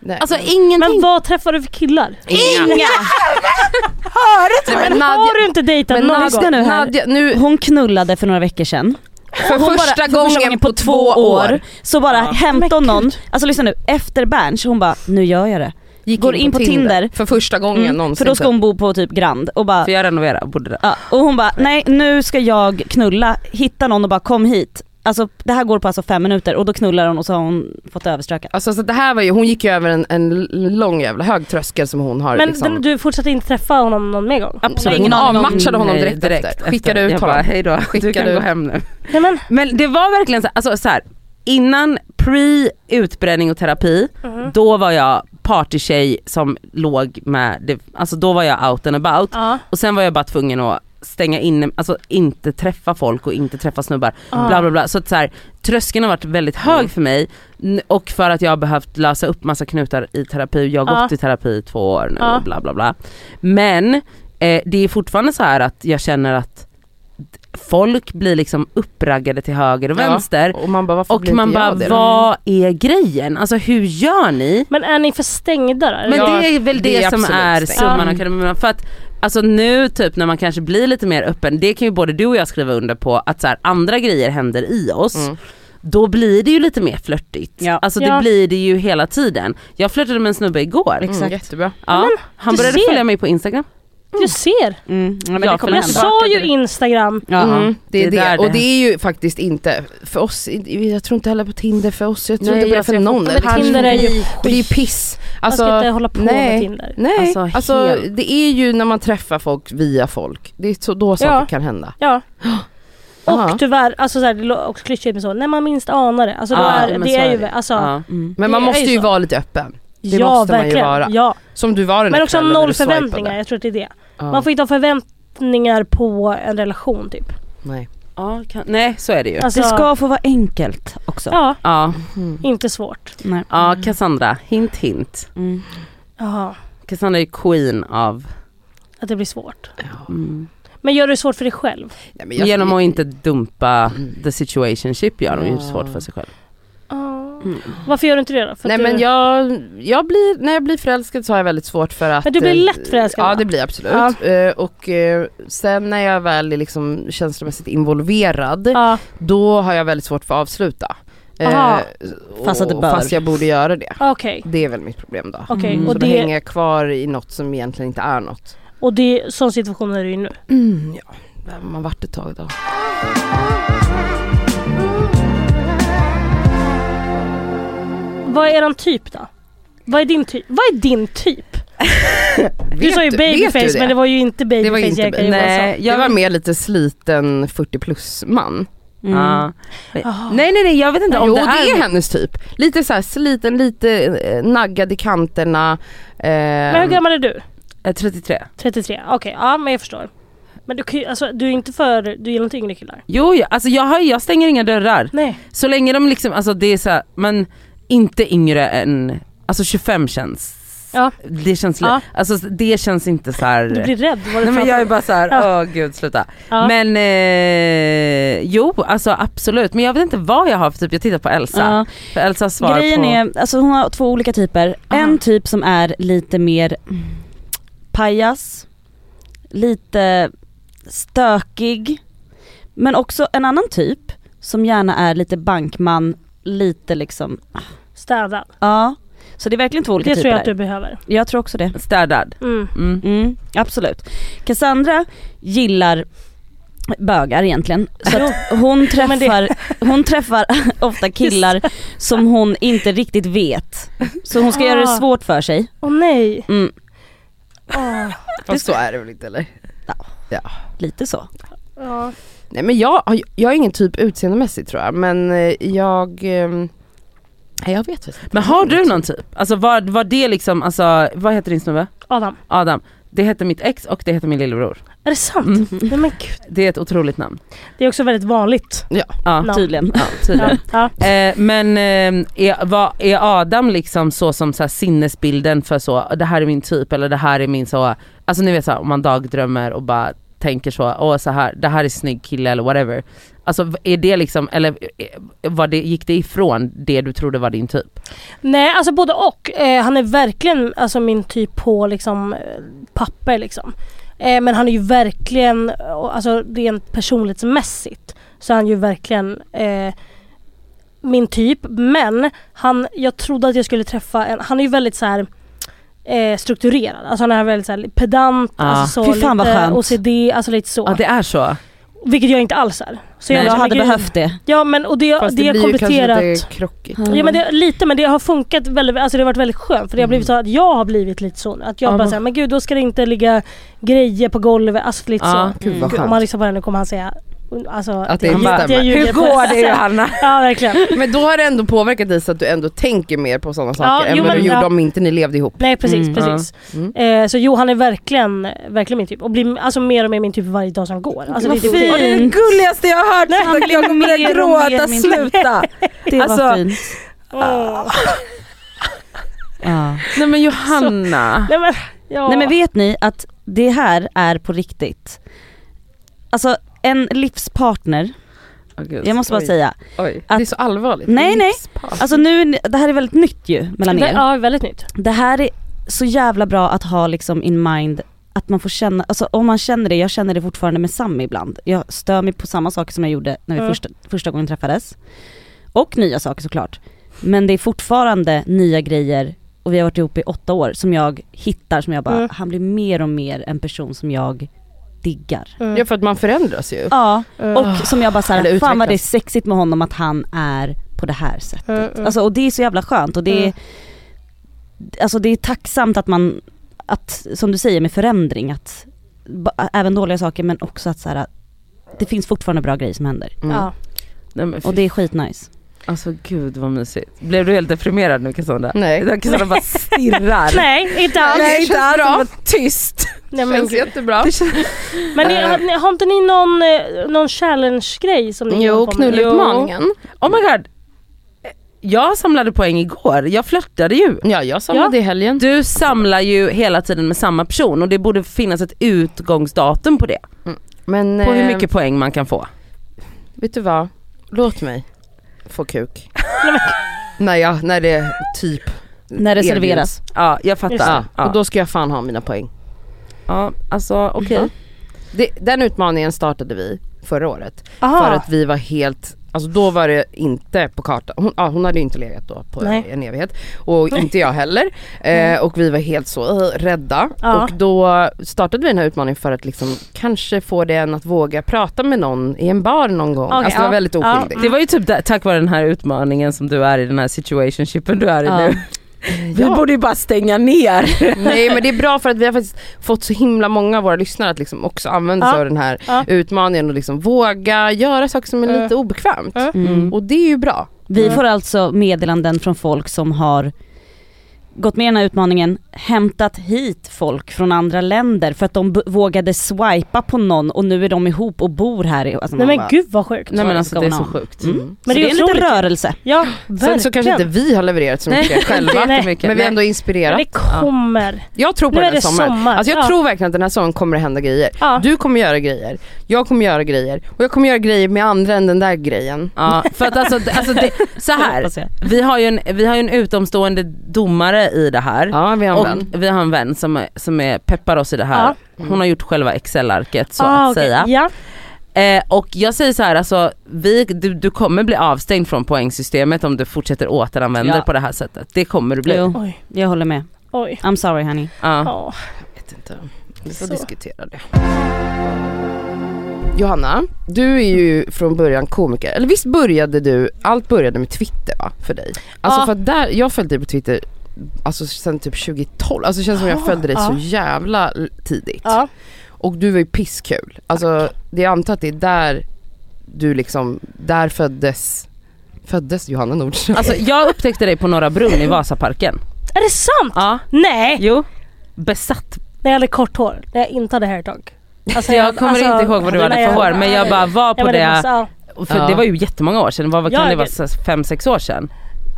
[SPEAKER 4] Nej.
[SPEAKER 3] Alltså ingenting.
[SPEAKER 2] Men vad träffar du för killar?
[SPEAKER 3] Inga!
[SPEAKER 4] Nej, men
[SPEAKER 2] Har du inte dejtat
[SPEAKER 4] men
[SPEAKER 2] någon
[SPEAKER 4] Nadja-
[SPEAKER 1] lyssna nu här.
[SPEAKER 4] Nadja, nu
[SPEAKER 1] Hon knullade för några veckor sedan.
[SPEAKER 4] för
[SPEAKER 1] Hon
[SPEAKER 4] första,
[SPEAKER 1] bara,
[SPEAKER 4] gången på två år.
[SPEAKER 1] Så bara hämtade hon
[SPEAKER 2] Men
[SPEAKER 1] någon, alltså lyssna nu, efter Berns, hon bara nu gör jag det.
[SPEAKER 4] Gick
[SPEAKER 1] Går in på Tinder.
[SPEAKER 4] För första gången
[SPEAKER 1] Mm,
[SPEAKER 4] någonsin.
[SPEAKER 1] för då ska hon bo på typ Grand och bara,
[SPEAKER 3] För jag renoverar, borde det.
[SPEAKER 1] ja, och hon bara nej nu ska jag knulla, hitta någon och bara kom hit. Alltså det här går på alltså fem minuter och då knullar hon och så har hon fått överströka.
[SPEAKER 4] Alltså så det här var ju, hon gick ju över en, en lång jävla hög tröskel som hon har
[SPEAKER 2] Men
[SPEAKER 4] liksom.
[SPEAKER 2] den, du fortsatte inte träffa honom någon mer gång?
[SPEAKER 1] Nej,
[SPEAKER 4] Absolut.
[SPEAKER 1] ingen
[SPEAKER 4] Hon
[SPEAKER 1] aning om-
[SPEAKER 4] avmatchade honom
[SPEAKER 3] Nej,
[SPEAKER 4] direkt, efter. Skickade
[SPEAKER 3] efter.
[SPEAKER 4] ut
[SPEAKER 3] jag
[SPEAKER 4] honom.
[SPEAKER 3] Bara, Hej då, du
[SPEAKER 4] Skickade
[SPEAKER 3] kan
[SPEAKER 4] ut.
[SPEAKER 3] gå hem nu.
[SPEAKER 2] Nej men,
[SPEAKER 3] Men det var verkligen så, alltså, så här, innan pre utbränning och terapi, då var jag partytjej som låg med, det, alltså då var jag out and about.
[SPEAKER 2] ja.
[SPEAKER 3] Och sen var jag bara tvungen att stänga in, alltså inte träffa folk och inte träffa snubbar.
[SPEAKER 4] Ah.
[SPEAKER 2] Ja.
[SPEAKER 3] Bla bla bla. Så, att så här, tröskeln har varit väldigt hög
[SPEAKER 4] Mm.
[SPEAKER 3] för mig N- och för att jag har behövt lösa upp massa knutar i terapi. Jag har
[SPEAKER 2] Ja.
[SPEAKER 4] Ah.
[SPEAKER 3] gått i terapi i två år nu
[SPEAKER 2] Ja.
[SPEAKER 3] och bla bla bla. Men eh, det är fortfarande så här att jag känner att d- folk blir liksom uppraggade till höger och
[SPEAKER 4] Ja.
[SPEAKER 3] vänster.
[SPEAKER 4] Och man bara, varför
[SPEAKER 3] Och
[SPEAKER 4] blir
[SPEAKER 3] man
[SPEAKER 4] inte
[SPEAKER 3] bara,
[SPEAKER 4] jag det då?
[SPEAKER 3] vad är grejen? Alltså hur gör ni?
[SPEAKER 2] men är ni för stängda där?
[SPEAKER 3] Men
[SPEAKER 4] Ja,
[SPEAKER 3] det är väl det,
[SPEAKER 4] det är
[SPEAKER 3] som
[SPEAKER 4] absolut
[SPEAKER 3] är
[SPEAKER 4] stängt.
[SPEAKER 3] summan
[SPEAKER 1] Mm.
[SPEAKER 2] Ja.
[SPEAKER 3] av kardemumman. För att alltså nu typ när man kanske blir lite mer öppen, det kan ju både du och jag skriva under på att så här, andra grejer händer i oss.
[SPEAKER 4] Mm.
[SPEAKER 3] Då blir det ju lite mer flörtigt.
[SPEAKER 1] Ja.
[SPEAKER 3] Alltså det
[SPEAKER 2] Ja.
[SPEAKER 3] blir det ju hela tiden. Jag flörtade med en snubbe igår.
[SPEAKER 4] Mm, jättebra.
[SPEAKER 3] Ja, han
[SPEAKER 2] du
[SPEAKER 3] började
[SPEAKER 2] ser.
[SPEAKER 3] följa mig på Instagram.
[SPEAKER 2] Du ser!
[SPEAKER 1] Mm. Ja, men
[SPEAKER 3] Ja,
[SPEAKER 1] det kommer
[SPEAKER 3] förlåt.
[SPEAKER 2] Jag
[SPEAKER 1] hända.
[SPEAKER 2] sa ju Instagram.
[SPEAKER 1] Ja.
[SPEAKER 4] Mm, det är
[SPEAKER 3] Det
[SPEAKER 4] det.
[SPEAKER 3] är där
[SPEAKER 4] Och
[SPEAKER 3] det-
[SPEAKER 4] det är ju faktiskt inte för oss, jag tror inte heller på Tinder för oss, jag tror
[SPEAKER 3] Nej,
[SPEAKER 4] inte på det
[SPEAKER 3] jag
[SPEAKER 4] för
[SPEAKER 3] ser
[SPEAKER 4] någon.
[SPEAKER 3] fort-
[SPEAKER 2] Men Tinder är ju
[SPEAKER 4] Och det är ju
[SPEAKER 2] skit.
[SPEAKER 4] piss.
[SPEAKER 2] Man
[SPEAKER 4] Alltså,
[SPEAKER 2] ska inte hålla på
[SPEAKER 4] nej.
[SPEAKER 2] med Tinder.
[SPEAKER 4] nej,
[SPEAKER 3] Alltså,
[SPEAKER 4] alltså,
[SPEAKER 3] helt.
[SPEAKER 4] det är ju när man träffar folk via folk, det är så, då saker
[SPEAKER 2] Ja.
[SPEAKER 4] kan hända.
[SPEAKER 2] Ja. Och
[SPEAKER 4] Aha.
[SPEAKER 2] tyvärr, alltså så här, det låter också klyschigt men så, när man minst anar det.
[SPEAKER 4] Ah,
[SPEAKER 2] Alltså då
[SPEAKER 3] Ja,
[SPEAKER 2] är,
[SPEAKER 3] men
[SPEAKER 2] det
[SPEAKER 3] så
[SPEAKER 2] är
[SPEAKER 3] är
[SPEAKER 2] ju,
[SPEAKER 3] det.
[SPEAKER 2] alltså, ja,
[SPEAKER 3] Ja.
[SPEAKER 1] Mm.
[SPEAKER 4] Men
[SPEAKER 2] Det
[SPEAKER 4] man
[SPEAKER 2] är
[SPEAKER 4] måste
[SPEAKER 2] ju
[SPEAKER 4] ju
[SPEAKER 2] så.
[SPEAKER 4] vara lite öppen, Ah, Det måste man ju
[SPEAKER 2] verkligen.
[SPEAKER 4] vara.
[SPEAKER 2] Ja.
[SPEAKER 4] som du var den
[SPEAKER 2] Men
[SPEAKER 4] där Ah.
[SPEAKER 2] också
[SPEAKER 4] kvällen när
[SPEAKER 2] noll
[SPEAKER 4] du swipade.
[SPEAKER 2] förväntningar, jag tror att det är det.
[SPEAKER 4] Ja,
[SPEAKER 2] Man får inte ha förväntningar på en relation typ.
[SPEAKER 4] nej.
[SPEAKER 3] Ja, kan, nej så är det ju.
[SPEAKER 2] Alltså,
[SPEAKER 1] Det ska få vara enkelt också.
[SPEAKER 2] Ja,
[SPEAKER 3] Ja,
[SPEAKER 2] inte svårt.
[SPEAKER 1] Nej.
[SPEAKER 3] ja Cassandra, hint hint.
[SPEAKER 1] Mm.
[SPEAKER 2] Jaha,
[SPEAKER 3] Cassandra är queen av,
[SPEAKER 2] att det blir svårt.
[SPEAKER 3] mm.
[SPEAKER 2] Men gör det svårt för dig själv.
[SPEAKER 4] Nej, men jag-
[SPEAKER 3] genom att inte dumpa the situationship gör hon ju svårt för sig själv.
[SPEAKER 2] Varför gör du inte det då? För
[SPEAKER 4] Nej
[SPEAKER 2] att
[SPEAKER 4] men
[SPEAKER 2] du...
[SPEAKER 4] jag, jag blir, när jag blir förälskad så har jag väldigt svårt för att
[SPEAKER 2] Men du blir
[SPEAKER 4] eh,
[SPEAKER 2] lätt förälskad,
[SPEAKER 4] Ja
[SPEAKER 2] va?
[SPEAKER 4] det blir jag absolut.
[SPEAKER 2] Ja.
[SPEAKER 4] Eh, Och eh, sen när jag väl är liksom känslomässigt involverad
[SPEAKER 2] Ja,
[SPEAKER 4] då har jag väldigt svårt för att avsluta. Eh,
[SPEAKER 2] Aha.
[SPEAKER 4] och-
[SPEAKER 1] Fast att det bör.
[SPEAKER 4] fast jag borde göra det.
[SPEAKER 2] ah, okej.
[SPEAKER 4] Det är väl mitt problem då.
[SPEAKER 2] Okej,
[SPEAKER 1] Mm.
[SPEAKER 4] Och
[SPEAKER 2] och,
[SPEAKER 4] så det... hänger
[SPEAKER 2] det,
[SPEAKER 4] jag kvar i något som egentligen inte är något.
[SPEAKER 2] och det, sån situation är det ju nu. Mm,
[SPEAKER 4] ja, där har man varit ett tag då.
[SPEAKER 2] Vad är eran typ då? Vad är din typ? Vad är din typ? Du sa ju babyface men det var ju inte
[SPEAKER 4] Det var ju
[SPEAKER 2] babyface Jerka
[SPEAKER 4] inte baby-
[SPEAKER 2] Johansson.
[SPEAKER 3] jag
[SPEAKER 4] Jag var mer lite sliten 40 plus man.
[SPEAKER 1] Mm.
[SPEAKER 3] Ja.
[SPEAKER 2] Jaha.
[SPEAKER 3] Nej nej nej jag vet inte om
[SPEAKER 4] jo
[SPEAKER 3] det är,
[SPEAKER 4] hennes typ. Lite så här sliten, lite eh, naggad i kanterna. Eh,
[SPEAKER 2] Men hur gammal är du?
[SPEAKER 3] Eh, 33.
[SPEAKER 2] 33, okej, ja men jag förstår. Men du, kan ju- alltså, du är inte för, du gillar inte yngre killar?
[SPEAKER 3] Jo jag, alltså jag, har, jag stänger inga dörrar.
[SPEAKER 2] Nej.
[SPEAKER 3] Så länge de liksom, alltså det är så här, men inte yngre än, alltså 25 känns
[SPEAKER 2] Ja.
[SPEAKER 3] Det känns, li-
[SPEAKER 2] Ja.
[SPEAKER 3] alltså det känns inte så här.
[SPEAKER 2] Du blir rädd vad du
[SPEAKER 3] Nej men jag är bara såhär, åh
[SPEAKER 2] Ja.
[SPEAKER 3] gud sluta.
[SPEAKER 2] Ja.
[SPEAKER 3] Men eh, jo alltså absolut, men jag vet inte vad jag har för typ, jag tittar på Elsa.
[SPEAKER 1] Ja.
[SPEAKER 3] För Elsa svar
[SPEAKER 1] Grejen
[SPEAKER 3] på,
[SPEAKER 1] är, alltså hon har två olika typer. En typ som är lite mer mm, pajas, lite stökig. Men också en annan typ som gärna är lite bankman, lite liksom,
[SPEAKER 2] Städad.
[SPEAKER 1] ja. Så det är verkligen två olika
[SPEAKER 2] Det
[SPEAKER 1] typer
[SPEAKER 2] tror jag att
[SPEAKER 1] där.
[SPEAKER 2] du behöver.
[SPEAKER 1] Jag tror också det.
[SPEAKER 3] städad.
[SPEAKER 2] Mm.
[SPEAKER 3] Mm.
[SPEAKER 1] Mm, absolut. Cassandra gillar bögar egentligen. Så att hon,
[SPEAKER 2] men det-
[SPEAKER 1] träffar, hon träffar ofta killar som hon inte riktigt vet. Så hon ska göra det
[SPEAKER 2] Ah.
[SPEAKER 1] svårt för sig.
[SPEAKER 2] Åh nej.
[SPEAKER 1] Mm,
[SPEAKER 2] Åh.
[SPEAKER 4] Fast så är det väl inte eller?
[SPEAKER 1] lite så.
[SPEAKER 2] Ja.
[SPEAKER 4] Nej men jag, har- jag är ingen typ utseendemässigt tror jag men eh, jag, eh, nej jag vet faktiskt inte.
[SPEAKER 3] Men har du någon typ? Alltså var, var det liksom, alltså vad heter din snubbe?
[SPEAKER 2] Adam,
[SPEAKER 3] Adam. Det hette mitt ex och det hette min lillebror.
[SPEAKER 2] är det sant?
[SPEAKER 4] Mm.
[SPEAKER 2] Nej men gud.
[SPEAKER 3] Det är ett otroligt namn.
[SPEAKER 2] Det är också väldigt vanligt.
[SPEAKER 3] Ja,
[SPEAKER 2] No.
[SPEAKER 1] Tydligen.
[SPEAKER 3] ja tydligen.
[SPEAKER 2] Ja. Ja.
[SPEAKER 3] Eh, men eh, är, vad, är Adam liksom så som så här sinnesbilden för så, det här är min typ eller det här är min så, alltså ni vet så här, om man dagdrömmer och bara tänker så, åh så här, det här är snygg kille eller whatever. Alltså v- är det liksom, eller eh, var det, gick det ifrån det du trodde var din typ?
[SPEAKER 2] Nej, alltså både och. Eh, han är verkligen alltså, min typ på liksom, eh, papper. Liksom. Eh, men han är ju verkligen, eh, alltså, rent personlighetsmässigt, så är han ju verkligen eh, min typ. Men han, jag trodde att jag skulle träffa en, han är ju väldigt så här eh, strukturerad. Alltså han är väldigt så här, pedant,
[SPEAKER 3] Ja.
[SPEAKER 2] alltså, så,
[SPEAKER 1] Ah. Fy fan vad
[SPEAKER 2] lite
[SPEAKER 1] skönt.
[SPEAKER 2] OCD, alltså lite så.
[SPEAKER 3] Ja det är så.
[SPEAKER 2] Vilket jag inte alls är. Så
[SPEAKER 1] Jag
[SPEAKER 2] liksom
[SPEAKER 1] hade
[SPEAKER 2] ligger i-
[SPEAKER 1] behövt det.
[SPEAKER 2] Ja men och det,
[SPEAKER 4] Fast
[SPEAKER 2] det,
[SPEAKER 4] det
[SPEAKER 2] har
[SPEAKER 4] blir ju kanske
[SPEAKER 2] kompletterat
[SPEAKER 4] lite krockigt.
[SPEAKER 2] Ja men det, lite men det har funkat väldigt, alltså det har varit väldigt skönt för det har blivit så att jag har blivit lite så nu. Att jag
[SPEAKER 3] Ja,
[SPEAKER 2] bara
[SPEAKER 3] men-
[SPEAKER 2] säger men gud då ska det inte ligga grejer på golvet, alltså lite
[SPEAKER 3] Ja.
[SPEAKER 2] så.
[SPEAKER 4] Gud vad
[SPEAKER 2] Gud, Om
[SPEAKER 4] skönt.
[SPEAKER 2] man lyssnar på den nu kommer han säga alltså,
[SPEAKER 4] Att det
[SPEAKER 2] jag-
[SPEAKER 4] stämmer.
[SPEAKER 2] jag ljuger
[SPEAKER 5] Hur
[SPEAKER 2] på
[SPEAKER 5] går
[SPEAKER 2] ett
[SPEAKER 5] det
[SPEAKER 2] sätt.
[SPEAKER 5] Johanna?
[SPEAKER 2] Ja verkligen.
[SPEAKER 4] Men då har det ändå påverkat dig så att du ändå tänker mer på sådana saker än
[SPEAKER 2] jo,
[SPEAKER 4] vad
[SPEAKER 2] men-
[SPEAKER 4] du gjorde
[SPEAKER 2] ja.
[SPEAKER 4] om inte ni levde ihop.
[SPEAKER 2] Nej precis,
[SPEAKER 1] Mm.
[SPEAKER 2] precis.
[SPEAKER 4] Ja. Mm.
[SPEAKER 2] Eh, så Johan är verkligen, verkligen min typ och blir alltså, mer och mer min typ varje dag som går. Alltså,
[SPEAKER 1] Vad
[SPEAKER 2] det är
[SPEAKER 1] fint.
[SPEAKER 5] Och det är det gulligaste jag har hört.
[SPEAKER 1] Han
[SPEAKER 5] Nej, jag
[SPEAKER 1] blir
[SPEAKER 5] kommer
[SPEAKER 1] mer
[SPEAKER 5] att
[SPEAKER 1] och
[SPEAKER 5] gråta,
[SPEAKER 1] mer min-
[SPEAKER 5] sluta.
[SPEAKER 1] Det var
[SPEAKER 5] Alltså-
[SPEAKER 1] fint.
[SPEAKER 2] Åh.
[SPEAKER 1] Ja.
[SPEAKER 3] Nej men Johanna.
[SPEAKER 2] Nej men, ja.
[SPEAKER 1] Nej men vet ni att det här är på riktigt. Alltså en livspartner,
[SPEAKER 3] Åh, gud.
[SPEAKER 1] jag måste bara
[SPEAKER 4] Oj.
[SPEAKER 1] säga.
[SPEAKER 4] Oj,
[SPEAKER 1] Att-
[SPEAKER 4] det är så allvarligt.
[SPEAKER 1] Nej, nej.
[SPEAKER 4] Livspass.
[SPEAKER 1] Alltså nu, är ni- det här är väldigt nytt ju mellan er.
[SPEAKER 2] Ja väldigt nytt.
[SPEAKER 1] Det här är så jävla bra att ha liksom in mind att man får känna, alltså om man känner det, jag känner det fortfarande med Sammy ibland. Jag stör mig på samma saker som jag gjorde när vi
[SPEAKER 2] Mm.
[SPEAKER 1] första, första gången träffades. Och nya saker såklart. Men det är fortfarande nya grejer och vi har varit ihop i åtta år som jag hittar som jag bara,
[SPEAKER 2] Mm.
[SPEAKER 1] han blir mer och mer en person som jag diggar.
[SPEAKER 2] Mm.
[SPEAKER 4] Ja för att man förändras ju.
[SPEAKER 1] Ja, och som jag bara
[SPEAKER 4] Eh. Eller
[SPEAKER 1] såhär, fan vad det är
[SPEAKER 4] utvecklas. Eh,
[SPEAKER 1] sexigt med honom att han är på det här sättet.
[SPEAKER 2] Mm, mm.
[SPEAKER 1] Alltså, och det är så jävla skönt och det är,
[SPEAKER 2] Mm.
[SPEAKER 1] alltså, det är tacksamt att man, att, som du säger med förändring, att ba- även dåliga saker men också att så här, det finns fortfarande bra grejer som händer.
[SPEAKER 4] Mm.
[SPEAKER 2] Ja.
[SPEAKER 3] Nej, men fy-
[SPEAKER 1] Och det är skitnice.
[SPEAKER 3] Alltså gud vad mysigt. Blev du helt deprimerad nu Cassandra?
[SPEAKER 4] Nej.
[SPEAKER 3] Cassandra bara stirrar.
[SPEAKER 2] Nej inte alls.
[SPEAKER 4] Nej,
[SPEAKER 5] Nej,
[SPEAKER 4] det
[SPEAKER 5] inte
[SPEAKER 4] känns
[SPEAKER 5] alls.
[SPEAKER 4] bra.
[SPEAKER 5] Var tyst.
[SPEAKER 2] Nej, men,
[SPEAKER 4] Känns jättebra.
[SPEAKER 2] men ni, har, ni- har inte ni någon, eh, någon challenge-grej som ni håller
[SPEAKER 4] Jo,
[SPEAKER 2] på med?
[SPEAKER 4] knullutmaningen.
[SPEAKER 3] Oh my god. Jag samlade poäng igår, jag flörtade ju.
[SPEAKER 4] Ja, jag samlade i helgen.
[SPEAKER 3] Du samlar ju hela tiden med samma person och det borde finnas ett utgångsdatum på det.
[SPEAKER 4] Men
[SPEAKER 3] På hur
[SPEAKER 4] eh,
[SPEAKER 3] mycket poäng man kan få.
[SPEAKER 4] Vet du vad? Låt mig få kuk. när, jag, när det typ
[SPEAKER 1] När det
[SPEAKER 4] erbjuds.
[SPEAKER 1] serveras.
[SPEAKER 3] Ja jag
[SPEAKER 2] Just
[SPEAKER 3] fattar.
[SPEAKER 4] Ja,
[SPEAKER 3] Ja,
[SPEAKER 4] och då ska jag fan ha mina poäng.
[SPEAKER 3] ja alltså okej.
[SPEAKER 4] Ja. Det, den utmaningen startade vi förra året.
[SPEAKER 2] Aha.
[SPEAKER 4] För att vi var helt, alltså då var det inte på kartan. Hon, ja, hon hade ju inte legat då på
[SPEAKER 2] Nej.
[SPEAKER 4] en evighet. Och inte jag heller. Eh, och vi var helt så eh, rädda.
[SPEAKER 2] Ja.
[SPEAKER 4] Och då startade vi den här utmaningen för att liksom kanske få den att våga prata med någon i en bar någon gång.
[SPEAKER 2] Okej,
[SPEAKER 4] alltså det var
[SPEAKER 2] ja.
[SPEAKER 4] väldigt
[SPEAKER 2] Ja.
[SPEAKER 4] oskyldigt.
[SPEAKER 3] Det var ju typ där, tack vare den här utmaningen som du är i den här situationshipen du är i
[SPEAKER 1] Ja.
[SPEAKER 3] nu. Vi
[SPEAKER 4] Ja.
[SPEAKER 3] borde ju bara stänga ner.
[SPEAKER 4] Nej men det är bra för att vi har faktiskt fått så himla många av våra lyssnare att liksom också använda sig
[SPEAKER 2] Ja.
[SPEAKER 4] av den här
[SPEAKER 2] Ja.
[SPEAKER 4] utmaningen och liksom våga göra saker som är
[SPEAKER 2] Mm.
[SPEAKER 4] lite obekvämt.
[SPEAKER 2] Mm.
[SPEAKER 1] Mm.
[SPEAKER 4] Och det är ju bra.
[SPEAKER 1] Vi
[SPEAKER 2] Mm.
[SPEAKER 1] får alltså meddelanden från folk som har gått med i den här utmaningen, hämtat hit folk från andra länder för att de b- vågade swipa på någon och nu är de ihop och bor här. i- Alltså man
[SPEAKER 2] Nej men
[SPEAKER 1] bara,
[SPEAKER 2] gud vad sjukt.
[SPEAKER 3] Nej men alltså det är så
[SPEAKER 1] Mm.
[SPEAKER 3] sjukt.
[SPEAKER 1] Mm.
[SPEAKER 2] Men
[SPEAKER 1] så
[SPEAKER 2] det
[SPEAKER 1] det
[SPEAKER 2] är
[SPEAKER 1] är en
[SPEAKER 2] otroligt.
[SPEAKER 1] liten rörelse.
[SPEAKER 2] Ja verkligen.
[SPEAKER 4] Sen så kanske inte vi har levererat så mycket själva.
[SPEAKER 2] Nej.
[SPEAKER 3] mycket.
[SPEAKER 4] Men vi
[SPEAKER 3] Nej.
[SPEAKER 4] har ändå inspirerat.
[SPEAKER 2] Men det kommer.
[SPEAKER 4] Jag tror på
[SPEAKER 2] Nu
[SPEAKER 4] den
[SPEAKER 2] är
[SPEAKER 4] här
[SPEAKER 2] det
[SPEAKER 4] sommaren.
[SPEAKER 2] sommar.
[SPEAKER 4] Alltså jag
[SPEAKER 2] Ja.
[SPEAKER 4] tror verkligen att den här sommaren kommer det hända grejer.
[SPEAKER 2] Ja.
[SPEAKER 4] Du kommer göra grejer, jag kommer göra grejer och jag kommer göra grejer med andra än den där grejen.
[SPEAKER 3] Ja, för att alltså, alltså det, så här.
[SPEAKER 1] Hoppas jag.
[SPEAKER 3] Vi har, ju en, vi har ju en utomstående domare i det här.
[SPEAKER 4] Ja vi har en
[SPEAKER 3] Och
[SPEAKER 4] vän.
[SPEAKER 3] vi har en vän som, är- som är, peppar oss i det här. Hon har gjort själva Excel-arket så
[SPEAKER 2] Ah,
[SPEAKER 3] att
[SPEAKER 2] okej.
[SPEAKER 3] säga.
[SPEAKER 2] Ja.
[SPEAKER 3] Eh, och jag säger så här, alltså, vi, du, du kommer bli avstängd från poängsystemet om du fortsätter återanvända
[SPEAKER 1] Ja.
[SPEAKER 3] det på det här sättet. Det kommer du bli.
[SPEAKER 1] Jo,
[SPEAKER 2] Oj,
[SPEAKER 1] jag håller med.
[SPEAKER 2] oj.
[SPEAKER 1] I'm sorry
[SPEAKER 2] Eh,
[SPEAKER 1] honey.
[SPEAKER 3] Ja.
[SPEAKER 2] Ja.
[SPEAKER 4] Jag vet inte. Vi får
[SPEAKER 2] Så.
[SPEAKER 4] diskutera det. Johanna, du är ju från början komiker. Eller visst började du, allt började med Twitter va, för dig? Alltså
[SPEAKER 2] Ja.
[SPEAKER 4] för att där, jag följde dig på Twitter alltså sen typ 2012. Alltså det känns som jag
[SPEAKER 3] Ah,
[SPEAKER 2] Ja,
[SPEAKER 4] följde dig
[SPEAKER 2] ja.
[SPEAKER 4] så jävla l- tidigt.
[SPEAKER 2] ja.
[SPEAKER 4] Och du var ju pisskul. Alltså det jag antar att det är där du liksom, där föddes, föddes Johanna Nordström.
[SPEAKER 3] Alltså, jag upptäckte dig på Norra Brunn i Vasaparken.
[SPEAKER 2] Är det sant?
[SPEAKER 3] Ja.
[SPEAKER 2] Nej.
[SPEAKER 3] Jo. Besatt.
[SPEAKER 2] När jag hade kort hår. När jag inte hade hairtag. Alltså,
[SPEAKER 3] Jag kommer
[SPEAKER 2] alltså,
[SPEAKER 3] inte ihåg vad du
[SPEAKER 2] nej,
[SPEAKER 3] hade för hår men jag bara var
[SPEAKER 2] Ja,
[SPEAKER 3] på
[SPEAKER 2] men
[SPEAKER 3] det.
[SPEAKER 2] måste- ja.
[SPEAKER 3] För
[SPEAKER 4] Ja.
[SPEAKER 3] det var ju jättemånga år sedan, vad, vad kan
[SPEAKER 2] Jag-
[SPEAKER 3] det vara, 5-6 år sedan?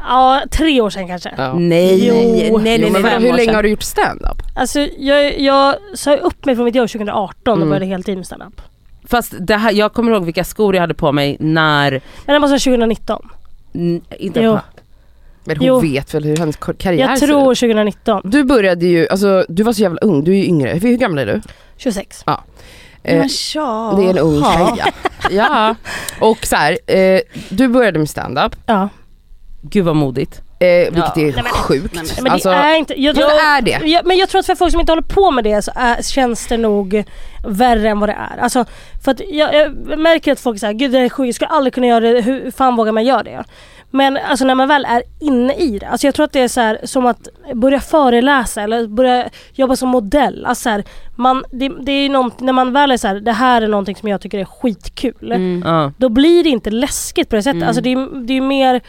[SPEAKER 2] ja, tre år sedan kanske.
[SPEAKER 4] Ja.
[SPEAKER 3] Nej,
[SPEAKER 2] Jo.
[SPEAKER 3] nej, nej, nej,
[SPEAKER 4] Jo,
[SPEAKER 3] nej.
[SPEAKER 4] men vadå,
[SPEAKER 3] fem
[SPEAKER 4] hur
[SPEAKER 3] år
[SPEAKER 4] länge
[SPEAKER 3] sedan.
[SPEAKER 4] har du gjort stand-up?
[SPEAKER 2] Alltså jag, jag sa upp mig från mitt jobb 2018 och
[SPEAKER 4] Mm.
[SPEAKER 2] började heltid med standup.
[SPEAKER 3] Fast det här, jag kommer ihåg vilka skor jag hade på mig när,
[SPEAKER 2] Men det måste vara 2019.
[SPEAKER 3] n- inte
[SPEAKER 2] Jo.
[SPEAKER 4] Men hon
[SPEAKER 2] Jo.
[SPEAKER 4] vet väl hur hennes kar- karriär
[SPEAKER 2] Jag
[SPEAKER 4] ser
[SPEAKER 2] tror
[SPEAKER 4] ut?
[SPEAKER 2] 2019.
[SPEAKER 4] Du började ju, alltså du var så jävla ung, du är ju yngre. Hur hur gammal är du?
[SPEAKER 2] 26.
[SPEAKER 4] Eh,
[SPEAKER 1] Men tja.
[SPEAKER 4] Det är en ung tjej ja. ja. Och så här, eh, du började med stand-up,
[SPEAKER 2] Ja.
[SPEAKER 3] Gud vad modigt.
[SPEAKER 4] eh, vilket
[SPEAKER 1] Ja. Nej,
[SPEAKER 4] är
[SPEAKER 1] men-
[SPEAKER 4] sjukt.
[SPEAKER 1] Nej,
[SPEAKER 2] Nej, Men
[SPEAKER 4] alltså,
[SPEAKER 2] det är inte... Jag,
[SPEAKER 4] fast det är det.
[SPEAKER 2] Ja, men jag tror att för folk som inte håller på med det så är, känns det nog värre än vad det är. Alltså, för att jag, jag märker att folk säger gud det är sjukt, jag skulle aldrig kunna göra det, hur fan vågar man göra det? Men alltså när man väl är inne i det, alltså jag tror att det är så här, som att börja föreläsa eller börja jobba som modell. Alltså så här, man, det, det är ju något, när man väl är så här, det här är någonting som jag tycker är skitkul
[SPEAKER 1] Mm.
[SPEAKER 3] Ja.
[SPEAKER 2] då blir det inte läskigt på det sättet.
[SPEAKER 1] Mm.
[SPEAKER 2] Alltså det är, det är mer,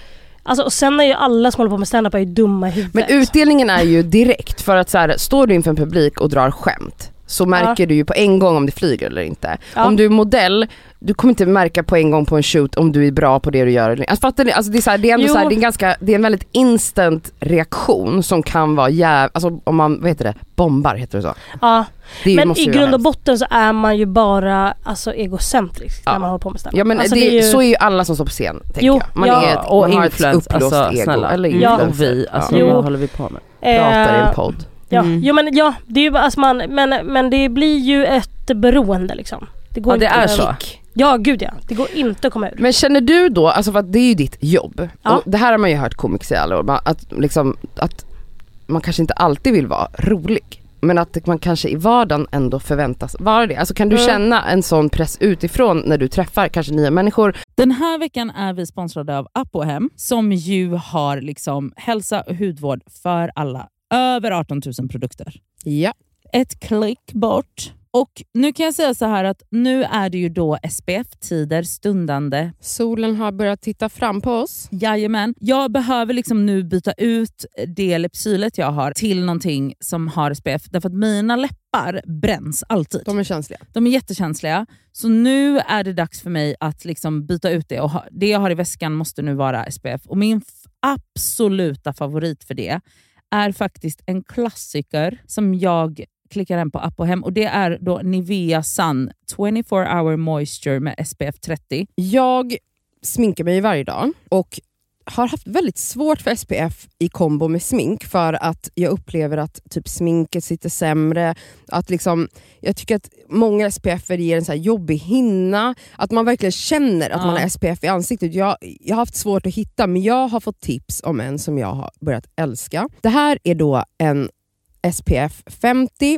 [SPEAKER 2] alltså, och sen är ju alla som håller på med standup är ju dumma i huvudet.
[SPEAKER 4] Men utdelningen är ju direkt för att så här, står du inför en publik och drar skämt så märker du ju på en gång om det flyger eller inte.
[SPEAKER 2] Ja.
[SPEAKER 4] Om du är modell, du kommer inte märka på en gång på en shoot om du är bra på det du gör. eller inte. Alltså, fattar ni? Alltså, det, är så här, det, är ändå
[SPEAKER 2] Jo.
[SPEAKER 4] så här, det, är en ganska, det är en väldigt instant reaktion som kan vara jäv... Alltså om man, vad heter det, bombar heter det så?
[SPEAKER 2] ja.
[SPEAKER 4] Det
[SPEAKER 2] men
[SPEAKER 4] måste
[SPEAKER 2] i
[SPEAKER 4] ju
[SPEAKER 2] grund
[SPEAKER 4] vara
[SPEAKER 2] och botten så är man ju bara alltså, egocentrisk
[SPEAKER 4] Ja.
[SPEAKER 2] när man håller på med standup.
[SPEAKER 4] Ja men
[SPEAKER 2] alltså,
[SPEAKER 4] det,
[SPEAKER 2] är ju-
[SPEAKER 4] så är ju alla som står på scen tänker
[SPEAKER 2] Jo,
[SPEAKER 4] jag. Man,
[SPEAKER 2] ja.
[SPEAKER 4] är ett,
[SPEAKER 3] och
[SPEAKER 4] man har ett
[SPEAKER 3] influens,
[SPEAKER 4] uppblåst
[SPEAKER 3] alltså,
[SPEAKER 4] ego.
[SPEAKER 3] snälla.
[SPEAKER 4] Eller
[SPEAKER 2] Ja.
[SPEAKER 4] influencer.
[SPEAKER 3] Och vi, alltså
[SPEAKER 2] Ja.
[SPEAKER 3] vad håller vi på med?
[SPEAKER 4] Pratar i
[SPEAKER 2] eh,
[SPEAKER 4] en podd.
[SPEAKER 2] ja.
[SPEAKER 1] Mm.
[SPEAKER 2] Jo men ja, det är ju bara- alltså man, men, men det blir ju ett beroende liksom. Det går
[SPEAKER 3] Ja det
[SPEAKER 2] inte
[SPEAKER 3] är
[SPEAKER 2] att-
[SPEAKER 3] så.
[SPEAKER 2] Ja gud ja, det går inte att komma ur.
[SPEAKER 4] Men känner du då, alltså för att det är ju ditt jobb,
[SPEAKER 2] Ja.
[SPEAKER 4] och det här har man ju hört komiker säga alla år, man- att, liksom, att man kanske inte alltid vill vara rolig. Men att man kanske i vardagen ändå förväntas vara det. Alltså kan du
[SPEAKER 2] Mm.
[SPEAKER 4] känna en sån press utifrån när du träffar kanske nya människor?
[SPEAKER 6] Den här veckan är vi sponsrade av Apohem som ju har liksom hälsa och hudvård för alla. Över 18 000 produkter.
[SPEAKER 4] Ja.
[SPEAKER 6] Ett klick bort. Och nu kan jag säga så här att nu är det ju då SPF-tider stundande.
[SPEAKER 4] Solen har börjat titta fram på oss.
[SPEAKER 6] Jajamän. Jag behöver liksom nu byta ut det lepsylet jag har till någonting som har SPF därför att mina läppar bränns alltid.
[SPEAKER 4] De är känsliga.
[SPEAKER 6] De är jättekänsliga. Så nu är det dags för mig att liksom byta ut det. Och ha, det jag har i väskan måste nu vara SPF. Och Min f- absoluta favorit för det är faktiskt en klassiker som jag klickar hem på app och hem. Och Det är då Nivea Sun 24 hour moisture med SPF 30.
[SPEAKER 4] Jag sminkar mig varje dag och har haft väldigt svårt för SPF i kombo med smink för att jag upplever att typ sminket sitter sämre. Att liksom, jag tycker att många SPF ger en så här jobbig hinna. Att man verkligen känner att
[SPEAKER 6] Ja.
[SPEAKER 4] man har SPF i ansiktet. Jag, jag har haft svårt att hitta men jag har fått tips om en som jag har börjat älska. Det här är då en SPF 50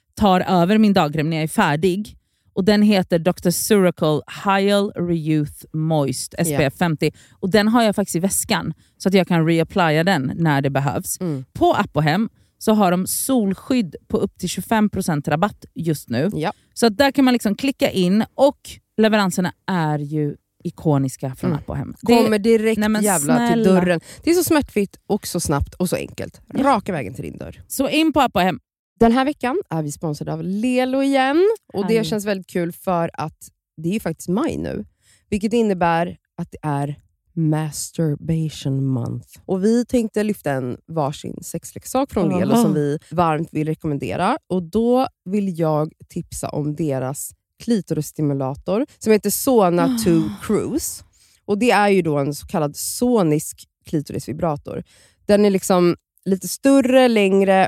[SPEAKER 6] tar över min dagkräm när jag är färdig. Och Den heter Dr. Suracle Hyal Reyouth Moist SPF
[SPEAKER 4] Ja.
[SPEAKER 6] 50. Och Den har jag faktiskt i väskan så att jag kan reapplya den när det behövs.
[SPEAKER 4] Mm.
[SPEAKER 6] På app och hem så har de solskydd på upp till 25% rabatt just nu.
[SPEAKER 4] Ja.
[SPEAKER 6] Så att där kan man liksom klicka in och leveranserna är ju ikoniska från
[SPEAKER 4] Mm.
[SPEAKER 6] app och hem. Det-
[SPEAKER 4] Kommer direkt
[SPEAKER 6] Nej, men
[SPEAKER 4] jävla till
[SPEAKER 6] snälla.
[SPEAKER 4] dörren. Det är så smärtfritt och så snabbt och så enkelt. Raka vägen till din dörr.
[SPEAKER 6] Så in på app och hem.
[SPEAKER 4] Den här veckan är vi sponsrade av Lelo igen. Och Det
[SPEAKER 6] Härligt.
[SPEAKER 4] känns väldigt kul för att det är ju faktiskt maj nu. Vilket innebär att det är masturbation month. Och Vi tänkte lyfta en varsin sexleksak från Lelo
[SPEAKER 6] Aha.
[SPEAKER 4] som vi varmt vill rekommendera. Och Då vill jag tipsa om deras klitorisstimulator som heter Sona 2 Cruise. Och Det är ju då en så kallad sonisk klitorisvibrator. Den är liksom lite större, längre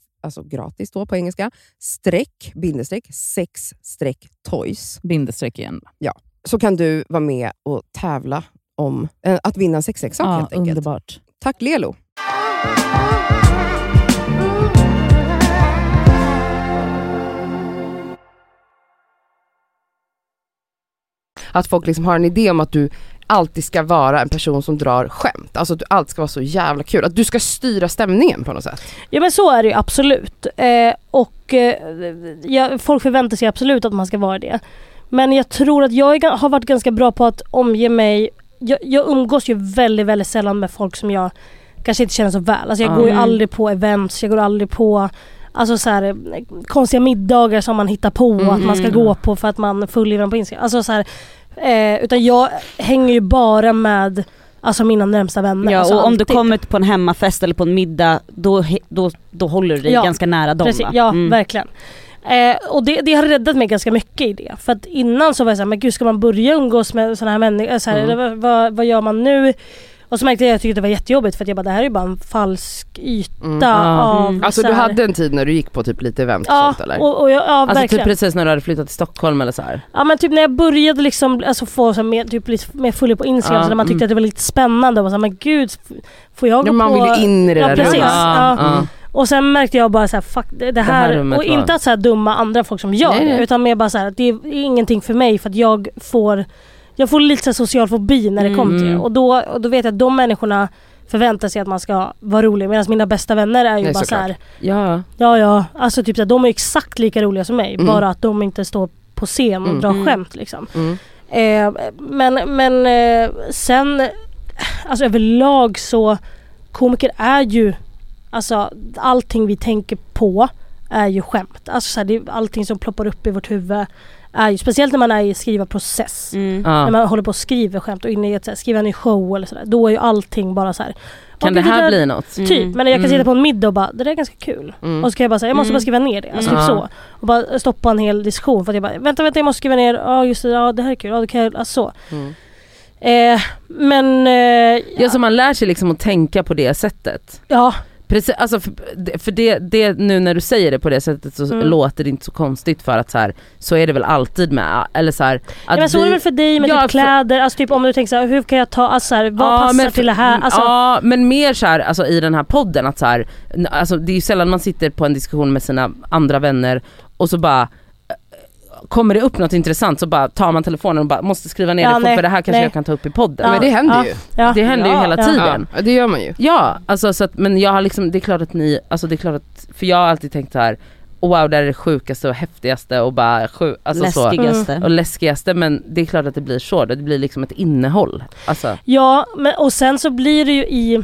[SPEAKER 4] alltså gratis då på engelska, streck, bindestreck, sex streck toys.
[SPEAKER 6] Bindestreck igen.
[SPEAKER 4] Så kan du vara med och tävla om eh, att vinna en sexleksak
[SPEAKER 6] Ja,
[SPEAKER 4] helt enkelt.
[SPEAKER 6] underbart.
[SPEAKER 4] Tack Lelo! Att folk liksom har en idé om att du alltid ska vara en person som drar skämt. Alltså att du alltid ska vara så jävla kul. Att du ska styra stämningen på något sätt.
[SPEAKER 2] Ja men så är det ju absolut. Eh, och eh, ja, folk förväntar sig absolut att man ska vara det. Men jag tror att jag är, ga- har varit ganska bra på att omge mig. Jag, jag umgås ju väldigt, väldigt sällan med folk som jag kanske inte känner så väl. Alltså jag går ju
[SPEAKER 6] Mm.
[SPEAKER 2] aldrig på events, jag går aldrig på alltså så här, eh, konstiga middagar som man hittar på
[SPEAKER 4] Mm,
[SPEAKER 2] att man ska
[SPEAKER 6] mm.
[SPEAKER 2] gå på för att man följer varandra på Instagram. Alltså så här, eh, utan jag hänger ju bara med alltså mina närmsta vänner.
[SPEAKER 1] ja,
[SPEAKER 2] alltså
[SPEAKER 1] och om du
[SPEAKER 2] alltid.
[SPEAKER 1] kommer på en hemmafest eller på en middag, då, he- då, då håller du dig
[SPEAKER 2] Ja,
[SPEAKER 1] ganska nära dem
[SPEAKER 2] Precis,
[SPEAKER 1] va?
[SPEAKER 2] ja,
[SPEAKER 1] Mm.
[SPEAKER 2] verkligen. Eh, och det, det har räddat mig ganska mycket i det. För att innan så var jag såhär, men gud ska man börja umgås med sådana här människor? Så här,
[SPEAKER 4] Mm.
[SPEAKER 2] eller vad, vad, vad gör man nu? Och så märkte jag att jag tyckte det var jättejobbigt för att jag bara, det här är ju bara en falsk yta av...
[SPEAKER 1] Mm.
[SPEAKER 4] Alltså
[SPEAKER 2] så
[SPEAKER 4] du
[SPEAKER 2] här-
[SPEAKER 4] hade en tid när du gick på typ lite event och
[SPEAKER 2] Ja,
[SPEAKER 4] sånt eller?
[SPEAKER 2] och, och jag, ja
[SPEAKER 3] Alltså
[SPEAKER 2] verkligen.
[SPEAKER 3] typ precis när du hade flyttat till Stockholm eller så här.
[SPEAKER 2] Ja men typ när jag började liksom, alltså få så här, mer, typ, lite mer fulla på Instagram
[SPEAKER 3] Ja,
[SPEAKER 2] så när man tyckte att det var lite spännande och var så här, men gud f- får jag
[SPEAKER 4] mm. Ja,
[SPEAKER 2] gå
[SPEAKER 4] man
[SPEAKER 2] på...
[SPEAKER 4] ville in i det
[SPEAKER 2] Ja,
[SPEAKER 4] där
[SPEAKER 2] precis.
[SPEAKER 4] rummet.
[SPEAKER 2] Ja.
[SPEAKER 4] Mm.
[SPEAKER 3] ja.
[SPEAKER 2] Och sen märkte jag bara så här, fuck det, det här,
[SPEAKER 3] här rummet
[SPEAKER 2] och
[SPEAKER 3] var-
[SPEAKER 2] inte att så här dumma andra folk som gör
[SPEAKER 3] Nej, nej.
[SPEAKER 2] det utan mer bara så här att det är ingenting för mig för att jag får, jag får lite så här social fobi när det kommer till det.
[SPEAKER 3] Mm.
[SPEAKER 2] Och då, och då vet jag att de människorna förväntar sig att man ska vara rolig medan mina bästa vänner är ju
[SPEAKER 4] Nej,
[SPEAKER 2] bara så
[SPEAKER 4] såklart.
[SPEAKER 2] här,
[SPEAKER 3] ja.
[SPEAKER 2] ja ja, alltså typ så här, de är exakt lika roliga som mig
[SPEAKER 4] Mm.
[SPEAKER 2] bara att de inte står på scen och
[SPEAKER 4] Mm.
[SPEAKER 2] drar
[SPEAKER 1] Mm.
[SPEAKER 2] skämt liksom.
[SPEAKER 4] Mm.
[SPEAKER 2] Eh, men men eh, sen, alltså överlag så, komiker är ju, alltså allting vi tänker på är ju skämt. Alltså så här, det, är allting som ploppar upp i vårt huvud är ju, speciellt när man är i skrivarprocess.
[SPEAKER 1] Mm.
[SPEAKER 3] Ja.
[SPEAKER 2] När man håller på och skriver skämt och inne i ett, så här, skriver en ny show eller sådär. Då är ju allting bara så här.
[SPEAKER 3] Kan
[SPEAKER 2] "Åh,
[SPEAKER 3] det
[SPEAKER 2] gud,
[SPEAKER 3] här
[SPEAKER 2] där-
[SPEAKER 3] bli något?
[SPEAKER 2] Typ,
[SPEAKER 1] Mm.
[SPEAKER 2] men jag kan
[SPEAKER 3] Mm.
[SPEAKER 2] sitta på en middag och bara, det där är ganska kul.
[SPEAKER 4] Mm.
[SPEAKER 2] Och så kan jag bara säga, jag måste
[SPEAKER 1] Mm.
[SPEAKER 2] bara skriva ner det. Alltså
[SPEAKER 3] Ja.
[SPEAKER 2] typ så. Och bara stoppa en hel diskussion för att jag bara, vänta vänta jag måste skriva ner, ja just det, ja det här är kul, ja det kan jag, alltså så.
[SPEAKER 4] Mm.
[SPEAKER 2] Eh, men, eh,
[SPEAKER 3] Ja, så man lär sig liksom att tänka på det sättet.
[SPEAKER 2] ja.
[SPEAKER 3] Precis, alltså för, för det, det, nu när du säger det på det sättet så
[SPEAKER 2] Mm.
[SPEAKER 3] låter det inte så konstigt för att så här, så är det väl alltid med, eller så här, att
[SPEAKER 2] ja men så är det
[SPEAKER 3] vi-
[SPEAKER 2] väl för dig med
[SPEAKER 3] Ja, för-
[SPEAKER 2] typ kläder, alltså typ om du tänker så här, hur kan jag ta, alltså så här, vad
[SPEAKER 3] Ja,
[SPEAKER 2] passar
[SPEAKER 3] men för-
[SPEAKER 2] till det här? Alltså,
[SPEAKER 3] Ja men mer så här, alltså i den här podden att så här, n- alltså det är ju sällan man sitter på en diskussion med sina andra vänner och så bara eh, Kommer det upp något intressant så bara tar man telefonen och bara måste skriva ner
[SPEAKER 2] Ja,
[SPEAKER 3] det fort
[SPEAKER 2] nej,
[SPEAKER 3] för det här kanske
[SPEAKER 2] nej.
[SPEAKER 3] jag kan ta upp i podden.
[SPEAKER 2] Ja,
[SPEAKER 4] Men det händer
[SPEAKER 2] ja.
[SPEAKER 4] ju.
[SPEAKER 2] ja.
[SPEAKER 3] Det händer ju
[SPEAKER 1] Ja,
[SPEAKER 3] hela
[SPEAKER 2] ja.
[SPEAKER 3] tiden.
[SPEAKER 4] Ja, det gör man ju.
[SPEAKER 3] Ja, alltså så att, men jag har liksom, det är klart att ni, alltså det är klart att, för jag har alltid tänkt så här, wow det här är det sjukaste och häftigaste och bara sju, alltså så.
[SPEAKER 1] Läskigaste.
[SPEAKER 2] Mm.
[SPEAKER 3] Och läskigaste men det är klart att det blir så, det blir liksom ett innehåll. Alltså,
[SPEAKER 2] Ja, men, och sen så blir det ju i...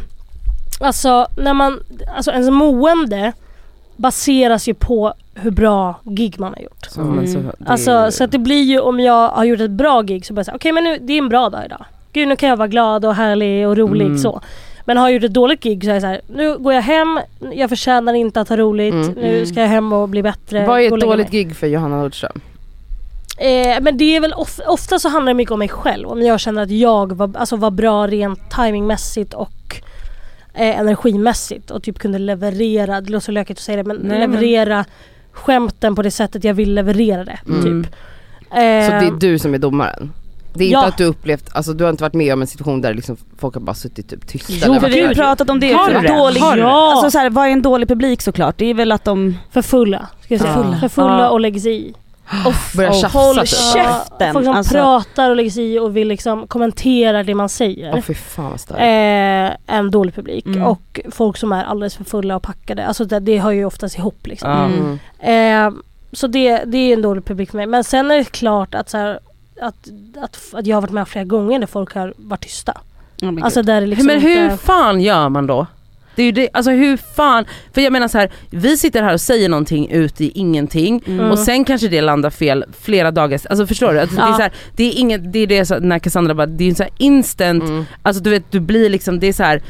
[SPEAKER 2] Alltså, när man, alltså ens mående baseras ju på hur bra gig man har gjort.
[SPEAKER 3] så, men så, det är
[SPEAKER 2] Alltså,
[SPEAKER 3] ju-
[SPEAKER 2] så att det blir ju om jag har gjort ett bra gig så bara säga, okej men nu, det är en bra dag idag. Gud nu kan jag vara glad och härlig och rolig
[SPEAKER 3] Mm.
[SPEAKER 2] så. Men har jag gjort ett dåligt gig så är jag såhär, nu går jag hem, jag förtjänar inte att ha roligt,
[SPEAKER 4] Mm.
[SPEAKER 2] nu ska jag hem och bli bättre.
[SPEAKER 4] Vad
[SPEAKER 2] Eh, gå
[SPEAKER 4] är
[SPEAKER 2] och
[SPEAKER 4] ett
[SPEAKER 2] lägga
[SPEAKER 4] dåligt
[SPEAKER 2] mig.
[SPEAKER 4] gig för Johanna Nordström?
[SPEAKER 2] Eh, men det är väl of, ofta så handlar det mycket om mig själv. Om jag känner att jag var, alltså var bra rent timingmässigt och eh, energimässigt och typ kunde leverera, det låter så lökigt att säga det men
[SPEAKER 3] Nej, men-
[SPEAKER 2] leverera skämten på det sättet jag vill leverera det.
[SPEAKER 4] Mm.
[SPEAKER 2] Typ.
[SPEAKER 4] Så det
[SPEAKER 2] Eh,
[SPEAKER 4] är du som är domaren? Det är
[SPEAKER 2] Ja.
[SPEAKER 4] inte att du upplevt, alltså du har inte varit med om en situation där liksom folk har bara suttit typ tysta
[SPEAKER 1] Jo
[SPEAKER 4] eller
[SPEAKER 1] för
[SPEAKER 4] varit
[SPEAKER 1] vi har ju
[SPEAKER 4] där.
[SPEAKER 1] pratat om det
[SPEAKER 4] Har
[SPEAKER 1] också.
[SPEAKER 4] du det?
[SPEAKER 1] Dålig,
[SPEAKER 2] Har du det?
[SPEAKER 1] alltså så här, vad är en dålig publik såklart? Det är väl att de...
[SPEAKER 2] För fulla, ska jag säga.
[SPEAKER 1] För fulla.
[SPEAKER 2] För fulla
[SPEAKER 3] Ja.
[SPEAKER 2] och lägger sig i.
[SPEAKER 3] Börjar
[SPEAKER 1] Och
[SPEAKER 3] tjafsa
[SPEAKER 1] Håll
[SPEAKER 3] typ.
[SPEAKER 1] käften!
[SPEAKER 2] Folk som
[SPEAKER 1] Alltså,
[SPEAKER 2] pratar och lägger sig i och vill liksom kommentera det man säger.
[SPEAKER 3] Åh fy fan vad starkt.
[SPEAKER 2] Eh, en dålig publik
[SPEAKER 6] Mm.
[SPEAKER 2] och folk som är alldeles för fulla och packade. Alltså det, det hör ju oftast ihop liksom.
[SPEAKER 3] Ja.
[SPEAKER 6] Mm.
[SPEAKER 2] Eh, så det, det är en dålig publik för mig. Men sen är det klart att, så här, att, att, att jag har varit med flera gånger där folk har varit tysta.
[SPEAKER 1] oh my
[SPEAKER 2] Alltså
[SPEAKER 1] God.
[SPEAKER 2] där det liksom
[SPEAKER 3] men hur
[SPEAKER 2] inte...
[SPEAKER 3] fan gör man då? Det är ju det, alltså hur fan, för jag menar så här, vi sitter här och säger någonting ut i ingenting
[SPEAKER 2] Mm.
[SPEAKER 3] och sen kanske det landar fel flera dagar, alltså förstår du? Att det, är
[SPEAKER 2] Ja.
[SPEAKER 3] så här, det är inget, det är det så, här, när Cassandra bara, det är ju så här instant,
[SPEAKER 2] Mm.
[SPEAKER 3] alltså du vet du blir liksom, det är så här.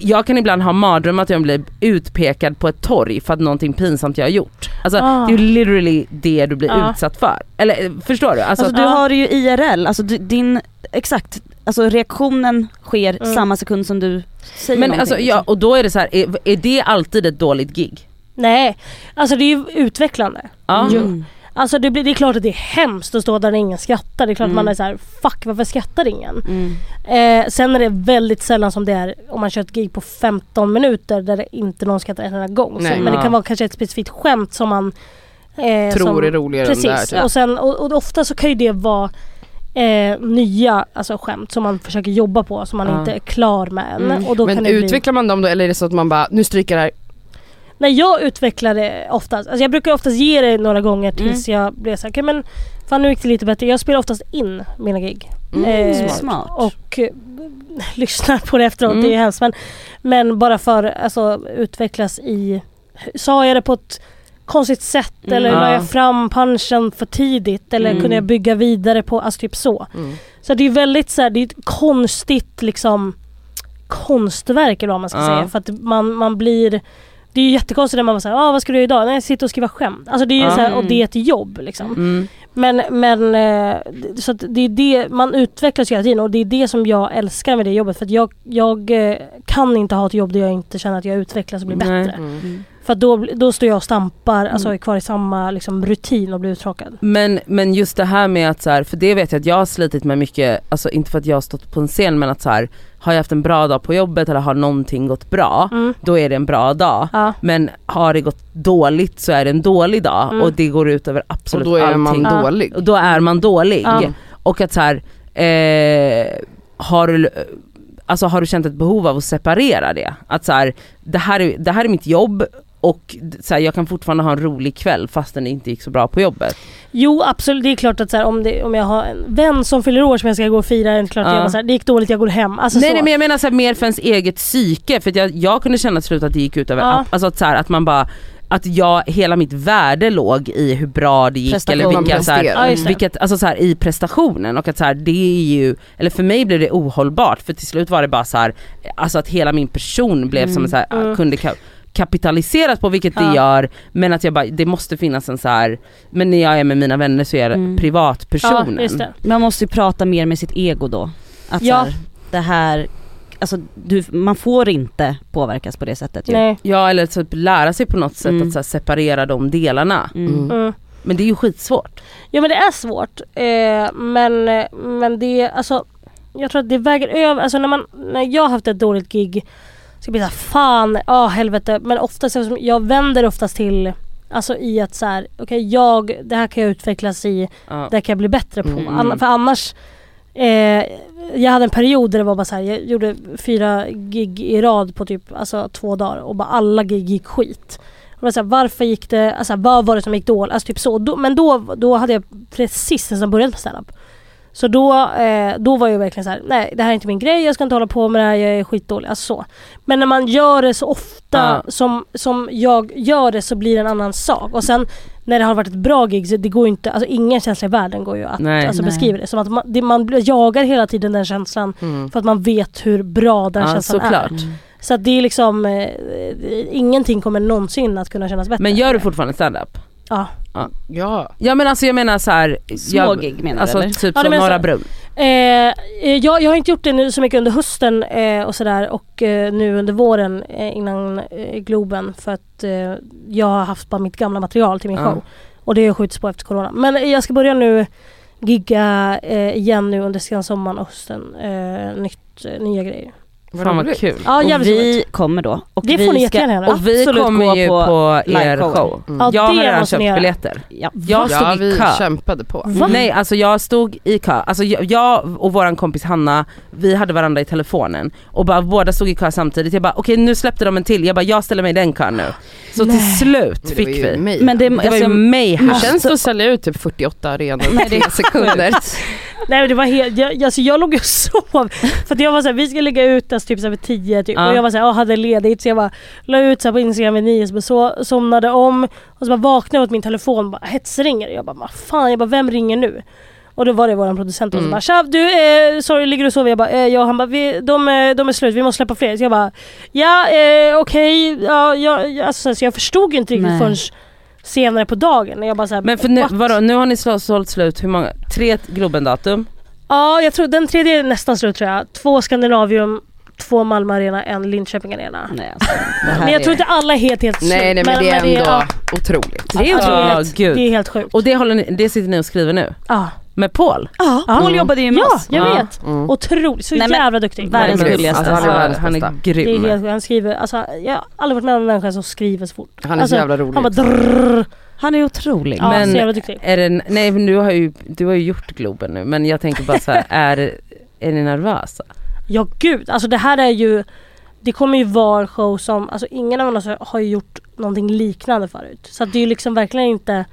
[SPEAKER 3] Jag kan ibland ha mardrömmar att jag blir utpekad på ett torg för att någonting pinsamt jag har gjort. Alltså
[SPEAKER 2] Ah.
[SPEAKER 3] det är ju literally det du blir
[SPEAKER 2] Ah.
[SPEAKER 3] utsatt för. Eller eh, förstår du? Alltså,
[SPEAKER 1] Alltså du
[SPEAKER 2] Ja.
[SPEAKER 1] har det ju IRL, alltså du, din, exakt, alltså reaktionen sker
[SPEAKER 2] Mm.
[SPEAKER 1] samma sekund som du säger
[SPEAKER 3] men
[SPEAKER 1] någonting,
[SPEAKER 3] alltså, ja,
[SPEAKER 1] liksom.
[SPEAKER 3] och då är det så här, är, är det alltid ett dåligt gig?
[SPEAKER 2] Nej, alltså det är ju utvecklande.
[SPEAKER 3] Ja.
[SPEAKER 1] Mm.
[SPEAKER 2] Alltså det, blir, det är klart att det är hemskt att stå där och ingen skrattar. Det är klart
[SPEAKER 1] Mm.
[SPEAKER 2] man är så här, fuck varför skrattar ingen?
[SPEAKER 1] Mm.
[SPEAKER 2] Eh, sen är det väldigt sällan som det är om man kör ett gig på 15 minuter där det inte någon skrattar en enda gång.
[SPEAKER 4] Nej.
[SPEAKER 2] så, men
[SPEAKER 3] Ja.
[SPEAKER 2] det kan vara kanske ett specifikt skämt som man eh,
[SPEAKER 4] Tror
[SPEAKER 2] som,
[SPEAKER 4] det är roligare
[SPEAKER 2] Precis,
[SPEAKER 4] än det är. typ.
[SPEAKER 2] och, sen, och, och ofta så kan ju det vara eh, nya alltså, skämt som man försöker jobba på som man
[SPEAKER 3] Ja.
[SPEAKER 2] inte är klar med än.
[SPEAKER 1] Mm.
[SPEAKER 2] Och då kan
[SPEAKER 4] Men
[SPEAKER 2] det bli...
[SPEAKER 4] utvecklar man dem då eller är det så att man bara, nu stryker jag det här.
[SPEAKER 2] Nej jag utvecklar det oftast, alltså jag brukar oftast ge det några gånger tills jag blir såhär, okej men fan nu gick det lite bättre. Jag spelar oftast in mina gig Eh,
[SPEAKER 1] Smart. Smart.
[SPEAKER 2] och eh, lyssnar på det efteråt, det är ju
[SPEAKER 3] Mm.
[SPEAKER 2] hemskt men, men bara för alltså utvecklas i, sa jag det på ett konstigt sätt
[SPEAKER 1] Mm.
[SPEAKER 2] eller la
[SPEAKER 3] Ja.
[SPEAKER 2] jag fram punchen för tidigt eller
[SPEAKER 1] Mm.
[SPEAKER 2] kunde jag bygga vidare på, alltså typ så.
[SPEAKER 3] Mm.
[SPEAKER 2] Så det är väldigt så här, det är ett konstigt liksom konstverk eller vad man ska
[SPEAKER 3] Ja.
[SPEAKER 2] säga. För att man, man blir det är ju jättekonstigt när man bara säger ah, vad ska du göra idag? Nej, jag sitter och skriva skämt. Alltså det är ju
[SPEAKER 3] Ja.
[SPEAKER 2] så här, och det är ett jobb liksom.
[SPEAKER 3] Mm.
[SPEAKER 2] Men, men eh, så att det är det, man utvecklas hela tiden och det är det som jag älskar med det jobbet. För att jag, jag eh, kan inte ha ett jobb där jag inte känner att jag utvecklas och blir
[SPEAKER 3] Nej. Mm.
[SPEAKER 2] bättre. Mm. För att då, då står jag och stampar, alltså är kvar i samma liksom, rutin och blir uttråkad.
[SPEAKER 3] Men, men just det här med att så här, för det vet jag att jag har slitit med mycket, alltså inte för att jag har stått på en scen men att så här, har jag haft en bra dag på jobbet eller har någonting gått bra,
[SPEAKER 2] Mm.
[SPEAKER 3] då är det en bra dag.
[SPEAKER 2] Ja.
[SPEAKER 3] Men har det gått dåligt så är det en dålig dag
[SPEAKER 2] Mm.
[SPEAKER 3] och det går ut över
[SPEAKER 4] Och
[SPEAKER 3] absolut
[SPEAKER 4] då är man
[SPEAKER 3] allting.
[SPEAKER 2] Ja.
[SPEAKER 4] dålig.
[SPEAKER 3] Och då är man dålig.
[SPEAKER 2] Ja.
[SPEAKER 3] Och att så här, eh, har, du, alltså har du känt ett behov av att separera det? Att så här, det, här är, det här är mitt jobb och så här, jag kan fortfarande ha en rolig kväll fastän det inte gick så bra på jobbet.
[SPEAKER 2] Jo absolut, det är klart att så här, om, det, om jag har en vän som fyller år som jag ska gå och fira, det är klart att
[SPEAKER 3] Ja.
[SPEAKER 2] jag bara så här, det gick dåligt, jag går hem. Alltså,
[SPEAKER 3] nej,
[SPEAKER 2] så.
[SPEAKER 3] nej men jag menar så här, mer för ens eget psyke för att jag, jag kunde känna till slut att det gick ut över,
[SPEAKER 2] Ja.
[SPEAKER 3] alltså att, så här, att man bara att jag, hela mitt värde låg i hur bra det gick
[SPEAKER 1] Prestation.
[SPEAKER 3] eller
[SPEAKER 4] Man
[SPEAKER 3] vilka, så här,
[SPEAKER 4] presterar.
[SPEAKER 2] Ja, just det.
[SPEAKER 3] vilket, alltså så här, i prestationen och att så här, det är ju, eller för mig blev det ohållbart för till slut var det bara så här, alltså att hela min person blev som en så här, ah,
[SPEAKER 2] Mm.
[SPEAKER 3] kunde ka- kapitaliseras på vilket det
[SPEAKER 2] Ja.
[SPEAKER 3] gör men att jag bara, det måste finnas en så här men när jag är med mina vänner så är jag
[SPEAKER 1] Mm.
[SPEAKER 3] privatpersonen.
[SPEAKER 2] Ja, just det.
[SPEAKER 1] Man måste ju prata mer med sitt ego då. Att
[SPEAKER 2] Ja.
[SPEAKER 1] så här, det här, alltså du, man får inte påverkas på det sättet ju.
[SPEAKER 2] Nej.
[SPEAKER 3] Ja eller typ lära sig på något sätt
[SPEAKER 1] Mm.
[SPEAKER 3] att så här, separera de delarna.
[SPEAKER 1] Mm.
[SPEAKER 4] Mm.
[SPEAKER 2] Mm.
[SPEAKER 3] Men det är ju skitsvårt.
[SPEAKER 2] Ja men det är svårt. Eh, men, men det, alltså jag tror att det väger över, alltså när, man, när jag har haft ett dåligt gig så blir det såhär fan, ja helvete. Men oftast, eftersom jag vänder oftast till Alltså i att så här, okej jag, det här kan jag utvecklas i,
[SPEAKER 3] Ja.
[SPEAKER 2] det här kan jag bli bättre på.
[SPEAKER 3] Mm.
[SPEAKER 2] Anna, för annars, eh, jag hade en period där det var bara så här, jag gjorde fyra gig i rad på typ alltså, två dagar och bara alla gig gick skit. Och bara så här, varför gick det, alltså, vad var det som gick dåligt? Alltså, typ så. Då, men då, då hade jag precis nästan börjat med standup. Så då, eh, då var jag verkligen så här: nej det här är inte min grej, jag ska inte hålla på med det här, jag är skitdålig. Alltså, så. Men när man gör det så ofta
[SPEAKER 3] Ja.
[SPEAKER 2] som, som jag gör det så blir det en annan sak. Och sen när det har varit ett bra gig, så det går ju inte, alltså ingen känsla i världen går ju att
[SPEAKER 3] Nej.
[SPEAKER 2] alltså,
[SPEAKER 6] Nej.
[SPEAKER 2] beskriva det. Som att man, det, man blir- jagar hela tiden den känslan för att man vet hur bra den
[SPEAKER 3] Mm. Ja,
[SPEAKER 2] känslan
[SPEAKER 3] såklart.
[SPEAKER 2] är. Så att det är liksom, eh, eh, ingenting kommer någonsin att kunna kännas bättre.
[SPEAKER 3] Men gör du fortfarande standup?
[SPEAKER 2] Ja.
[SPEAKER 4] Ja.
[SPEAKER 3] Ja men alltså jag menar så här,
[SPEAKER 1] Små
[SPEAKER 3] jag,
[SPEAKER 1] gig menar
[SPEAKER 3] alltså
[SPEAKER 1] du eller?
[SPEAKER 3] typ
[SPEAKER 2] Ja,
[SPEAKER 3] som
[SPEAKER 2] du menar
[SPEAKER 3] Norra
[SPEAKER 2] så-
[SPEAKER 3] Brunn.
[SPEAKER 2] Eh, eh, jag, jag har inte gjort det nu så mycket under hösten eh, och sådär och eh, nu under våren eh, innan eh, Globen för att eh, jag har haft bara mitt gamla material till min
[SPEAKER 3] Ja.
[SPEAKER 2] show. Och det har skjutits på efter corona. Men eh, jag ska börja nu gigga eh, igen nu under sena sommaren och hösten. Eh, nytt, eh, nya grejer.
[SPEAKER 3] Fan vad kul.
[SPEAKER 2] Ja,
[SPEAKER 1] och
[SPEAKER 2] jävligt roligt.
[SPEAKER 1] vi kommer då. Och
[SPEAKER 2] Det
[SPEAKER 1] vi
[SPEAKER 2] får ni
[SPEAKER 1] ska
[SPEAKER 2] jättegärna göra.
[SPEAKER 3] Och vi
[SPEAKER 1] absolut
[SPEAKER 3] kommer
[SPEAKER 1] gå
[SPEAKER 3] ju
[SPEAKER 1] på
[SPEAKER 3] på er
[SPEAKER 1] liveshowen.
[SPEAKER 3] show.
[SPEAKER 2] Ja,
[SPEAKER 3] Jag har
[SPEAKER 2] det
[SPEAKER 3] redan
[SPEAKER 2] måste ni
[SPEAKER 3] köpt
[SPEAKER 2] göra.
[SPEAKER 3] biljetter.
[SPEAKER 1] Ja.
[SPEAKER 3] Jag stod
[SPEAKER 4] Ja,
[SPEAKER 3] i
[SPEAKER 4] vi
[SPEAKER 3] kö.
[SPEAKER 4] kämpade på.
[SPEAKER 2] Va?
[SPEAKER 3] Nej alltså jag stod i kö, alltså jag- jag och våran kompis Hanna, vi hade varandra i telefonen och bara båda stod i kö samtidigt. Jag bara okej nu släppte de en till, jag bara jag ställer mig i den kön nu. Så till slut
[SPEAKER 4] Det
[SPEAKER 3] fick
[SPEAKER 4] var ju
[SPEAKER 3] vi.
[SPEAKER 4] mig.
[SPEAKER 1] Men det,
[SPEAKER 3] Det var ju
[SPEAKER 1] alltså,
[SPEAKER 3] mayhem.
[SPEAKER 4] Hur känns det att sälja ut typ 48 arenor på
[SPEAKER 1] Nej, det är
[SPEAKER 4] tre sekunder?
[SPEAKER 2] Nej men det var helt, jag, alltså jag låg och sov. För att jag var såhär, vi ska lägga ut alltså, typ såhär vid 10 typ.
[SPEAKER 3] Ja.
[SPEAKER 2] Och jag var såhär, jag hade ledigt så jag bara la ut såhär på Instagram vid 9 så bara så, somnade om. Och så bara vaknade jag åt min telefon bara hetsringer. Jag bara, vad fan, jag bara, vem ringer nu? Och då var det våran producent och så
[SPEAKER 4] Mm.
[SPEAKER 2] bara tja du, eh, sorry ligger du och sover? Jag bara eh, ja, han bara vi, de, eh, de är slut, vi måste släppa fler. Så jag bara ja eh, okej, ja, ja, ja, alltså, så här, så jag förstod ju inte riktigt
[SPEAKER 1] Nej.
[SPEAKER 2] förrän senare på dagen. Och Jag bara, så här,
[SPEAKER 3] Men för nu,
[SPEAKER 2] "What?"
[SPEAKER 3] vadå, nu har ni slå- sålt slut hur många? Tre Globen-datum?
[SPEAKER 2] Ja, jag tror den tredje är nästan slut tror jag. Två Skandinavium, två Malmö Arena, en Linköping Arena.
[SPEAKER 1] Nej, alltså,
[SPEAKER 2] Men jag tror inte alla är helt, helt slut.
[SPEAKER 4] Nej, nej men det är
[SPEAKER 2] men
[SPEAKER 4] ändå
[SPEAKER 2] ja,
[SPEAKER 4] otroligt.
[SPEAKER 3] Det är
[SPEAKER 2] ja,
[SPEAKER 3] otroligt. gud.
[SPEAKER 2] Det är helt sjukt.
[SPEAKER 3] Och det, håller ni, det sitter ni och skriver nu?
[SPEAKER 2] Ja,
[SPEAKER 3] Med Paul?
[SPEAKER 1] ja, Paul
[SPEAKER 4] Mm.
[SPEAKER 1] jobbade ju med
[SPEAKER 2] ja
[SPEAKER 1] oss.
[SPEAKER 2] jag
[SPEAKER 3] Ja.
[SPEAKER 2] vet.
[SPEAKER 4] Mm.
[SPEAKER 2] Otroligt, så
[SPEAKER 1] Nej, men-
[SPEAKER 2] jävla duktig.
[SPEAKER 1] Världens
[SPEAKER 3] Nej, men-
[SPEAKER 1] gulligaste.
[SPEAKER 3] Alltså, han, är världens han är
[SPEAKER 2] Det är
[SPEAKER 3] grym.
[SPEAKER 2] helt, han skriver, alltså, jag har aldrig varit med om en människa som skriver så fort.
[SPEAKER 4] Han är
[SPEAKER 2] alltså,
[SPEAKER 4] så jävla rolig.
[SPEAKER 2] Han bara drrrr.
[SPEAKER 1] Han är otrolig.
[SPEAKER 2] Ja,
[SPEAKER 3] Men-
[SPEAKER 2] så jävla duktig.
[SPEAKER 3] Är det, nej men du har, ju, du har ju gjort Globen nu men jag tänker bara så här, är, är ni nervösa?
[SPEAKER 2] Ja gud, alltså det här är ju Det kommer ju vara en show som, alltså ingen av oss har ju gjort någonting liknande förut. Så att det är ju liksom verkligen inte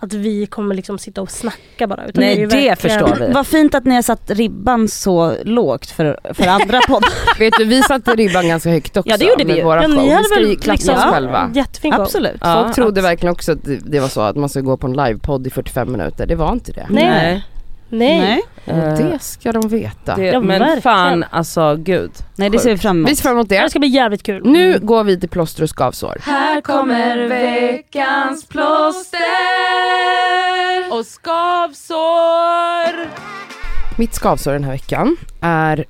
[SPEAKER 2] att vi kommer liksom sitta och snacka bara. Utan
[SPEAKER 3] Nej,
[SPEAKER 2] är ju
[SPEAKER 3] det
[SPEAKER 2] verkligen-
[SPEAKER 3] förstår vi.
[SPEAKER 1] Vad fint att ni har satt ribban så lågt för, för andra poddar.
[SPEAKER 4] Vet du, vi satte ribban ganska högt också
[SPEAKER 1] Ja, det gjorde vi
[SPEAKER 4] med
[SPEAKER 1] ju.
[SPEAKER 4] våra
[SPEAKER 2] Ja,
[SPEAKER 4] show.
[SPEAKER 2] ni
[SPEAKER 4] Vi
[SPEAKER 2] hade
[SPEAKER 4] ska
[SPEAKER 2] väl
[SPEAKER 4] ju klappa
[SPEAKER 2] liksom-
[SPEAKER 4] oss själva.
[SPEAKER 2] Jättefin show.
[SPEAKER 1] Absolut.
[SPEAKER 3] Ja,
[SPEAKER 4] Folk trodde verkligen också att det det var så att man skulle gå på en livepodd i 45 minuter. Det var inte det.
[SPEAKER 2] Nej.
[SPEAKER 3] Nej.
[SPEAKER 2] Nej.
[SPEAKER 1] Nej.
[SPEAKER 3] Eh,
[SPEAKER 4] Och det ska de veta.
[SPEAKER 3] det,
[SPEAKER 2] Ja,
[SPEAKER 3] men
[SPEAKER 2] verkligen.
[SPEAKER 3] fan alltså gud.
[SPEAKER 1] Nej det ser vi fram emot.
[SPEAKER 4] Vi ser fram emot
[SPEAKER 2] Det
[SPEAKER 4] det.
[SPEAKER 2] här ska bli jävligt kul.
[SPEAKER 3] Mm.
[SPEAKER 2] Mm.
[SPEAKER 4] Nu går vi till plåster och skavsår.
[SPEAKER 6] Här kommer veckans plåster och skavsår.
[SPEAKER 4] Mitt skavsår den här veckan är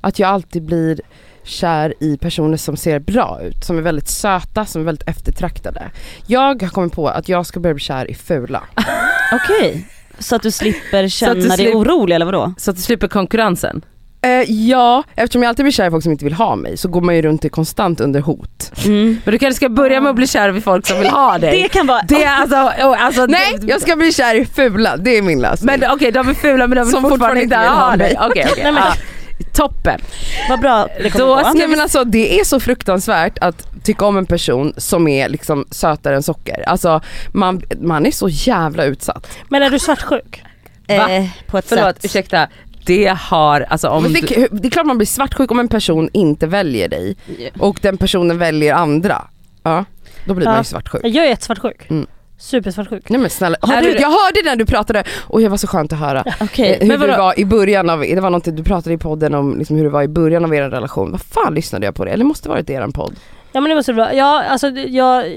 [SPEAKER 4] att jag alltid blir kär i personer som ser bra ut, som är väldigt söta, som är väldigt eftertraktade. Jag har kommit på att jag ska börja bli kär i fula.
[SPEAKER 1] Okej. Så att du slipper känna
[SPEAKER 3] du
[SPEAKER 1] dig
[SPEAKER 3] slip-
[SPEAKER 1] orolig eller vadå?
[SPEAKER 3] Så att du slipper konkurrensen.
[SPEAKER 4] Eh, ja, eftersom jag alltid blir kär i folk som inte vill ha mig så går man ju runt i konstant under hot.
[SPEAKER 1] Mm.
[SPEAKER 3] Men du kanske ska börja med att bli kär vid folk som vill ha dig.
[SPEAKER 1] Det kan vara...
[SPEAKER 3] Det är alltså, oh, alltså
[SPEAKER 4] Nej,
[SPEAKER 3] det-
[SPEAKER 4] jag ska bli kär i fula, det är min lösning.
[SPEAKER 3] men okej de är fula men de vill
[SPEAKER 4] Som
[SPEAKER 3] fortfarande,
[SPEAKER 4] fortfarande
[SPEAKER 3] inte
[SPEAKER 4] inte vill
[SPEAKER 3] ha
[SPEAKER 4] ha
[SPEAKER 3] dig.
[SPEAKER 4] mig.
[SPEAKER 3] Okej okej. Ah,
[SPEAKER 2] Nej, men-
[SPEAKER 3] ja. Toppen.
[SPEAKER 1] Vad bra det kommer
[SPEAKER 3] Då
[SPEAKER 1] vara.
[SPEAKER 4] Nej men alltså det är så fruktansvärt att tycka om en person som är liksom sötare än socker. Alltså man, man är så jävla utsatt.
[SPEAKER 2] Men är du svartsjuk?
[SPEAKER 1] Eh, på ett
[SPEAKER 3] Förlåt
[SPEAKER 1] sätt.
[SPEAKER 3] ursäkta. Det har alltså om
[SPEAKER 4] Men det,
[SPEAKER 3] du-
[SPEAKER 4] det är klart man blir svartsjuk om en person inte väljer dig och den personen väljer andra. Ja, då blir man
[SPEAKER 2] Ja.
[SPEAKER 4] ju svartsjuk.
[SPEAKER 2] Jag är jättesvartsjuk.
[SPEAKER 4] Mm.
[SPEAKER 2] Supersvartsjuk.
[SPEAKER 4] Nej men snälla,
[SPEAKER 3] Är
[SPEAKER 4] har du,
[SPEAKER 3] du-
[SPEAKER 4] jag hörde när du pratade och jag var så skönt att höra.
[SPEAKER 1] Okej.
[SPEAKER 4] Eh, Hur
[SPEAKER 3] Men vadå?
[SPEAKER 4] du var i början av, det var någonting du pratade i podden om liksom hur det var i början av er relation. Vad fan lyssnade jag på det? Eller måste det varit eran podd?
[SPEAKER 2] Ja men det måste det vara. Ja alltså jag, jag,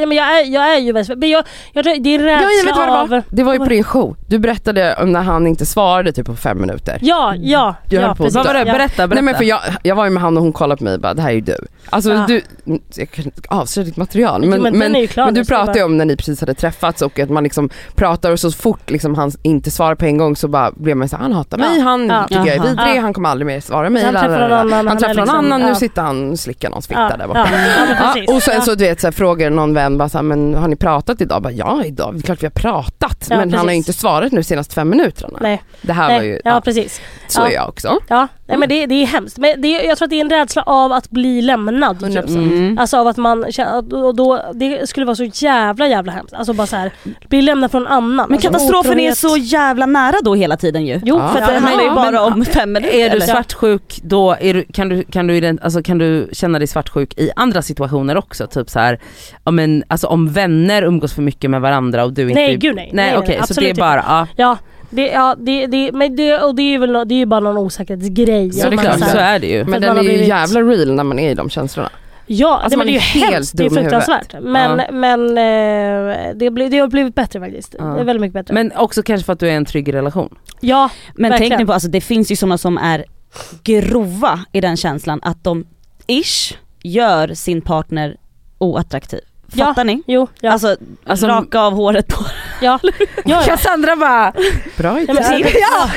[SPEAKER 2] ja, men jag, är, jag är ju väldigt men jag, jag, tror- det är
[SPEAKER 4] Ja,
[SPEAKER 2] rädsla
[SPEAKER 4] jag vet vad det
[SPEAKER 2] av...
[SPEAKER 4] var. Det var ju på din show. Du berättade om när han inte svarade typ på fem minuter.
[SPEAKER 2] Ja, ja,
[SPEAKER 4] Jag
[SPEAKER 2] ja
[SPEAKER 4] höll på att
[SPEAKER 3] Vad var det?
[SPEAKER 2] Ja.
[SPEAKER 3] Berätta, berätta.
[SPEAKER 4] Nej men för jag, jag var ju med han och hon kollade på mig och bara det här är ju du. Alltså
[SPEAKER 2] Ja.
[SPEAKER 4] du, jag kan inte avslöja ditt material
[SPEAKER 2] Jo,
[SPEAKER 4] men,
[SPEAKER 2] men den
[SPEAKER 4] men,
[SPEAKER 2] är ju klar
[SPEAKER 4] men
[SPEAKER 2] nu,
[SPEAKER 4] du
[SPEAKER 2] så det är
[SPEAKER 4] pratade ju om när ni precis hade träffats och att man liksom pratar och så fort liksom han inte svarar på en gång så bara blev man såhär han hatar mig,
[SPEAKER 2] Ja.
[SPEAKER 4] han
[SPEAKER 2] Ja.
[SPEAKER 4] tycker jag är
[SPEAKER 1] Jaha.
[SPEAKER 4] vidrig,
[SPEAKER 2] Ja.
[SPEAKER 4] han kommer aldrig mer svara mig.
[SPEAKER 2] Han
[SPEAKER 4] la, la,
[SPEAKER 2] träffar
[SPEAKER 4] la,
[SPEAKER 2] någon
[SPEAKER 4] la.
[SPEAKER 2] annan, han
[SPEAKER 4] han
[SPEAKER 2] är
[SPEAKER 4] träffar någon
[SPEAKER 2] liksom-
[SPEAKER 4] annan,
[SPEAKER 2] ja.
[SPEAKER 4] nu sitter han och slickar någons fitta
[SPEAKER 2] Ja,
[SPEAKER 4] där borta.
[SPEAKER 2] Ja, ja, men precis.
[SPEAKER 4] Ja, och sen
[SPEAKER 2] ja.
[SPEAKER 4] så du vet så här, frågar någon vän bara så här, men har ni pratat idag? Bara, ja idag, det är klart vi har pratat
[SPEAKER 2] Ja,
[SPEAKER 4] men han har
[SPEAKER 2] precis.
[SPEAKER 4] ju inte svarat nu senaste fem minuterna.
[SPEAKER 2] Nej,
[SPEAKER 4] Det här var ju,
[SPEAKER 2] nej, ja
[SPEAKER 4] ja,
[SPEAKER 2] precis.
[SPEAKER 4] så
[SPEAKER 2] ja.
[SPEAKER 4] är jag också.
[SPEAKER 2] Ja, nej, men det, det är hemskt. Men det, jag tror att det är en rädsla av att bli lämnad. typ.
[SPEAKER 4] 100%.
[SPEAKER 1] Mm.
[SPEAKER 2] Alltså av att man känner, och då, det skulle vara så jävla jävla hemskt. Alltså bara så här, bli lämnad från någon annan.
[SPEAKER 1] Men
[SPEAKER 2] alltså,
[SPEAKER 1] katastrofen är
[SPEAKER 2] otrohet.
[SPEAKER 1] så jävla nära då hela tiden ju.
[SPEAKER 2] Jo,
[SPEAKER 4] Ja.
[SPEAKER 1] För att
[SPEAKER 2] ja,
[SPEAKER 1] det handlar ju
[SPEAKER 2] men-
[SPEAKER 1] bara om fem minuter.
[SPEAKER 3] Är du
[SPEAKER 1] eller?
[SPEAKER 3] svartsjuk då, är du, kan, du, kan, du, ident- alltså, kan du känna dig svartsjuk i andra situationer också? Typ så här, ja, men, alltså, om vänner umgås för mycket med varandra och du inte...
[SPEAKER 2] Nej, gud nej.
[SPEAKER 3] Nej,
[SPEAKER 2] Nej, nej,
[SPEAKER 3] okej, så
[SPEAKER 2] absolut
[SPEAKER 3] det är
[SPEAKER 2] inte.
[SPEAKER 3] bara, ja,
[SPEAKER 2] Ja, det, ja det, det, men det, och det är ju väl nå- det är ju bara någon osäkerhetsgrej.
[SPEAKER 4] Så
[SPEAKER 2] Att
[SPEAKER 4] det är
[SPEAKER 2] man
[SPEAKER 4] klart,
[SPEAKER 2] så här-
[SPEAKER 3] så är det ju.
[SPEAKER 2] För att
[SPEAKER 4] Men
[SPEAKER 2] man
[SPEAKER 4] den
[SPEAKER 2] har
[SPEAKER 4] är ju
[SPEAKER 2] blivit-
[SPEAKER 4] jävla real när man är i de känslorna.
[SPEAKER 2] Ja,
[SPEAKER 4] Alltså,
[SPEAKER 2] nej, men
[SPEAKER 4] man
[SPEAKER 2] det är ju
[SPEAKER 4] är helt
[SPEAKER 2] hemskt. Det är
[SPEAKER 4] dum i huvudet.
[SPEAKER 2] fruktansvärt. Men, men eh, det, blir, det har blivit bättre faktiskt.
[SPEAKER 3] Ja.
[SPEAKER 2] Det är väldigt mycket bättre.
[SPEAKER 3] Men också kanske för att du är i en trygg relation.
[SPEAKER 2] ja,
[SPEAKER 1] Men
[SPEAKER 2] Verkligen.
[SPEAKER 1] tänk nu på, alltså, det finns ju sådana som är grova i den känslan att de ish gör sin partner oattraktiv.
[SPEAKER 2] Ja.
[SPEAKER 1] Fattar ni?
[SPEAKER 2] jo, ja.
[SPEAKER 1] Alltså,
[SPEAKER 3] Alltså,
[SPEAKER 1] raka av håret på
[SPEAKER 2] ja, ja.
[SPEAKER 3] Cassandra bara,
[SPEAKER 4] Bra
[SPEAKER 2] Ja, men,
[SPEAKER 4] idé.
[SPEAKER 2] alltså,
[SPEAKER 3] Ja.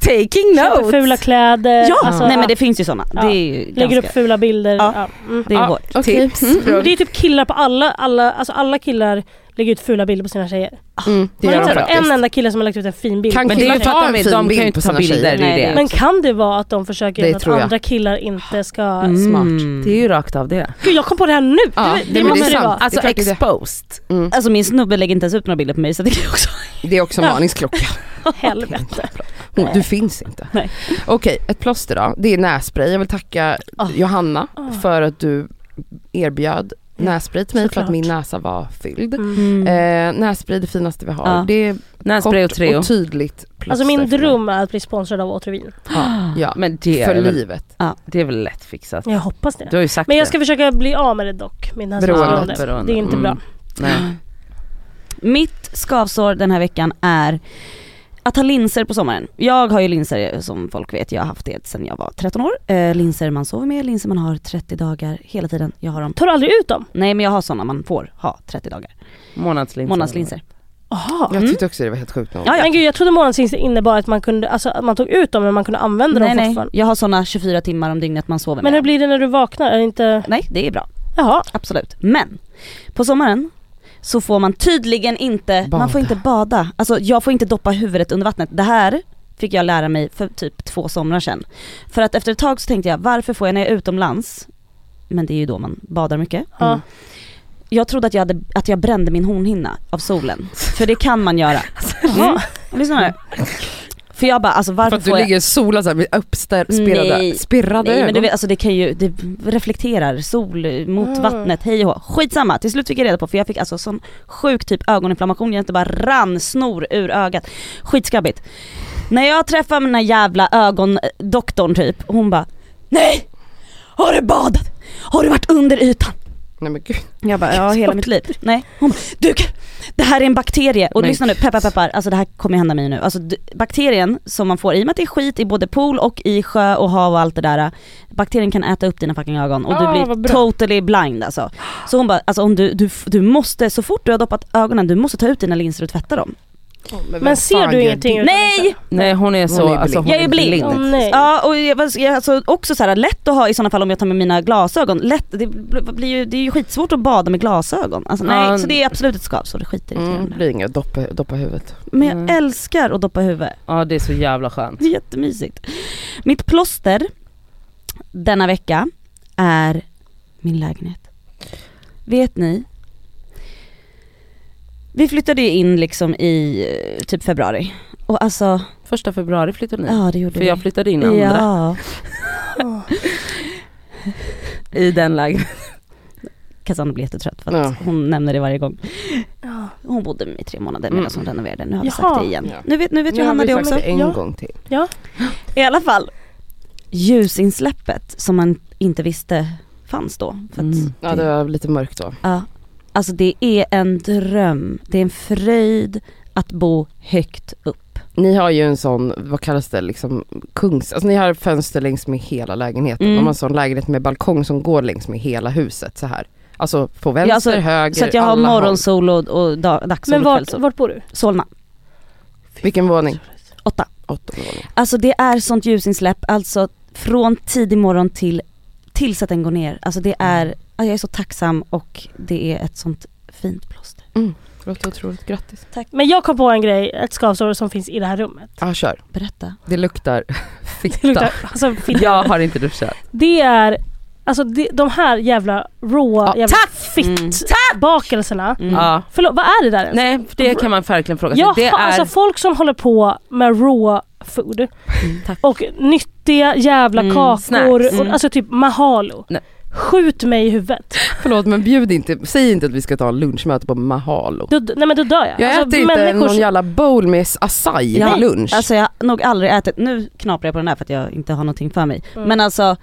[SPEAKER 3] taking
[SPEAKER 2] Köper fula
[SPEAKER 3] notes.
[SPEAKER 2] kläder.
[SPEAKER 1] Eh, Ja,
[SPEAKER 2] alltså,
[SPEAKER 1] nej men det finns ju sådana.
[SPEAKER 2] Ja.
[SPEAKER 1] Det är ju
[SPEAKER 2] lägger
[SPEAKER 1] ganska,
[SPEAKER 2] upp fula bilder.
[SPEAKER 1] Ja.
[SPEAKER 2] Ja. Mm.
[SPEAKER 1] det är
[SPEAKER 3] Ja.
[SPEAKER 1] vårt.
[SPEAKER 4] Okej.
[SPEAKER 3] Tips.
[SPEAKER 4] Mm.
[SPEAKER 2] Men Det är typ killar på alla, alla, alltså alla killar lägger ut fula bilder på sina tjejer.
[SPEAKER 4] Mm, det
[SPEAKER 2] Man
[SPEAKER 4] gör
[SPEAKER 2] har
[SPEAKER 4] de
[SPEAKER 2] inte sett en
[SPEAKER 4] faktiskt.
[SPEAKER 2] enda kille som har lagt ut en fin bild.
[SPEAKER 4] Kan
[SPEAKER 3] Men det är ju
[SPEAKER 4] killar
[SPEAKER 3] för
[SPEAKER 4] ta
[SPEAKER 3] att
[SPEAKER 4] en
[SPEAKER 3] de, de
[SPEAKER 4] fin
[SPEAKER 3] kan ju
[SPEAKER 4] bild
[SPEAKER 3] inte
[SPEAKER 4] på
[SPEAKER 3] ta
[SPEAKER 4] sina
[SPEAKER 3] bilder.
[SPEAKER 4] tjejer?
[SPEAKER 3] Det är
[SPEAKER 1] Nej,
[SPEAKER 3] ju
[SPEAKER 1] det
[SPEAKER 3] det.
[SPEAKER 2] Men kan det vara att de försöker
[SPEAKER 4] Det
[SPEAKER 2] att
[SPEAKER 4] tror jag. Mm.
[SPEAKER 2] andra killar inte ska...
[SPEAKER 1] Mm.
[SPEAKER 3] Smart. Det är ju rakt av det.
[SPEAKER 2] Gud jag kom på det här nu!
[SPEAKER 4] Ja,
[SPEAKER 2] det
[SPEAKER 4] nej,
[SPEAKER 2] det,
[SPEAKER 4] men det är
[SPEAKER 2] måste det,
[SPEAKER 4] sant.
[SPEAKER 2] vara.
[SPEAKER 3] Alltså
[SPEAKER 4] Det är klart det är det.
[SPEAKER 3] exposed.
[SPEAKER 4] Mm.
[SPEAKER 1] Alltså min snubbe lägger inte ens upp några bilder på mig så det kan jag också
[SPEAKER 4] Det är också en varningsklocka.
[SPEAKER 2] Helvete.
[SPEAKER 4] Hon, du finns inte.
[SPEAKER 1] Nej.
[SPEAKER 4] Okej, ett plåster då. Det är nässpray. Jag vill tacka
[SPEAKER 1] Ah.
[SPEAKER 4] Johanna
[SPEAKER 2] Ah.
[SPEAKER 4] för att du erbjöd nässpray till mig för att
[SPEAKER 2] såklart.
[SPEAKER 4] min näsa var fylld.
[SPEAKER 2] Mm.
[SPEAKER 4] Eh, nässpray är det finaste vi har.
[SPEAKER 1] Ja.
[SPEAKER 4] Det är
[SPEAKER 3] Nässpray och
[SPEAKER 4] kort
[SPEAKER 3] Treo.
[SPEAKER 4] och tydligt plåster.
[SPEAKER 2] Alltså min
[SPEAKER 4] för mig.
[SPEAKER 2] dröm är att bli sponsrad av Återvin.
[SPEAKER 4] Ja, ja.
[SPEAKER 3] Men det
[SPEAKER 4] för
[SPEAKER 3] är, väl,
[SPEAKER 4] livet.
[SPEAKER 3] det är väl lätt fixat.
[SPEAKER 2] Jag hoppas det.
[SPEAKER 3] Du har ju sagt
[SPEAKER 2] Men jag
[SPEAKER 3] det.
[SPEAKER 2] ska försöka bli av med det dock. Min
[SPEAKER 4] Beroendet,
[SPEAKER 2] näsberoende.
[SPEAKER 3] beroende.
[SPEAKER 2] Det är inte bra.
[SPEAKER 3] Mm. Nej.
[SPEAKER 1] Mitt skavsår den här veckan är att ha linser på sommaren. Jag har ju linser som folk vet, jag har haft det sedan jag var 13 år. Eh, linser man sover med, linser man har 30 dagar hela tiden. Jag har dem.
[SPEAKER 2] Tar du aldrig ut dem?
[SPEAKER 1] Nej men jag har sådana man får ha 30 dagar.
[SPEAKER 3] Månadslinser.
[SPEAKER 1] Månadslinser.
[SPEAKER 2] Jaha.
[SPEAKER 4] Jag
[SPEAKER 1] Mm.
[SPEAKER 4] tyckte också det var helt sjukt nog.
[SPEAKER 1] Ja, ja.
[SPEAKER 2] Men gud jag trodde månadsvinst innebar att man kunde, alltså att man tog ut dem men man kunde använda
[SPEAKER 1] Nej
[SPEAKER 2] dem
[SPEAKER 1] nej,
[SPEAKER 2] fortfarande.
[SPEAKER 1] jag har sådana 24 timmar om dygnet man sover
[SPEAKER 2] Men hur
[SPEAKER 1] med.
[SPEAKER 2] blir det när du vaknar? Är det inte...
[SPEAKER 1] Nej det är bra,
[SPEAKER 2] Jaha.
[SPEAKER 1] absolut. Men på sommaren så får man tydligen inte, man
[SPEAKER 4] Bada.
[SPEAKER 1] får inte bada. Alltså jag får inte doppa huvudet under vattnet. Det här fick jag lära mig för typ två somrar sedan. För att efter ett tag så tänkte jag, varför får jag när jag är utomlands, men det är ju då man badar mycket. Mm.
[SPEAKER 2] Ja.
[SPEAKER 1] Jag trodde att jag, hade, att jag brände min hornhinna av solen. För det kan man göra. Mm. Lyssna nu. För jag bara, alltså varför
[SPEAKER 4] Alltså, För
[SPEAKER 1] får
[SPEAKER 4] att du
[SPEAKER 1] jag...
[SPEAKER 4] ligger och solar såhär med uppspirrade
[SPEAKER 1] Nej.
[SPEAKER 4] spirrade
[SPEAKER 1] Nej men du
[SPEAKER 4] ögon.
[SPEAKER 1] vet, alltså det kan ju, det reflekterar sol mot
[SPEAKER 2] Mm.
[SPEAKER 1] vattnet, hej och hå. Skitsamma, till slut fick jag reda på för jag fick alltså sån sjuk typ ögoninflammation, jag inte bara rann snor ur ögat. Skitskabbigt. När jag träffar den här jävla ögondoktorn typ, hon bara Nej! Har du badat? Har du varit under ytan?
[SPEAKER 4] Nej men gud.
[SPEAKER 1] Jag bara, ja hela mitt liv. Nej. Hon bara, du kan, det här är en bakterie. Och
[SPEAKER 3] Men-
[SPEAKER 1] lyssna nu, peppar peppar, alltså det här kommer hända mig nu. Alltså d- bakterien som man får, i och med att det är skit i både pool och i sjö och hav och allt det där. Bakterien kan äta upp dina fucking ögon och
[SPEAKER 2] Ah,
[SPEAKER 1] du
[SPEAKER 2] vad
[SPEAKER 1] blir
[SPEAKER 2] bra.
[SPEAKER 1] totally blind alltså. Så hon bara, alltså om du, du, f- du måste, så fort du har doppat ögonen, du måste ta ut dina linser och tvätta dem.
[SPEAKER 4] Men,
[SPEAKER 2] Men ser du ingenting? utan
[SPEAKER 1] Nej!
[SPEAKER 3] Nej hon är så,
[SPEAKER 4] Hon är blind.
[SPEAKER 3] alltså, hon
[SPEAKER 1] Jag är blind.
[SPEAKER 2] Åh nej.
[SPEAKER 1] Ja och jag, var- jag, alltså också så här, lätt att ha i sådana fall om jag tar med mina glasögon, lätt, det, bl- blir ju, det är ju skitsvårt att bada med glasögon. Alltså, nej,
[SPEAKER 3] Ja.
[SPEAKER 1] så det är absolut ett skavsår, det är skitirriterande.
[SPEAKER 4] Mm, det blir inget, doppa, doppa huvudet.
[SPEAKER 1] Men jag
[SPEAKER 3] Mm.
[SPEAKER 1] älskar att doppa huvudet.
[SPEAKER 3] Ja det är så jävla skönt.
[SPEAKER 1] Det är jättemysigt. Mitt plåster denna vecka är min lägenhet. Vet ni? Vi flyttade ju in liksom i eh, typ februari. Och alltså,
[SPEAKER 3] Första februari flyttade ni.
[SPEAKER 1] ja det gjorde
[SPEAKER 3] För
[SPEAKER 1] vi.
[SPEAKER 3] jag flyttade in andra Mm.
[SPEAKER 1] Ja,
[SPEAKER 3] i den lägenheten.
[SPEAKER 1] Cassandra blev jättetrött för att
[SPEAKER 4] Ja.
[SPEAKER 1] hon nämner det varje gång.
[SPEAKER 2] Ja.
[SPEAKER 1] Hon bodde med mig i tre månader
[SPEAKER 4] Mm.
[SPEAKER 1] medan hon renoverade. Nu har vi
[SPEAKER 2] Jaha.
[SPEAKER 1] sagt det igen.
[SPEAKER 4] Ja.
[SPEAKER 1] Nu vet, nu vet Johanna det också.
[SPEAKER 4] sagt en
[SPEAKER 2] Ja.
[SPEAKER 4] gång till.
[SPEAKER 1] I alla fall, ljusinsläppet som man inte visste fanns då. För att
[SPEAKER 3] Mm.
[SPEAKER 4] Ja det var lite mörkt då.
[SPEAKER 1] Ja. Alltså det är en dröm, det är en fröjd att bo högt upp.
[SPEAKER 4] Ni har ju en sån, vad kallas det, liksom kungs... Alltså ni har fönster längs med hela lägenheten.
[SPEAKER 1] Mm.
[SPEAKER 4] De har en sån lägenhet med balkong som går längs med hela huset så här. Alltså på vänster,
[SPEAKER 1] Ja, alltså,
[SPEAKER 4] höger,
[SPEAKER 1] Så att jag har
[SPEAKER 4] alla håll.
[SPEAKER 1] morgonsol och, och dag, dagssol
[SPEAKER 2] Men
[SPEAKER 1] och
[SPEAKER 2] vart,
[SPEAKER 1] kvällssol.
[SPEAKER 2] vart bor du?
[SPEAKER 1] Solna,
[SPEAKER 4] Vilken våning?
[SPEAKER 1] åtta.
[SPEAKER 4] Åttonde våning.
[SPEAKER 1] Alltså det är sånt ljusinsläpp, alltså från tidig morgon till tills att den går ner. Alltså det är, ja, jag är så tacksam och det är ett sånt fint plåster.
[SPEAKER 4] Det låter otroligt, grattis.
[SPEAKER 2] Men jag kom på en grej, ett skavsår som finns i det här rummet.
[SPEAKER 4] Ja ah, kör.
[SPEAKER 1] Berätta.
[SPEAKER 4] Det luktar
[SPEAKER 2] Det
[SPEAKER 4] fitta.
[SPEAKER 2] luktar, alltså, fitta.
[SPEAKER 3] Jag har inte duschat.
[SPEAKER 2] Det är, alltså det, de här jävla råa
[SPEAKER 4] Ja,
[SPEAKER 2] jävla
[SPEAKER 3] tack!
[SPEAKER 1] Mm.
[SPEAKER 2] fittbakelserna.
[SPEAKER 1] Mm.
[SPEAKER 3] Ja.
[SPEAKER 2] Förlåt, vad är det där ens?
[SPEAKER 3] Nej det kan man verkligen fråga sig.
[SPEAKER 2] Jaha,
[SPEAKER 3] det är,
[SPEAKER 2] alltså folk som håller på med raw food
[SPEAKER 3] Mm, tack.
[SPEAKER 2] och nyttiga jävla
[SPEAKER 3] Mm,
[SPEAKER 2] kakor,
[SPEAKER 3] snacks.
[SPEAKER 2] och,
[SPEAKER 3] Mm.
[SPEAKER 2] alltså typ mahalo.
[SPEAKER 3] Nej.
[SPEAKER 2] Skjut mig i huvudet.
[SPEAKER 4] Förlåt men bjud inte, säg inte att vi ska ta lunchmöte på Mahalo.
[SPEAKER 2] Då, nej men då dör jag.
[SPEAKER 4] Jag
[SPEAKER 2] Alltså,
[SPEAKER 4] äter inte
[SPEAKER 2] människor
[SPEAKER 4] någon
[SPEAKER 2] som-
[SPEAKER 4] jävla bowl med acai
[SPEAKER 1] Ja.
[SPEAKER 4] till lunch.
[SPEAKER 1] Alltså jag har nog aldrig ätit, nu knaprar jag på den här för att jag inte har någonting för mig.
[SPEAKER 2] Mm.
[SPEAKER 1] Men alltså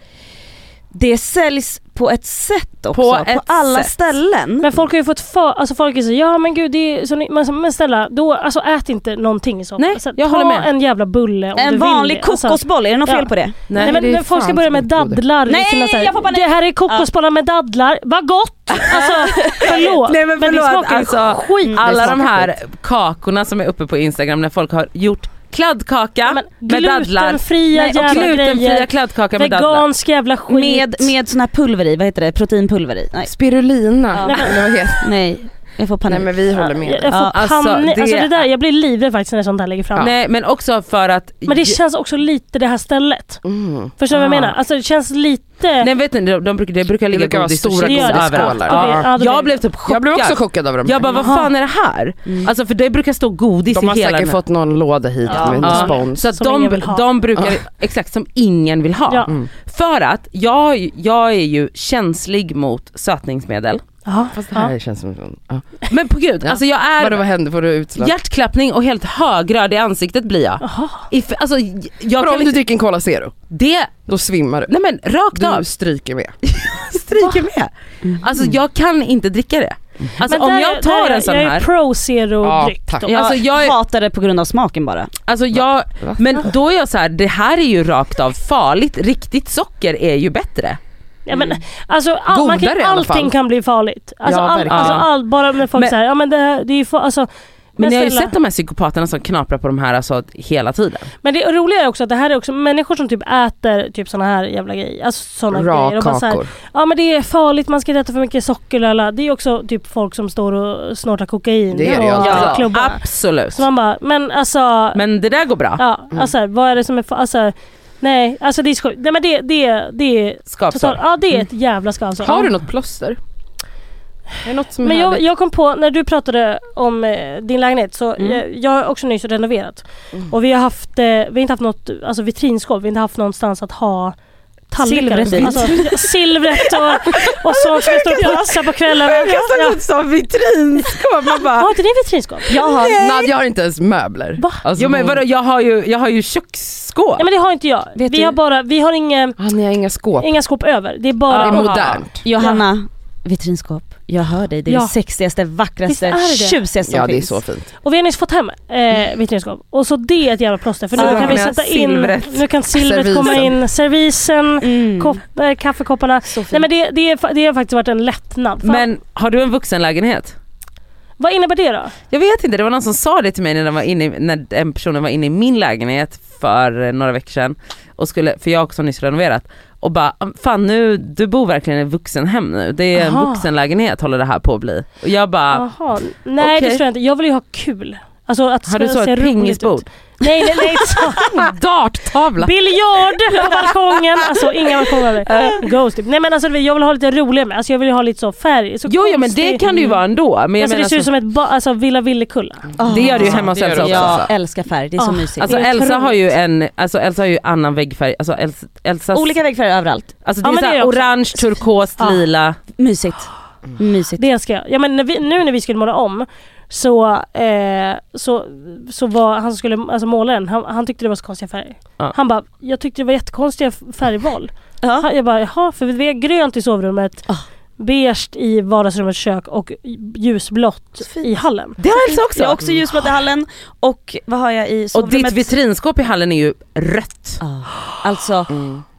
[SPEAKER 1] det säljs på ett sätt också,
[SPEAKER 3] På
[SPEAKER 1] på,
[SPEAKER 3] ett
[SPEAKER 1] alla
[SPEAKER 3] sätt.
[SPEAKER 1] ställen.
[SPEAKER 2] Men folk har ju fått för, alltså folk är så ja men gud det är så, ni- men, men snälla, då, alltså ät inte någonting i så
[SPEAKER 3] Nej,
[SPEAKER 2] alltså,
[SPEAKER 3] jag
[SPEAKER 2] Ta
[SPEAKER 3] håller med.
[SPEAKER 2] en jävla bulle om du
[SPEAKER 1] En
[SPEAKER 2] vill
[SPEAKER 1] vanlig
[SPEAKER 2] det. Alltså,
[SPEAKER 1] kokosboll, är det något
[SPEAKER 2] ja.
[SPEAKER 1] fel på det?
[SPEAKER 3] Nej,
[SPEAKER 2] Nej, men
[SPEAKER 4] det är
[SPEAKER 2] folk ska
[SPEAKER 4] fan
[SPEAKER 2] börja
[SPEAKER 4] som
[SPEAKER 2] med
[SPEAKER 4] inte gode.
[SPEAKER 2] dadlar. i
[SPEAKER 1] Nej,
[SPEAKER 2] sina så här-
[SPEAKER 1] jag får panik.
[SPEAKER 2] Det här är kokosbollar med dadlar, vad gott! Alltså förlåt.
[SPEAKER 3] Nej, men
[SPEAKER 2] det
[SPEAKER 3] förlåt,
[SPEAKER 2] smakar ju
[SPEAKER 3] alltså,
[SPEAKER 2] skit.
[SPEAKER 3] Alla
[SPEAKER 4] Det
[SPEAKER 3] de
[SPEAKER 4] smakar
[SPEAKER 3] här kakorna som är uppe på Instagram när folk har gjort Kladdkaka
[SPEAKER 2] Men
[SPEAKER 3] med dadlar.
[SPEAKER 2] Glutenfria
[SPEAKER 1] Nej, och
[SPEAKER 2] jävla
[SPEAKER 3] Glutenfria
[SPEAKER 2] grejer.
[SPEAKER 3] kladdkaka med dadlar.
[SPEAKER 2] Vegansk jävla skit.
[SPEAKER 1] Med, med sån här pulver i, vad heter det? Proteinpulver i? Nej,
[SPEAKER 4] Spirulina.
[SPEAKER 1] Ja.
[SPEAKER 4] Eller vad heter det?
[SPEAKER 1] nej. Jag får panik.
[SPEAKER 4] Nej men vi håller
[SPEAKER 2] Jag,
[SPEAKER 4] med.
[SPEAKER 2] jag får
[SPEAKER 3] Ja, alltså,
[SPEAKER 2] panik. Alltså,
[SPEAKER 3] det-
[SPEAKER 2] det där, jag blir livrädd faktiskt när sånt här lägger fram.
[SPEAKER 3] Nej men också för att...
[SPEAKER 2] Men det känns också lite det här stället.
[SPEAKER 4] Mm.
[SPEAKER 2] Förstår du vad jag
[SPEAKER 3] Ah.
[SPEAKER 2] menar? Alltså det känns lite...
[SPEAKER 3] Nej vet ni, de, de brukar, det brukar ligga
[SPEAKER 4] Det brukar vara
[SPEAKER 3] godis och
[SPEAKER 4] stora
[SPEAKER 3] chips
[SPEAKER 4] godisskålar.
[SPEAKER 3] överallt.
[SPEAKER 4] Ja,
[SPEAKER 2] det- ja, det blir-
[SPEAKER 3] Jag blev typ chockad.
[SPEAKER 4] Jag blev också chockad över dem.
[SPEAKER 3] Jag bara vad fan är det här?
[SPEAKER 1] Mm.
[SPEAKER 3] Alltså för det brukar stå godis
[SPEAKER 4] De har
[SPEAKER 3] i hela
[SPEAKER 4] säkert
[SPEAKER 3] den här-
[SPEAKER 4] fått någon låda hit
[SPEAKER 2] Ja.
[SPEAKER 4] med
[SPEAKER 3] Ja.
[SPEAKER 4] spons.
[SPEAKER 3] Så att
[SPEAKER 2] Som ingen
[SPEAKER 3] de,
[SPEAKER 2] vill ha.
[SPEAKER 3] de brukar, exakt som ingen vill ha.
[SPEAKER 2] Ja.
[SPEAKER 4] Mm.
[SPEAKER 3] För att jag, jag är ju känslig mot sötningsmedel.
[SPEAKER 2] Ja.
[SPEAKER 3] alltså,
[SPEAKER 4] Fast det
[SPEAKER 2] Ja.
[SPEAKER 4] här känns som... Ja.
[SPEAKER 3] Men på gud,
[SPEAKER 4] Ja.
[SPEAKER 3] alltså jag är
[SPEAKER 4] Vadå vad händer? Får du utslag?
[SPEAKER 3] hjärtklappning och helt högröd i ansiktet blir jag.
[SPEAKER 2] Jaha.
[SPEAKER 3] If, alltså, j- jag
[SPEAKER 4] Vadå,
[SPEAKER 3] kan
[SPEAKER 4] om du
[SPEAKER 3] inte,
[SPEAKER 4] dricker en Cola Zero,
[SPEAKER 3] det,
[SPEAKER 4] då svimmar du.
[SPEAKER 3] nej men rakt
[SPEAKER 4] Du
[SPEAKER 3] av,
[SPEAKER 4] stryker med.
[SPEAKER 3] stryker med. Alltså jag kan inte dricka det. Alltså
[SPEAKER 2] Mm. Men där-
[SPEAKER 3] om jag
[SPEAKER 2] där
[SPEAKER 3] tar
[SPEAKER 2] är-
[SPEAKER 3] en sån
[SPEAKER 2] Jag är
[SPEAKER 3] här,
[SPEAKER 2] pro zero
[SPEAKER 4] Ja,
[SPEAKER 2] dryck
[SPEAKER 4] tack.
[SPEAKER 2] då.
[SPEAKER 3] Ja. alltså, jag är-
[SPEAKER 1] hatar det på grund av smaken bara.
[SPEAKER 3] alltså jag,
[SPEAKER 4] Va?
[SPEAKER 3] men då är jag så här, det här är ju rakt av farligt, riktigt socker är ju bättre.
[SPEAKER 2] Ja, men,
[SPEAKER 3] Mm.
[SPEAKER 2] alltså, all, man kan,
[SPEAKER 4] Godare i alla fall.
[SPEAKER 2] allting kan bli farligt. Alltså,
[SPEAKER 4] Ja,
[SPEAKER 2] all,
[SPEAKER 4] verkligen.
[SPEAKER 2] alltså, all, bara när folk
[SPEAKER 3] Men-
[SPEAKER 2] säger ja men det, det är ju fa- alltså,
[SPEAKER 3] Men
[SPEAKER 2] men,
[SPEAKER 3] ni har ju
[SPEAKER 2] snälla.
[SPEAKER 3] sett de här psykopaterna som knaprar på de här alltså hela tiden.
[SPEAKER 2] men det roliga är också att det här är också människor som typ äter typ såna här jävla grejer. Alltså såna grejer.
[SPEAKER 4] Ra
[SPEAKER 2] Och bara så här,
[SPEAKER 4] kakor.
[SPEAKER 2] ja men det är farligt, man ska inte äta för mycket socker lala. Det är ju också typ folk som står och snortar kokain
[SPEAKER 4] Det är
[SPEAKER 2] på
[SPEAKER 4] det ju alltid.
[SPEAKER 3] Ja,
[SPEAKER 2] klubbarna.
[SPEAKER 3] Alltså, absolut.
[SPEAKER 2] Så man bara, men alltså,
[SPEAKER 3] Men det där går bra.
[SPEAKER 2] ja,
[SPEAKER 4] Mm.
[SPEAKER 2] alltså vad är det som är fa- alltså, nej, alltså det är sjukt. Nej men det, det, det är
[SPEAKER 3] Skapsår.
[SPEAKER 2] totalt, ja det är ett jävla skavsår.
[SPEAKER 4] Har du något plåster? Är det något som är
[SPEAKER 2] Men jag,
[SPEAKER 4] härligt?
[SPEAKER 2] jag kom på, när du pratade om eh, din lägenhet, så jag, jag har också nyss renoverat. Och vi har haft, eh, vi har inte haft något alltså vitrinskåp, vi har inte haft någonstans att ha tallrikar.
[SPEAKER 1] Silvret i.
[SPEAKER 2] Alltså, ja, silvret och, och sånt som jag står och putsar på kvällarna. Ja.
[SPEAKER 3] ut som vitrinskåp. Man bara,
[SPEAKER 2] Har inte ni vitrinskåp?
[SPEAKER 1] Jag har,
[SPEAKER 4] Nadja har inte ens möbler.
[SPEAKER 2] Va?
[SPEAKER 4] Alltså,
[SPEAKER 3] jo men
[SPEAKER 4] hon-
[SPEAKER 3] vadå jag har ju, jag har ju köksskåp.
[SPEAKER 2] Ja men det har inte jag.
[SPEAKER 4] Vet
[SPEAKER 2] vi
[SPEAKER 4] du-
[SPEAKER 2] har bara, vi har inga,
[SPEAKER 4] Ah, ni har inga skåp.
[SPEAKER 2] inga skåp över. Det är
[SPEAKER 4] Det
[SPEAKER 2] bara...
[SPEAKER 4] är
[SPEAKER 3] Ja.
[SPEAKER 4] modernt.
[SPEAKER 1] Johanna, vitrinskåp. Jag hör dig, det är
[SPEAKER 2] Ja.
[SPEAKER 1] det sexigaste, vackraste,
[SPEAKER 2] Visst är det?
[SPEAKER 1] tjusigaste som
[SPEAKER 4] Ja det är
[SPEAKER 1] finns.
[SPEAKER 4] så fint.
[SPEAKER 2] Och vi har nyss fått hem eh, vitrinskåp. Och så det är ett jävla plåster för nu
[SPEAKER 3] Så
[SPEAKER 2] kan vi
[SPEAKER 3] menar jag
[SPEAKER 2] sätta in,
[SPEAKER 3] silvret.
[SPEAKER 2] nu kan silvret
[SPEAKER 4] Servisen.
[SPEAKER 2] komma in, servisen,
[SPEAKER 1] Mm.
[SPEAKER 2] kopp, eh, kaffekopparna.
[SPEAKER 1] Så fint.
[SPEAKER 2] Nej men det, det, är, fa- det har faktiskt varit en lättnad. Fan,
[SPEAKER 3] Men har du en vuxenlägenhet?
[SPEAKER 2] vad innebär det då?
[SPEAKER 3] Jag vet inte, det var någon som sa det till mig när, den var inne, i- när den personen var inne i min lägenhet för eh, några veckor sedan. Och skulle, för jag har också nyss renoverat. Och bara, fan nu, du bor verkligen i ett vuxenhem nu. Det är en
[SPEAKER 2] Aha.
[SPEAKER 3] vuxenlägenhet håller det här på att bli. Och jag bara,
[SPEAKER 2] Jaha, nej
[SPEAKER 3] Ah. okej.
[SPEAKER 2] det tror jag inte. Jag vill ju ha kul. Alltså att det
[SPEAKER 3] har du
[SPEAKER 2] ska
[SPEAKER 3] så
[SPEAKER 2] se
[SPEAKER 3] ett
[SPEAKER 2] roligt
[SPEAKER 3] pingisbord?
[SPEAKER 2] ut. Nej nej nej. Så.
[SPEAKER 3] Darttavla!
[SPEAKER 2] Biljard på balkongen. Alltså inga
[SPEAKER 3] Ah.
[SPEAKER 2] balkonger. Ghost typ. Nej men alltså jag vill ha lite roligare med. Alltså jag vill ju ha lite så färg. Så
[SPEAKER 3] Jo, jo men
[SPEAKER 2] konstig-
[SPEAKER 3] det kan det ju vara ändå. Men jag
[SPEAKER 2] Alltså,
[SPEAKER 3] menar,
[SPEAKER 2] det ser ut som ett ba- alltså, Villa Villekulla.
[SPEAKER 3] så- det gör du ju hemma hos
[SPEAKER 4] Det gör
[SPEAKER 3] Elsa
[SPEAKER 4] det
[SPEAKER 3] också.
[SPEAKER 1] Jag
[SPEAKER 4] Elsa.
[SPEAKER 1] älskar färg, det är så
[SPEAKER 2] Ah,
[SPEAKER 1] mysigt.
[SPEAKER 3] Alltså
[SPEAKER 2] Det är
[SPEAKER 3] Elsa
[SPEAKER 2] otroligt.
[SPEAKER 3] har ju en alltså Elsa har ju annan väggfärg, alltså Els, Elsas,
[SPEAKER 1] Olika väggfärger överallt.
[SPEAKER 3] alltså det
[SPEAKER 2] Ja,
[SPEAKER 3] är
[SPEAKER 2] men det
[SPEAKER 3] såhär
[SPEAKER 2] är också-
[SPEAKER 3] orange, turkost,
[SPEAKER 2] Ja.
[SPEAKER 3] lila.
[SPEAKER 1] Mysigt. Mysigt.
[SPEAKER 2] Det älskar jag. Ja, men när vi, nu när vi skulle måla om så, eh, så, så var han som skulle alltså, måla den, han, han tyckte det var så konstiga färger.
[SPEAKER 3] Ja.
[SPEAKER 2] Han bara, jag tyckte det var jättekonstiga f- färgval.
[SPEAKER 1] Ja.
[SPEAKER 2] Han- Jag bara, jaha, för vi har grönt i sovrummet,
[SPEAKER 1] Ah.
[SPEAKER 2] beige i vardagsrummet och kök och ljusblått
[SPEAKER 1] Så fint.
[SPEAKER 2] i hallen.
[SPEAKER 3] Det har Elsa också.
[SPEAKER 1] Jag har också ljusblått i hallen och vad har jag i
[SPEAKER 3] och
[SPEAKER 1] sovrummet?
[SPEAKER 3] ditt vitrinskåp i hallen är ju rött.
[SPEAKER 1] Ja. Alltså,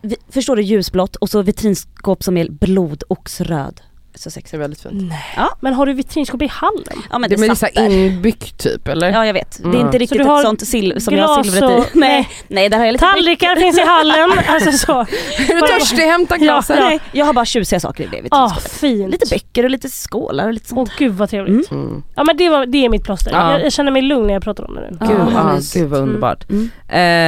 [SPEAKER 1] vi, förstår du ljusblått och så vitrinskåp som är blodoxröd. Så
[SPEAKER 4] Det är
[SPEAKER 1] sexigt.
[SPEAKER 4] väldigt fint.
[SPEAKER 2] Men har du vitrinskåp i hallen?
[SPEAKER 1] Ja men
[SPEAKER 4] Det
[SPEAKER 1] det,
[SPEAKER 4] är
[SPEAKER 1] det
[SPEAKER 4] så
[SPEAKER 1] satt
[SPEAKER 4] här
[SPEAKER 1] där.
[SPEAKER 4] inbyggt typ eller?
[SPEAKER 1] Ja jag vet, det
[SPEAKER 4] Mm.
[SPEAKER 1] är inte
[SPEAKER 2] du
[SPEAKER 1] riktigt
[SPEAKER 2] har
[SPEAKER 1] ett sånt silver som jag har
[SPEAKER 2] glas
[SPEAKER 1] silvret i.
[SPEAKER 2] och-
[SPEAKER 1] Nej, nej där har jag lite
[SPEAKER 2] Tallrikar finns i hallen. Alltså så.
[SPEAKER 4] Är du törstig? Hämta glaset.
[SPEAKER 2] Ja.
[SPEAKER 1] Nej, jag har bara tjusiga saker i det
[SPEAKER 2] Ah,
[SPEAKER 1] vitrinskåpet.
[SPEAKER 2] fint.
[SPEAKER 1] Lite böcker och lite skålar och lite sånt.
[SPEAKER 2] Åh gud vad trevligt.
[SPEAKER 1] Mm.
[SPEAKER 4] Mm.
[SPEAKER 2] Ja men det, var, det är mitt plåster.
[SPEAKER 3] Ja.
[SPEAKER 2] Jag, jag känner mig lugn när jag pratar om det nu.
[SPEAKER 1] Ja,
[SPEAKER 3] Gud,
[SPEAKER 1] vad
[SPEAKER 3] ah,
[SPEAKER 1] mysigt.
[SPEAKER 3] gud vad underbart.
[SPEAKER 1] Mm.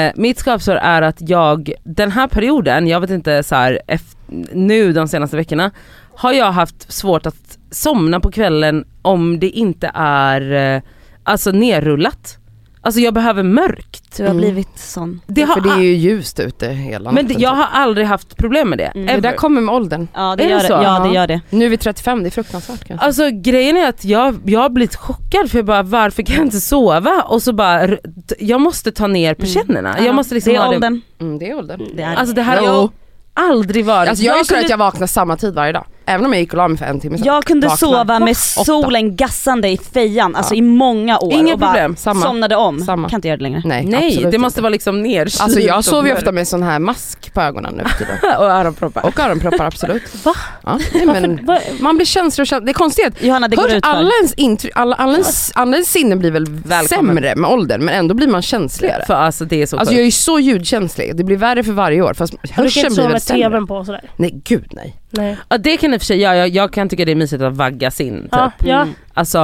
[SPEAKER 3] Eh, mitt skavsår är att jag, den här perioden, jag vet inte så här, eft- nu de senaste veckorna, har jag haft svårt att somna på kvällen om det inte är eh, alltså nerrullat. Alltså jag behöver mörkt.
[SPEAKER 1] Du har
[SPEAKER 4] Mm.
[SPEAKER 1] blivit sån.
[SPEAKER 3] Det har
[SPEAKER 4] För det är ju ljust ute hela
[SPEAKER 3] ah. Men det,
[SPEAKER 4] natten,
[SPEAKER 3] jag
[SPEAKER 4] typ.
[SPEAKER 3] har aldrig haft problem med det.
[SPEAKER 1] liksom. Mm.
[SPEAKER 3] ever.
[SPEAKER 4] Det där kommer med åldern.
[SPEAKER 1] Ja det
[SPEAKER 3] Är det
[SPEAKER 1] gör
[SPEAKER 3] så?
[SPEAKER 1] det. Ja, det,
[SPEAKER 4] Ja.
[SPEAKER 1] gör det.
[SPEAKER 4] Nu är vi 35, det är fruktansvärt kanske.
[SPEAKER 3] Alltså grejen är att jag, jag har blivit chockad för jag bara varför kan jag inte sova? Och så bara, r- t- jag måste ta ner persiennerna. Jag måste liksom
[SPEAKER 1] Mm. det är
[SPEAKER 3] ha det.
[SPEAKER 1] åldern.
[SPEAKER 4] Mm, det är åldern.
[SPEAKER 1] Det är
[SPEAKER 3] Alltså det här har
[SPEAKER 4] Jo.
[SPEAKER 3] jag aldrig varit.
[SPEAKER 4] Alltså jag är ju så
[SPEAKER 3] kunde-
[SPEAKER 4] att jag vaknar samma tid varje dag. Även om jag gick och la mig för en timme sedan.
[SPEAKER 1] Jag kunde
[SPEAKER 4] Vaknar.
[SPEAKER 1] sova med
[SPEAKER 4] Åtta.
[SPEAKER 1] solen gassande i fejan, alltså
[SPEAKER 4] Ja.
[SPEAKER 1] i många år.
[SPEAKER 4] Inga
[SPEAKER 1] och bara
[SPEAKER 4] problem, samma.
[SPEAKER 1] Somnade om,
[SPEAKER 4] Samma.
[SPEAKER 1] kan inte göra det längre.
[SPEAKER 4] Nej,
[SPEAKER 3] Nej
[SPEAKER 4] absolut
[SPEAKER 3] det
[SPEAKER 4] inte.
[SPEAKER 3] måste vara liksom nerkylt.
[SPEAKER 4] Alltså jag sover ju
[SPEAKER 3] och-
[SPEAKER 4] ofta med sån här mask på ögonen nu för tiden.
[SPEAKER 3] Och öronproppar.
[SPEAKER 4] Och öronproppar absolut.
[SPEAKER 2] Va?
[SPEAKER 4] Ja, nej, men
[SPEAKER 2] Va-
[SPEAKER 4] man blir känslokänslig. Det är konstigt.
[SPEAKER 1] Johanna det går
[SPEAKER 4] Hör,
[SPEAKER 1] ut för.
[SPEAKER 4] alla ens, intry- alla, alla, ens, alla ens sinnen blir väl
[SPEAKER 3] Välkommen.
[SPEAKER 4] sämre med åldern men ändå blir man känsligare.
[SPEAKER 3] För alltså det är så
[SPEAKER 4] Alltså
[SPEAKER 3] sjukt.
[SPEAKER 4] jag är ju så ljudkänslig, det blir värre för varje år fast
[SPEAKER 2] Du kan
[SPEAKER 4] hörseln
[SPEAKER 2] inte
[SPEAKER 4] blir
[SPEAKER 2] sova
[SPEAKER 4] väl
[SPEAKER 2] med
[SPEAKER 4] sämre.
[SPEAKER 2] tvn på och sådär.
[SPEAKER 4] Nej gud nej.
[SPEAKER 2] Nej.
[SPEAKER 3] Ja, det kan i och för sig, ja, jag, jag kan tycka det är mysigt att vaggas in typ.
[SPEAKER 2] Ja, ja.
[SPEAKER 1] Mm.
[SPEAKER 3] Alltså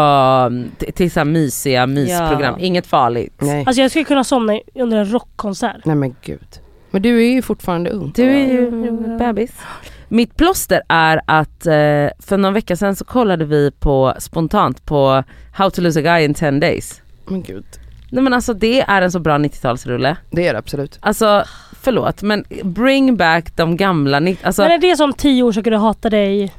[SPEAKER 3] t- till såhär mysiga mysprogram,
[SPEAKER 1] Ja.
[SPEAKER 3] inget farligt.
[SPEAKER 4] Nej.
[SPEAKER 2] Alltså jag skulle kunna somna i- under en rockkonsert.
[SPEAKER 4] nej men gud. Men du är ju fortfarande ung.
[SPEAKER 3] Du är ju
[SPEAKER 2] Jo, jo.
[SPEAKER 3] bebis. Mitt plåster är att eh, för någon vecka sedan så kollade vi på spontant på How to lose a guy in 10 days.
[SPEAKER 4] Men gud,
[SPEAKER 3] Nej men alltså det är en så bra 90-talsrulle.
[SPEAKER 4] det är det absolut.
[SPEAKER 3] Alltså förlåt men bring back de gamla 90 alltså,
[SPEAKER 2] Men är det som tio år så kunde hata dig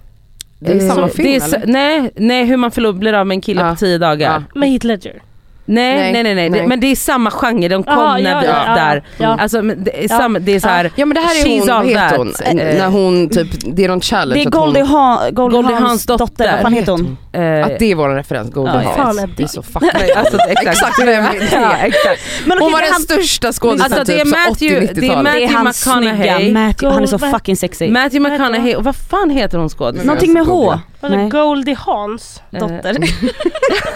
[SPEAKER 4] Det är
[SPEAKER 3] eh,
[SPEAKER 4] samma film
[SPEAKER 3] det är, så-
[SPEAKER 4] eller?
[SPEAKER 3] Nej, nej hur man förlorar blir av med en kille
[SPEAKER 4] Ja.
[SPEAKER 3] på 10 dagar.
[SPEAKER 4] Ja.
[SPEAKER 2] med Heath Ledger?
[SPEAKER 3] Nej,
[SPEAKER 4] Nej,
[SPEAKER 3] nej nej nej,
[SPEAKER 4] nej.
[SPEAKER 3] Det, men det är samma genre, de kom
[SPEAKER 2] Jaha,
[SPEAKER 3] när
[SPEAKER 2] ja,
[SPEAKER 3] vi
[SPEAKER 2] ja, ja,
[SPEAKER 3] där.
[SPEAKER 2] ja.
[SPEAKER 3] Alltså men det är,
[SPEAKER 2] Ja.
[SPEAKER 3] samma, det är så här,
[SPEAKER 4] Ja men det här är
[SPEAKER 3] She's
[SPEAKER 4] hon,
[SPEAKER 3] all
[SPEAKER 4] vad heter
[SPEAKER 3] that.
[SPEAKER 4] hon?
[SPEAKER 3] Eh,
[SPEAKER 4] när hon typ, det är någon challenge.
[SPEAKER 1] Det är
[SPEAKER 4] att
[SPEAKER 1] Goldie,
[SPEAKER 4] hon,
[SPEAKER 1] ha, Goldie,
[SPEAKER 3] Goldie
[SPEAKER 1] Hawns
[SPEAKER 3] Hawns
[SPEAKER 1] dotter,
[SPEAKER 3] dotter.
[SPEAKER 1] vad fan heter hon?
[SPEAKER 3] eh,
[SPEAKER 4] Att det är vår referens, Goldie
[SPEAKER 1] Ja,
[SPEAKER 4] ja,
[SPEAKER 1] jag
[SPEAKER 4] Hawn.
[SPEAKER 2] Fan, är
[SPEAKER 4] Det är
[SPEAKER 2] det-
[SPEAKER 4] så fucking
[SPEAKER 3] Nej, alltså, exakt.
[SPEAKER 4] Exakt vem det är.
[SPEAKER 3] ja, exakt.
[SPEAKER 1] Men
[SPEAKER 4] Hon
[SPEAKER 1] okej,
[SPEAKER 4] var
[SPEAKER 1] det är
[SPEAKER 4] den
[SPEAKER 1] han-
[SPEAKER 4] största skådisen
[SPEAKER 3] Alltså, det är
[SPEAKER 4] typ, så
[SPEAKER 3] Matthew-
[SPEAKER 4] 80-90-talet.
[SPEAKER 3] det är
[SPEAKER 1] det är
[SPEAKER 3] Matthew
[SPEAKER 1] han
[SPEAKER 3] McConaughey.
[SPEAKER 1] snygga, Matthew, han är så
[SPEAKER 2] Goldie-
[SPEAKER 1] fucking sexy.
[SPEAKER 3] Matthew
[SPEAKER 2] Vad heter
[SPEAKER 3] McConaughey, och vad fan heter hon skådisen?
[SPEAKER 1] Någonting med H.
[SPEAKER 4] Googla.
[SPEAKER 2] Var det
[SPEAKER 1] Nej.
[SPEAKER 2] Alltså, Goldie Hans?
[SPEAKER 3] Eh,
[SPEAKER 1] Dotter.
[SPEAKER 3] Så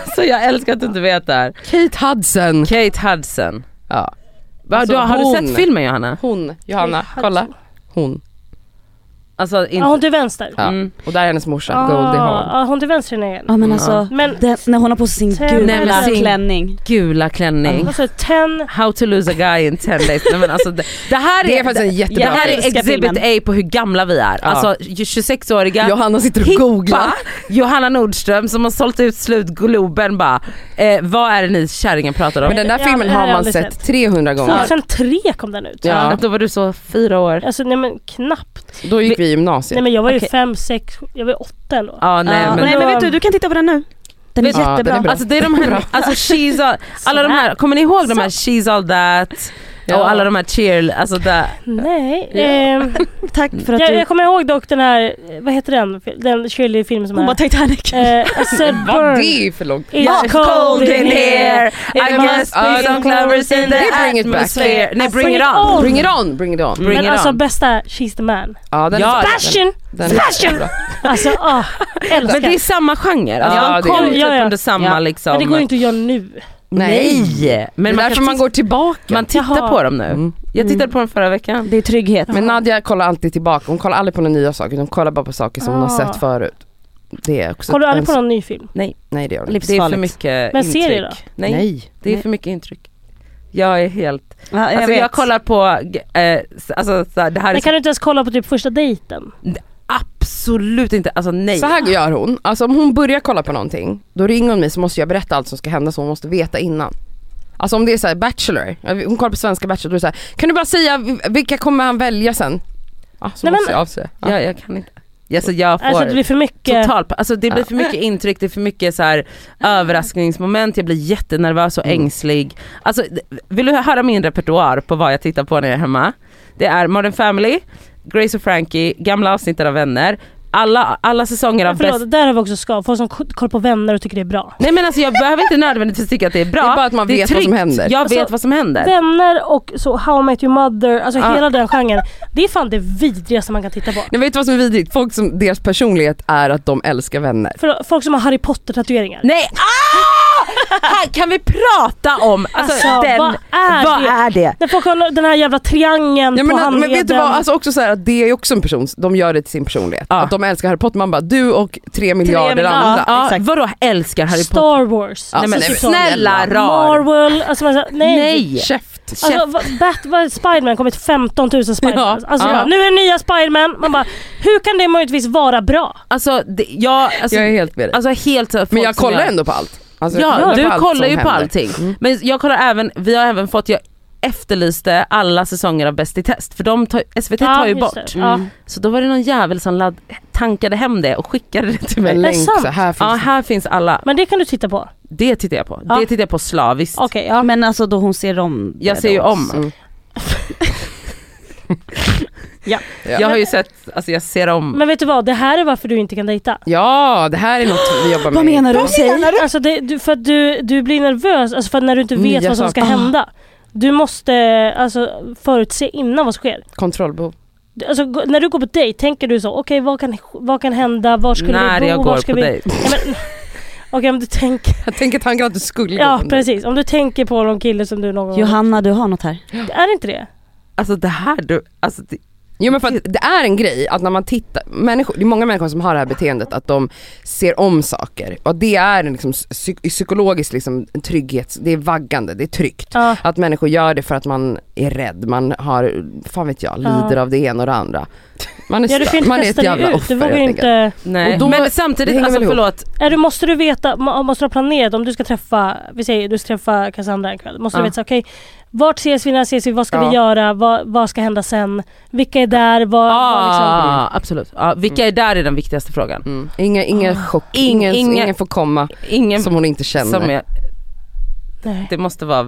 [SPEAKER 3] Alltså, jag älskar att du inte vet det här.
[SPEAKER 4] Kate Hudson.
[SPEAKER 3] Kate Hudson.
[SPEAKER 4] Ja.
[SPEAKER 3] Va,
[SPEAKER 4] Alltså,
[SPEAKER 3] du, har
[SPEAKER 4] hon-
[SPEAKER 3] du sett filmen Johanna?
[SPEAKER 4] Hon, Johanna, kolla. Hon.
[SPEAKER 3] Alltså
[SPEAKER 2] Ja, hon
[SPEAKER 3] inte...
[SPEAKER 2] till vänster.
[SPEAKER 4] Ja.
[SPEAKER 3] Mm.
[SPEAKER 4] Och där är hennes morsa,
[SPEAKER 2] Ah,
[SPEAKER 4] Goldie Hawn.
[SPEAKER 2] Ja, hon till vänster är igen.
[SPEAKER 1] Ja men alltså,
[SPEAKER 2] Men alltså-
[SPEAKER 1] den, när hon har på sig sin
[SPEAKER 2] Ten
[SPEAKER 1] gula
[SPEAKER 3] days.
[SPEAKER 1] klänning.
[SPEAKER 3] Gula klänning.
[SPEAKER 2] alltså ten...
[SPEAKER 3] How to lose a guy in 10 days. Nej, men alltså, det, det här är,
[SPEAKER 4] Det är faktiskt en
[SPEAKER 3] det
[SPEAKER 4] jättebra
[SPEAKER 3] här är
[SPEAKER 1] film. Älskar
[SPEAKER 3] exhibit A på hur gamla vi är.
[SPEAKER 4] Ja.
[SPEAKER 3] Alltså 26-åriga
[SPEAKER 4] Johanna sitter och
[SPEAKER 3] hippa
[SPEAKER 4] googlar.
[SPEAKER 3] Johanna Nordström som har sålt ut slut Globen bara. Eh, vad är det ni kärringen pratar om?
[SPEAKER 4] Men den där
[SPEAKER 2] Ja,
[SPEAKER 4] filmen
[SPEAKER 2] det här
[SPEAKER 4] har
[SPEAKER 2] har jag
[SPEAKER 4] man
[SPEAKER 2] aldrig
[SPEAKER 4] sett
[SPEAKER 2] sett.
[SPEAKER 4] 300 gånger.
[SPEAKER 2] 2003 kom den ut.
[SPEAKER 4] Ja.
[SPEAKER 3] Då var du så fyra år.
[SPEAKER 2] Alltså nej men knappt.
[SPEAKER 4] Då gick vi i
[SPEAKER 2] Nej
[SPEAKER 4] gymnasiet.
[SPEAKER 2] men jag var ju
[SPEAKER 3] Okej.
[SPEAKER 2] fem, sex, jag var åtta ändå.
[SPEAKER 3] Ja, nej,
[SPEAKER 1] Ja,
[SPEAKER 3] men,
[SPEAKER 1] nej men vet du, du kan titta på den nu. Den är
[SPEAKER 3] Vet-
[SPEAKER 1] jättebra.
[SPEAKER 4] Ja, den är bra.
[SPEAKER 3] Alltså det är de här, alltså she's all, alla de här, kommer ni ihåg de här she's all that och alla de här cheer, alltså där.
[SPEAKER 2] Nej. ehm,
[SPEAKER 1] Tack för att
[SPEAKER 2] jag,
[SPEAKER 1] du...
[SPEAKER 2] jag kommer ihåg dock den här, vad heter den? Den cheerleader-filmen som
[SPEAKER 1] Hon bara
[SPEAKER 2] är...
[SPEAKER 1] Titanic.
[SPEAKER 2] Eh, I said
[SPEAKER 4] Vad
[SPEAKER 2] burn.
[SPEAKER 4] det är för långt.
[SPEAKER 2] It's cold in here.
[SPEAKER 3] I must be some clovers in the
[SPEAKER 4] Bring it back.
[SPEAKER 3] atmosphere. Nej
[SPEAKER 2] Alltså,
[SPEAKER 3] bring
[SPEAKER 2] bring
[SPEAKER 3] it
[SPEAKER 2] it
[SPEAKER 3] on.
[SPEAKER 2] on.
[SPEAKER 4] Bring it on, bring it on.
[SPEAKER 3] Bring
[SPEAKER 2] Men
[SPEAKER 3] it
[SPEAKER 2] alltså
[SPEAKER 3] on.
[SPEAKER 2] bästa, she's the man.
[SPEAKER 4] Ja, den
[SPEAKER 3] Ja,
[SPEAKER 4] är
[SPEAKER 2] Passion!
[SPEAKER 4] den är
[SPEAKER 2] Passion!
[SPEAKER 4] bra.
[SPEAKER 2] Alltså ah, älskar.
[SPEAKER 3] Men det är samma genre, alltså,
[SPEAKER 4] Ja,
[SPEAKER 3] de
[SPEAKER 4] det är
[SPEAKER 3] kom
[SPEAKER 2] det. Ja,
[SPEAKER 3] typ
[SPEAKER 2] ja.
[SPEAKER 3] under samma
[SPEAKER 1] Ja.
[SPEAKER 3] liksom.
[SPEAKER 2] Men det går ju inte att göra nu.
[SPEAKER 3] Nej! Men
[SPEAKER 4] Men det
[SPEAKER 3] man,
[SPEAKER 4] är därför
[SPEAKER 3] kan
[SPEAKER 4] man går tillbaka.
[SPEAKER 3] man tittar
[SPEAKER 2] Jaha.
[SPEAKER 3] på dem nu.
[SPEAKER 4] Mm.
[SPEAKER 3] Jag tittade på dem förra veckan.
[SPEAKER 2] Eh.
[SPEAKER 1] Det är trygghet.
[SPEAKER 4] Men Nadja kollar alltid tillbaka, hon kollar aldrig på några nya saker, hon kollar bara på saker som hon har
[SPEAKER 2] Ah.
[SPEAKER 4] sett förut. Det är också
[SPEAKER 2] Kollar du
[SPEAKER 4] en-
[SPEAKER 2] aldrig på någon ny film?
[SPEAKER 4] Nej det gör hon
[SPEAKER 3] Det
[SPEAKER 4] inte.
[SPEAKER 3] är för
[SPEAKER 1] Livsfarligt.
[SPEAKER 3] mycket
[SPEAKER 2] Men
[SPEAKER 3] intryck.
[SPEAKER 2] serier då?
[SPEAKER 3] Nej, det är för mycket intryck. Jag är helt,
[SPEAKER 1] Ja, jag
[SPEAKER 3] alltså
[SPEAKER 1] vet.
[SPEAKER 3] jag kollar på, eh, alltså så här, det här är
[SPEAKER 2] Men kan du inte ens kolla på typ första dejten?
[SPEAKER 3] absolut inte, alltså nej.
[SPEAKER 4] Så här gör hon, alltså om hon börjar kolla på någonting, då ringer hon mig så måste jag berätta allt som ska hända så hon måste veta innan. Alltså om det är såhär Bachelor, hon kollar på svenska Bachelor, då är det så här, kan du bara säga vil- vilka kommer han välja sen? Ja, så
[SPEAKER 2] Nej,
[SPEAKER 4] måste
[SPEAKER 2] men-
[SPEAKER 4] jag avse. Ja.
[SPEAKER 3] Jag, jag kan inte. Alltså jag får
[SPEAKER 2] Alltså det blir för mycket.
[SPEAKER 3] total, alltså det blir för mycket intryck, det är för mycket så här överraskningsmoment, jag blir jättenervös
[SPEAKER 4] Mm.
[SPEAKER 3] och ängslig. Alltså vill du höra min repertoar på vad jag tittar på när jag är hemma? Det är Modern Family, Grace och Frankie, gamla avsnittet av Vänner, alla, alla säsonger
[SPEAKER 2] Men
[SPEAKER 3] av Bäst
[SPEAKER 2] förlåt, där har vi också skav. Folk som k- kollar på vänner och tycker det är bra.
[SPEAKER 3] Nej men alltså jag behöver inte nödvändigtvis tycka att det är bra.
[SPEAKER 4] Det är bara att man
[SPEAKER 3] är
[SPEAKER 4] vet vad som
[SPEAKER 3] tryggt.
[SPEAKER 4] händer.
[SPEAKER 3] Jag
[SPEAKER 2] Alltså,
[SPEAKER 3] vet vad som händer.
[SPEAKER 2] Vänner och så How I Met Your Mother, alltså
[SPEAKER 3] Ja.
[SPEAKER 2] hela den genren. Det är fan det vidrigaste man kan titta på.
[SPEAKER 4] Nej, vet du vad som är vidrigt? Folk som, deras personlighet är att de älskar vänner.
[SPEAKER 2] För folk som har Harry Potter tatueringar.
[SPEAKER 3] Nej! Ah! Här kan vi prata om alltså,
[SPEAKER 2] Alltså,
[SPEAKER 3] den,
[SPEAKER 2] vad är
[SPEAKER 3] vad
[SPEAKER 2] det?
[SPEAKER 3] är det?
[SPEAKER 2] När folk har den här jävla triangeln
[SPEAKER 4] Ja,
[SPEAKER 2] på
[SPEAKER 4] men, men
[SPEAKER 2] handleden.
[SPEAKER 4] vet du vad, alltså också så här, att det är ju också en person, de gör det till sin personlighet.
[SPEAKER 3] Ja.
[SPEAKER 4] Att de älskar Harry Potter, man bara du och tre miljarder
[SPEAKER 1] miljarder.
[SPEAKER 4] andra.
[SPEAKER 3] Ja,
[SPEAKER 1] exakt.
[SPEAKER 3] vadå älskar Harry Potter?
[SPEAKER 2] Star Wars. typ
[SPEAKER 3] Nej, men,
[SPEAKER 4] Alltså,
[SPEAKER 3] snälla rar.
[SPEAKER 2] Marvel. Alltså, man, säger, nej.
[SPEAKER 3] Nej!
[SPEAKER 4] Käft.
[SPEAKER 2] Alltså, va- Bat, vad, Spiderman har kommit 15 000 Spidermans.
[SPEAKER 3] Ja.
[SPEAKER 2] alltså,
[SPEAKER 3] Ja.
[SPEAKER 2] Nu är det nya Spiderman. Man bara, hur kan det möjligtvis vara bra?
[SPEAKER 3] Alltså det, jag, alltså,
[SPEAKER 4] Jag är helt med dig.
[SPEAKER 3] alltså helt folk
[SPEAKER 4] men jag
[SPEAKER 3] som
[SPEAKER 4] kollar ändå på allt. Alltså, jag
[SPEAKER 3] Ja, du
[SPEAKER 4] allt
[SPEAKER 3] kollar
[SPEAKER 4] som
[SPEAKER 3] ju på
[SPEAKER 4] händer.
[SPEAKER 3] allting.
[SPEAKER 4] Mm.
[SPEAKER 3] Men jag kollar även, vi har även fått, jag efterlyste alla säsonger av Bäst i test för de tar, SVT tar ju
[SPEAKER 2] just det. Mm.
[SPEAKER 3] bort. Mm.
[SPEAKER 2] Ja.
[SPEAKER 3] Så då var det någon jävel som ladd, tankade hem det och skickade det till mig.
[SPEAKER 4] En länk
[SPEAKER 2] sant?
[SPEAKER 4] så här finns
[SPEAKER 3] Ja
[SPEAKER 4] det.
[SPEAKER 3] här finns alla,
[SPEAKER 2] Men det kan du titta på.
[SPEAKER 3] det tittar jag på.
[SPEAKER 2] Ja.
[SPEAKER 3] Det tittar jag på slaviskt.
[SPEAKER 2] Okej, ja.
[SPEAKER 1] Men alltså då hon ser om det
[SPEAKER 3] Jag ser ju
[SPEAKER 1] då.
[SPEAKER 3] om.
[SPEAKER 4] Mm.
[SPEAKER 3] Jag har ju sett, alltså jag ser om.
[SPEAKER 2] Men vet du vad, det här är varför du inte kan dejta.
[SPEAKER 3] Ja, det här är något vi jobbar med.
[SPEAKER 1] Vad menar du? Säg.
[SPEAKER 2] Alltså det, du, för att du, du blir nervös alltså för att när du inte vet
[SPEAKER 3] Nya
[SPEAKER 2] vad som ska
[SPEAKER 3] saker.
[SPEAKER 2] hända. Du måste alltså, förutse innan vad som sker.
[SPEAKER 3] Kontrollbehov.
[SPEAKER 2] Du- Alltså, gå- när du går på dejt, tänker du så, okej vad, kan, vad kan hända, var skulle
[SPEAKER 3] När
[SPEAKER 2] vi bo,
[SPEAKER 3] jag
[SPEAKER 2] var
[SPEAKER 3] går
[SPEAKER 2] ska
[SPEAKER 3] på
[SPEAKER 2] vi...
[SPEAKER 3] dejt.
[SPEAKER 2] Ja, men- Okej om du tänker,
[SPEAKER 4] Jag tänker tanken att du skulle gå
[SPEAKER 2] ja
[SPEAKER 4] på det.
[SPEAKER 2] precis, om du tänker på någon kille som du någon gång...
[SPEAKER 1] Johanna du har något här.
[SPEAKER 2] Är det inte det?
[SPEAKER 3] Alltså det här du, alltså det,
[SPEAKER 4] Jo men för att det är en grej att när man tittar, människor, det är många människor som har det här beteendet att de ser om saker och det är en liksom psy- psykologiskt liksom en trygghet, det är vaggande, det är tryggt.
[SPEAKER 2] Ja.
[SPEAKER 4] Att människor gör det för att man är rädd, man har, fan vet jag, lider av det ena och det andra. Man är,
[SPEAKER 2] Ja du kan
[SPEAKER 4] stö-
[SPEAKER 2] ju
[SPEAKER 4] man
[SPEAKER 2] inte
[SPEAKER 4] är ett
[SPEAKER 2] testa
[SPEAKER 4] jävla
[SPEAKER 2] dig ut, du
[SPEAKER 4] offer
[SPEAKER 2] vågar
[SPEAKER 4] helt
[SPEAKER 2] ju
[SPEAKER 4] enkelt.
[SPEAKER 2] inte...
[SPEAKER 3] nej.
[SPEAKER 4] Och då-
[SPEAKER 3] men
[SPEAKER 4] det
[SPEAKER 3] samtidigt,
[SPEAKER 4] hänger
[SPEAKER 3] alltså
[SPEAKER 4] väl ihop.
[SPEAKER 3] förlåt.
[SPEAKER 2] Är du, måste du veta, må- måste du ha planerat om du ska träffa, vi säger du ska träffa Cassandra en kväll. Måste
[SPEAKER 3] Ja.
[SPEAKER 2] du veta så, okej, vart ses vi, när ses vi, vad ska
[SPEAKER 4] Ja.
[SPEAKER 2] vi göra, vad, vad ska hända sen, vilka är där, vad, vad liksom.
[SPEAKER 3] Ah, absolut. Ah, vilka är där är den viktigaste frågan.
[SPEAKER 4] Mm. Inga,
[SPEAKER 2] Ah.
[SPEAKER 4] inga chock,
[SPEAKER 3] Ing-
[SPEAKER 4] ingen,
[SPEAKER 3] inga-
[SPEAKER 4] ingen får komma
[SPEAKER 3] Ingen
[SPEAKER 4] som hon inte känner.
[SPEAKER 3] som är,
[SPEAKER 2] Nej.
[SPEAKER 3] det måste vara,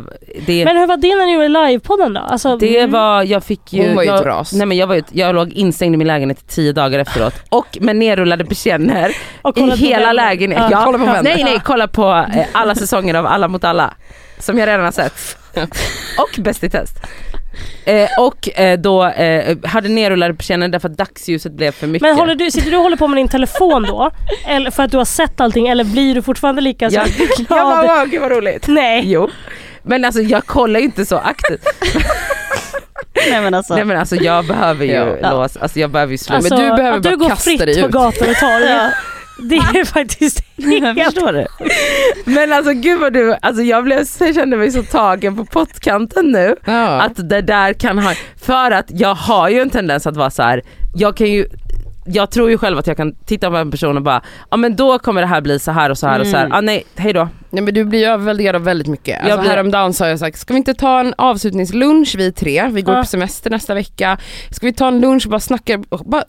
[SPEAKER 3] det,
[SPEAKER 2] Men hur var det när ni gjorde livepodden då? Alltså,
[SPEAKER 3] det
[SPEAKER 2] mm,
[SPEAKER 3] var, jag fick ju,
[SPEAKER 4] Hon var ju ett
[SPEAKER 3] jag,
[SPEAKER 4] ras.
[SPEAKER 3] nej men jag var ju, ett- jag låg instängd i min lägenhet i tio dagar efteråt och med nerrullade persienner
[SPEAKER 2] och
[SPEAKER 3] i
[SPEAKER 2] kolla på
[SPEAKER 3] hela
[SPEAKER 2] den.
[SPEAKER 3] lägenheten.
[SPEAKER 2] Ja.
[SPEAKER 3] Ja.
[SPEAKER 4] Kolla på vänner.
[SPEAKER 3] Nej nej, kolla på eh, alla säsonger av Alla mot alla. Som jag redan har sett. Och Bäst i test. Eh, och eh, då eh, hade nerrullade persienner därför att dagsljuset blev för mycket.
[SPEAKER 2] Men håller du, sitter du och håller på med din telefon då? eller för att du har sett allting eller blir du fortfarande lika så
[SPEAKER 3] jag, jag bara wow, gud vad roligt.
[SPEAKER 2] Nej.
[SPEAKER 3] Jo. Men alltså jag kollar ju inte så aktivt.
[SPEAKER 1] Nej men alltså.
[SPEAKER 3] Nej men alltså jag behöver ju
[SPEAKER 4] Ja.
[SPEAKER 3] lås, alltså jag behöver ju slå
[SPEAKER 2] Alltså,
[SPEAKER 4] du behöver
[SPEAKER 2] att du
[SPEAKER 4] bara
[SPEAKER 2] går
[SPEAKER 4] kasta
[SPEAKER 2] fritt
[SPEAKER 4] dig
[SPEAKER 2] på
[SPEAKER 4] ut.
[SPEAKER 2] gator och torg. Det är faktiskt
[SPEAKER 3] Jag
[SPEAKER 2] helt...
[SPEAKER 3] förstår det. Men alltså gud vad du, alltså jag, blev, jag kände mig så tagen på pottkanten nu.
[SPEAKER 4] Ja.
[SPEAKER 3] Att det där kan ha, för att jag har ju en tendens att vara så här. jag kan ju jag tror ju själv att jag kan titta på en person och bara, ja ah, men då kommer det här bli så här och så här och så här.
[SPEAKER 4] Mm.
[SPEAKER 3] Ah, nej, hej då.
[SPEAKER 4] Nej men du blir ju överväldigad av väldigt mycket.
[SPEAKER 3] Jag
[SPEAKER 4] Alltså,
[SPEAKER 3] blir-
[SPEAKER 4] Häromdagen sa jag så här, ska vi inte ta en avslutningslunch vi tre, vi går
[SPEAKER 2] Ja.
[SPEAKER 4] på semester nästa vecka. Ska vi ta en lunch och bara snacka, och bara,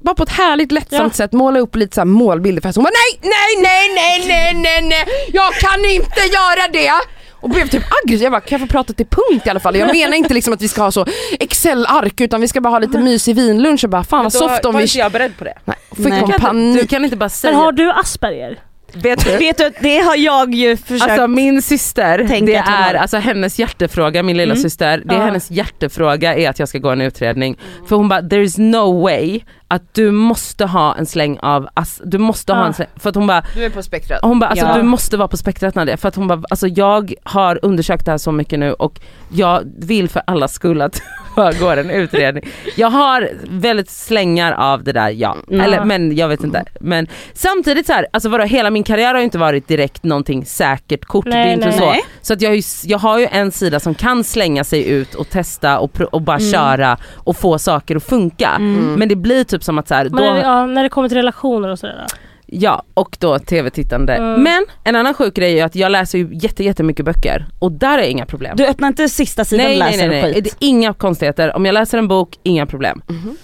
[SPEAKER 4] bara på ett härligt lättsamt sätt måla upp lite så här målbilder för att hon bara nej, nej, nej, nej, nej, nej, nej, jag kan inte göra det. Och blev typ aggressiv, jag bara kan jag få prata till punkt i alla fall? Jag menar inte liksom att vi ska ha så Excel-ark utan vi ska bara ha lite mysig vinlunch och bara fan vad soft om
[SPEAKER 3] var
[SPEAKER 4] vi...
[SPEAKER 3] inte jag beredd på det.
[SPEAKER 4] Nej, fick
[SPEAKER 1] Nej.
[SPEAKER 4] hon
[SPEAKER 3] Kan inte, du
[SPEAKER 4] panik.
[SPEAKER 3] kan inte bara
[SPEAKER 2] Men
[SPEAKER 3] säga,
[SPEAKER 2] har du Asperger?
[SPEAKER 3] vet du?
[SPEAKER 1] Vet du, det har jag ju försökt.
[SPEAKER 3] Alltså min syster,
[SPEAKER 1] Tänk
[SPEAKER 3] det
[SPEAKER 1] att hon har-
[SPEAKER 3] är alltså hennes hjärtefråga, min lilla syster, det är
[SPEAKER 2] Mm. Ja. Mm.
[SPEAKER 3] hennes hjärtefråga är att jag ska gå en utredning. För hon bara, there is no way att du måste ha en släng av, ass, du måste ha
[SPEAKER 2] Ja.
[SPEAKER 3] en släng, för att hon bara,
[SPEAKER 4] Du är på spektrat.
[SPEAKER 3] hon bara, alltså
[SPEAKER 1] Ja.
[SPEAKER 3] du måste vara på spektrat när det för att hon bara, alltså jag har undersökt det här så mycket nu och jag vill för alla skull att jag går en utredning. Jag har väldigt slängar av det där ja,
[SPEAKER 1] Mm.
[SPEAKER 3] eller men jag vet inte. Men samtidigt så här, alltså vadå hela min karriär har ju inte varit direkt någonting säkert kort,
[SPEAKER 2] Nej,
[SPEAKER 3] det är inte
[SPEAKER 2] nej,
[SPEAKER 3] så.
[SPEAKER 1] nej.
[SPEAKER 3] Så att jag, har ju, jag har ju en sida som kan slänga sig ut och testa och, pro- och bara köra och få saker att funka. Men det blir typ som att så här,
[SPEAKER 2] Men
[SPEAKER 3] då-
[SPEAKER 2] när, ja, när det kommer till relationer och sådär. då?
[SPEAKER 3] Ja, och då tv-tittande.
[SPEAKER 2] Mm.
[SPEAKER 3] Men en annan sjuk grej är ju att jag läser ju jätte, jättemycket böcker och där är inga problem.
[SPEAKER 1] du öppnar inte sista sidan och
[SPEAKER 3] nej, nej,
[SPEAKER 1] läser
[SPEAKER 3] nej, nej.
[SPEAKER 1] och
[SPEAKER 3] Det är
[SPEAKER 1] skit.
[SPEAKER 3] inga konstigheter. Om jag läser en bok, inga problem.
[SPEAKER 1] Mm.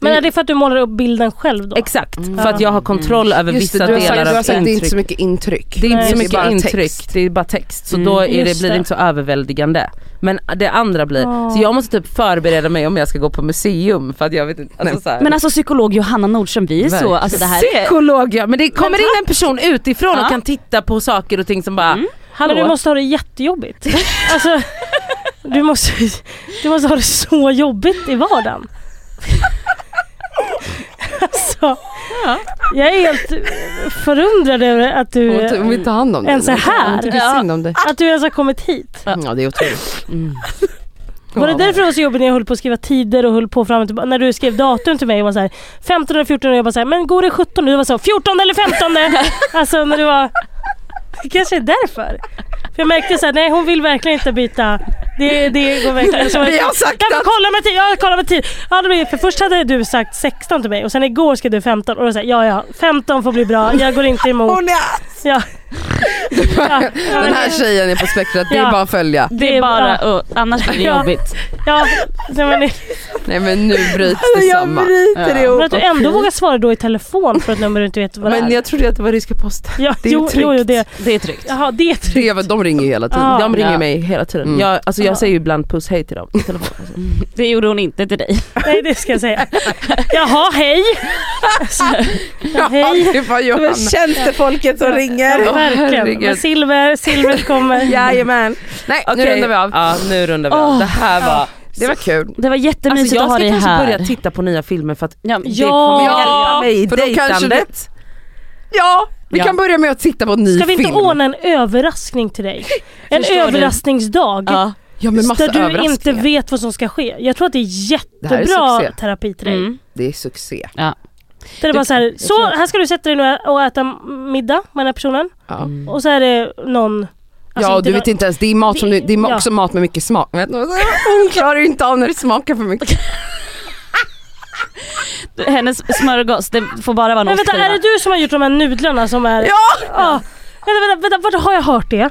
[SPEAKER 2] Men är det för att du målar upp bilden själv då?
[SPEAKER 3] Exakt, för att jag har kontroll över
[SPEAKER 4] Mm. Just
[SPEAKER 3] vissa
[SPEAKER 4] det, du har
[SPEAKER 3] delar
[SPEAKER 4] sagt, du har
[SPEAKER 3] av
[SPEAKER 4] sagt det är inte
[SPEAKER 3] intryck.
[SPEAKER 4] så mycket intryck.
[SPEAKER 3] Det är inte
[SPEAKER 2] Nej,
[SPEAKER 3] så
[SPEAKER 2] det är
[SPEAKER 3] mycket
[SPEAKER 4] bara
[SPEAKER 3] intryck,
[SPEAKER 4] text.
[SPEAKER 3] det är bara text. Så
[SPEAKER 1] Mm.
[SPEAKER 3] då är det,
[SPEAKER 2] Just
[SPEAKER 3] blir det
[SPEAKER 2] det.
[SPEAKER 3] inte så överväldigande. Men det andra blir,
[SPEAKER 2] Ah.
[SPEAKER 3] så jag måste typ förbereda mig om jag ska gå på museum för att jag vet inte. Alltså, så här.
[SPEAKER 1] Men alltså psykolog Johanna Nordström, vi är så,
[SPEAKER 3] Verkligen.
[SPEAKER 1] alltså det här är...
[SPEAKER 3] Psykolog ja, men det kommer in en person utifrån
[SPEAKER 1] Ja. Mm.
[SPEAKER 3] och kan titta på saker och ting som bara, hallå?
[SPEAKER 2] Men du måste ha det jättejobbigt. alltså, du, måste, du måste ha det så jobbigt i vardagen. alltså, jag är helt förundrad över att du,
[SPEAKER 4] Hon, hon vill ta hand om dig.
[SPEAKER 2] Än så här.
[SPEAKER 4] Hon tycker
[SPEAKER 2] Ja.
[SPEAKER 4] synd om dig.
[SPEAKER 2] att du ens har kommit hit.
[SPEAKER 4] Ja det är otroligt.
[SPEAKER 2] Var det därför det var så jobbigt när jag höll på att skriva tider och höll på fram och tillbaka? När du skrev datum till mig och var såhär 15 eller 14 och jag bara såhär, men går det 17? Du var så 14 eller 15? alltså när du var... Det kanske är därför. För jag märkte såhär, nej hon vill verkligen inte byta. Det, det går verkligen så
[SPEAKER 4] Vi har sagt
[SPEAKER 2] Nej, men
[SPEAKER 4] att-
[SPEAKER 2] kolla med tid, ja kolla med tid. Ja, det blir, för först hade du sagt 16 till mig och sen igår skrev du 15 och då sa jag, ja ja 15 får bli bra, jag går inte emot.
[SPEAKER 3] Hon är
[SPEAKER 2] Ja. Ja, ja,
[SPEAKER 4] Den här
[SPEAKER 2] men-
[SPEAKER 4] tjejen är på spektrat, det är
[SPEAKER 2] Ja.
[SPEAKER 4] bara att följa.
[SPEAKER 1] Det är bara, och, annars blir det
[SPEAKER 2] Ja.
[SPEAKER 1] jobbigt.
[SPEAKER 2] ja, nej, men,
[SPEAKER 4] Nej men nu bryts det samman.
[SPEAKER 1] bryter
[SPEAKER 4] Ja.
[SPEAKER 2] men att du ändå vågar svara då i telefon för ett nummer du inte vet vad det är.
[SPEAKER 4] Men jag trodde att det var ryska posten.
[SPEAKER 2] ja,
[SPEAKER 4] det är
[SPEAKER 2] jo, jo, jo,
[SPEAKER 4] tryggt.
[SPEAKER 2] det,
[SPEAKER 1] Det är tryggt.
[SPEAKER 2] jaha, det är tryggt.
[SPEAKER 4] Det- De ringer ju hela tiden.
[SPEAKER 2] Ja.
[SPEAKER 3] De ringer
[SPEAKER 1] Ja.
[SPEAKER 3] mig hela tiden.
[SPEAKER 4] Mm.
[SPEAKER 3] Jag, alltså
[SPEAKER 2] Ja.
[SPEAKER 3] jag säger ju ibland puss hej till dem i telefon. Alltså.
[SPEAKER 1] Det gjorde hon inte till dig.
[SPEAKER 2] Nej det ska jag säga. Jaha hej! Alltså, ja, hej!
[SPEAKER 4] Det var Johanna.
[SPEAKER 5] Tjänstefolket som ringer.
[SPEAKER 2] Ja, verkligen.
[SPEAKER 4] herregud.
[SPEAKER 2] Men silver, silver kommer.
[SPEAKER 5] Jajamän.
[SPEAKER 4] Nej nu
[SPEAKER 3] Okej,
[SPEAKER 4] rundar vi av.
[SPEAKER 3] Ja, nu rundar vi av.
[SPEAKER 1] Åh.
[SPEAKER 3] Det här var...
[SPEAKER 4] Det var kul.
[SPEAKER 1] Det var jättemysigt
[SPEAKER 3] Alltså jag
[SPEAKER 1] att ha dig
[SPEAKER 3] ska kanske
[SPEAKER 1] här.
[SPEAKER 3] börja titta på nya filmer för att
[SPEAKER 1] Ja,
[SPEAKER 3] det kommer hjälpa mig i
[SPEAKER 4] för då kanske
[SPEAKER 3] dejtandet.
[SPEAKER 4] Ja, vi
[SPEAKER 3] Ja.
[SPEAKER 4] kan börja med att titta på en ny
[SPEAKER 2] Ska vi inte
[SPEAKER 4] film.
[SPEAKER 2] ordna en överraskning till dig? En
[SPEAKER 1] Förstår du?
[SPEAKER 2] överraskningsdag.
[SPEAKER 1] ja.
[SPEAKER 4] Ja men massa
[SPEAKER 2] Där du
[SPEAKER 4] överraskningar.
[SPEAKER 2] inte vet vad som ska ske. Jag tror att det är
[SPEAKER 4] här är
[SPEAKER 2] jättebra
[SPEAKER 4] succé.
[SPEAKER 2] terapi till dig.
[SPEAKER 1] Mm.
[SPEAKER 4] Det är succé.
[SPEAKER 2] Där det bara så här, så här ska du sätta dig nu och äta middag med den här personen.
[SPEAKER 4] Ja,
[SPEAKER 2] Och så är det någon... alltså
[SPEAKER 4] Mm. ja och du
[SPEAKER 2] någon-
[SPEAKER 4] vet inte ens, det är, mat som
[SPEAKER 2] Det-
[SPEAKER 4] du, det är ma-
[SPEAKER 2] ja.
[SPEAKER 4] också mat med mycket smak. Vet du? Hon klarar ju inte av när det smakar för mycket.
[SPEAKER 1] Hennes smörgås, det får bara vara en
[SPEAKER 2] Men vänta,
[SPEAKER 1] ostskiva.
[SPEAKER 2] är det du som har gjort de här nudlarna som är...
[SPEAKER 4] Ja!
[SPEAKER 2] Ja. Vänta, vänta, vänta, vart har jag hört det?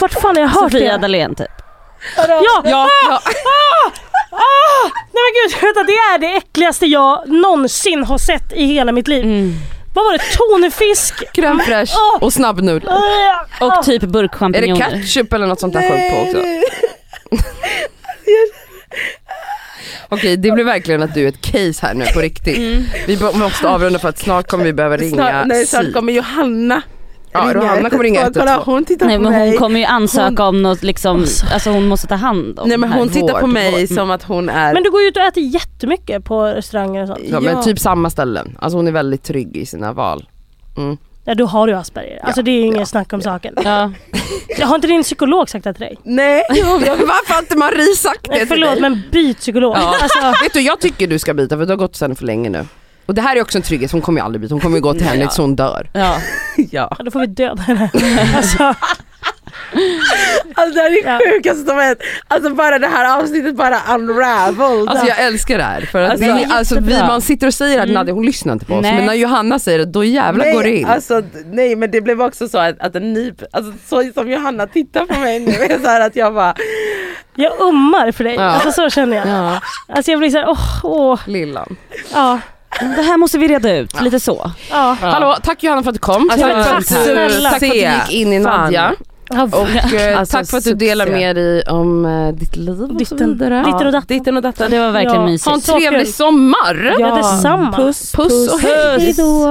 [SPEAKER 2] Vart fan har jag hört
[SPEAKER 1] Sofia
[SPEAKER 2] det?
[SPEAKER 1] Dalén typ.
[SPEAKER 2] Ja! Ah!
[SPEAKER 4] Ja, ja.
[SPEAKER 2] Nej men gud, vänta, det är det äckligaste jag någonsin har sett i hela mitt liv.
[SPEAKER 4] Mm.
[SPEAKER 2] Vad var det? Tonfisk?
[SPEAKER 4] Crème fraîche och snabbnudlar.
[SPEAKER 1] Och typ
[SPEAKER 4] Är det
[SPEAKER 1] burkchampinjoner.
[SPEAKER 4] ketchup eller något sånt där skönt på också? Okej det blir verkligen att du är ett case här nu på riktigt. Vi bo- måste avrunda för att snart kommer vi behöva ringa
[SPEAKER 5] Mm. Snart, nej,
[SPEAKER 4] Siv.
[SPEAKER 5] snart kommer Johanna.
[SPEAKER 4] Ja,
[SPEAKER 5] ringa
[SPEAKER 4] Johanna kommer ringa
[SPEAKER 5] 112. Kolla,
[SPEAKER 4] 112.
[SPEAKER 5] hon tittar
[SPEAKER 1] Nej
[SPEAKER 5] på
[SPEAKER 1] men
[SPEAKER 5] mig.
[SPEAKER 1] hon kommer ju ansöka om något liksom, alltså hon måste ta hand om
[SPEAKER 5] Nej men
[SPEAKER 1] det här.
[SPEAKER 5] hon tittar på
[SPEAKER 4] Vård,
[SPEAKER 5] mig
[SPEAKER 4] vård.
[SPEAKER 5] som att hon är...
[SPEAKER 2] Men du går ju ut och äter jättemycket på restauranger och sånt.
[SPEAKER 4] Ja, men
[SPEAKER 5] Ja.
[SPEAKER 4] typ samma ställen. Alltså hon är väldigt trygg i sina val.
[SPEAKER 2] Ja då har du Asperger. Alltså det är ju inget snack om saken.
[SPEAKER 1] Ja.
[SPEAKER 2] Jag har inte din psykolog sagt det till dig?
[SPEAKER 5] Nej,
[SPEAKER 4] Varför har inte Marie sagt det
[SPEAKER 2] Nej,
[SPEAKER 4] till
[SPEAKER 2] förlåt
[SPEAKER 4] dig?
[SPEAKER 2] men byt psykolog.
[SPEAKER 4] Ja.
[SPEAKER 2] Alltså,
[SPEAKER 4] Vet du, jag tycker du ska byta för det har gått sen för länge nu. Och det här är också en trygghet, hon kommer ju aldrig byta. Hon kommer ju gå till henne tills hon dör.
[SPEAKER 1] ja.
[SPEAKER 3] Ja.
[SPEAKER 2] ja, då får vi döda henne. Alltså,
[SPEAKER 5] alltså det här är
[SPEAKER 2] Ja.
[SPEAKER 5] det sjukaste som hänt. Alltså bara det här avsnittet bara unraveled.
[SPEAKER 4] Alltså jag älskar det här. För att
[SPEAKER 1] Alltså,
[SPEAKER 4] det, är-
[SPEAKER 1] jättebra.
[SPEAKER 4] alltså, Mm. vi, man sitter och säger att Nadja hon lyssnar inte på oss.
[SPEAKER 1] Nej.
[SPEAKER 4] Men när Johanna säger det då jävlar går det in.
[SPEAKER 5] Alltså, d- nej men det blev också så att, att en ny, alltså, så som Johanna tittar på mig nu är så här att jag bara,
[SPEAKER 2] jag ummar för dig.
[SPEAKER 4] Ja.
[SPEAKER 2] Alltså så känner jag.
[SPEAKER 4] ja,
[SPEAKER 2] Alltså jag blir såhär, åh, åh.
[SPEAKER 4] lillan.
[SPEAKER 2] Ja,
[SPEAKER 1] Det här måste vi reda ut, lite så.
[SPEAKER 2] ja.
[SPEAKER 4] Hallå, tack Johanna för att du kom.
[SPEAKER 3] Alltså,
[SPEAKER 4] tack, för
[SPEAKER 2] tack
[SPEAKER 4] att du,
[SPEAKER 2] snälla.
[SPEAKER 4] tack för att du gick in i
[SPEAKER 3] Fan.
[SPEAKER 4] Nadja.
[SPEAKER 2] ja.
[SPEAKER 4] Och eh,
[SPEAKER 3] Alltså,
[SPEAKER 4] tack för att du
[SPEAKER 3] succé.
[SPEAKER 4] delar med dig om eh, ditt liv och så
[SPEAKER 2] Ditten-
[SPEAKER 4] vidare.
[SPEAKER 2] ditten och datten.
[SPEAKER 3] Ditten och datten.
[SPEAKER 1] Det var verkligen
[SPEAKER 2] Ja.
[SPEAKER 1] mysigt.
[SPEAKER 4] Ha en
[SPEAKER 2] Så kul.
[SPEAKER 4] trevlig sommar!
[SPEAKER 2] Ja, detsamma.
[SPEAKER 4] Puss och hej!
[SPEAKER 1] Hejdå.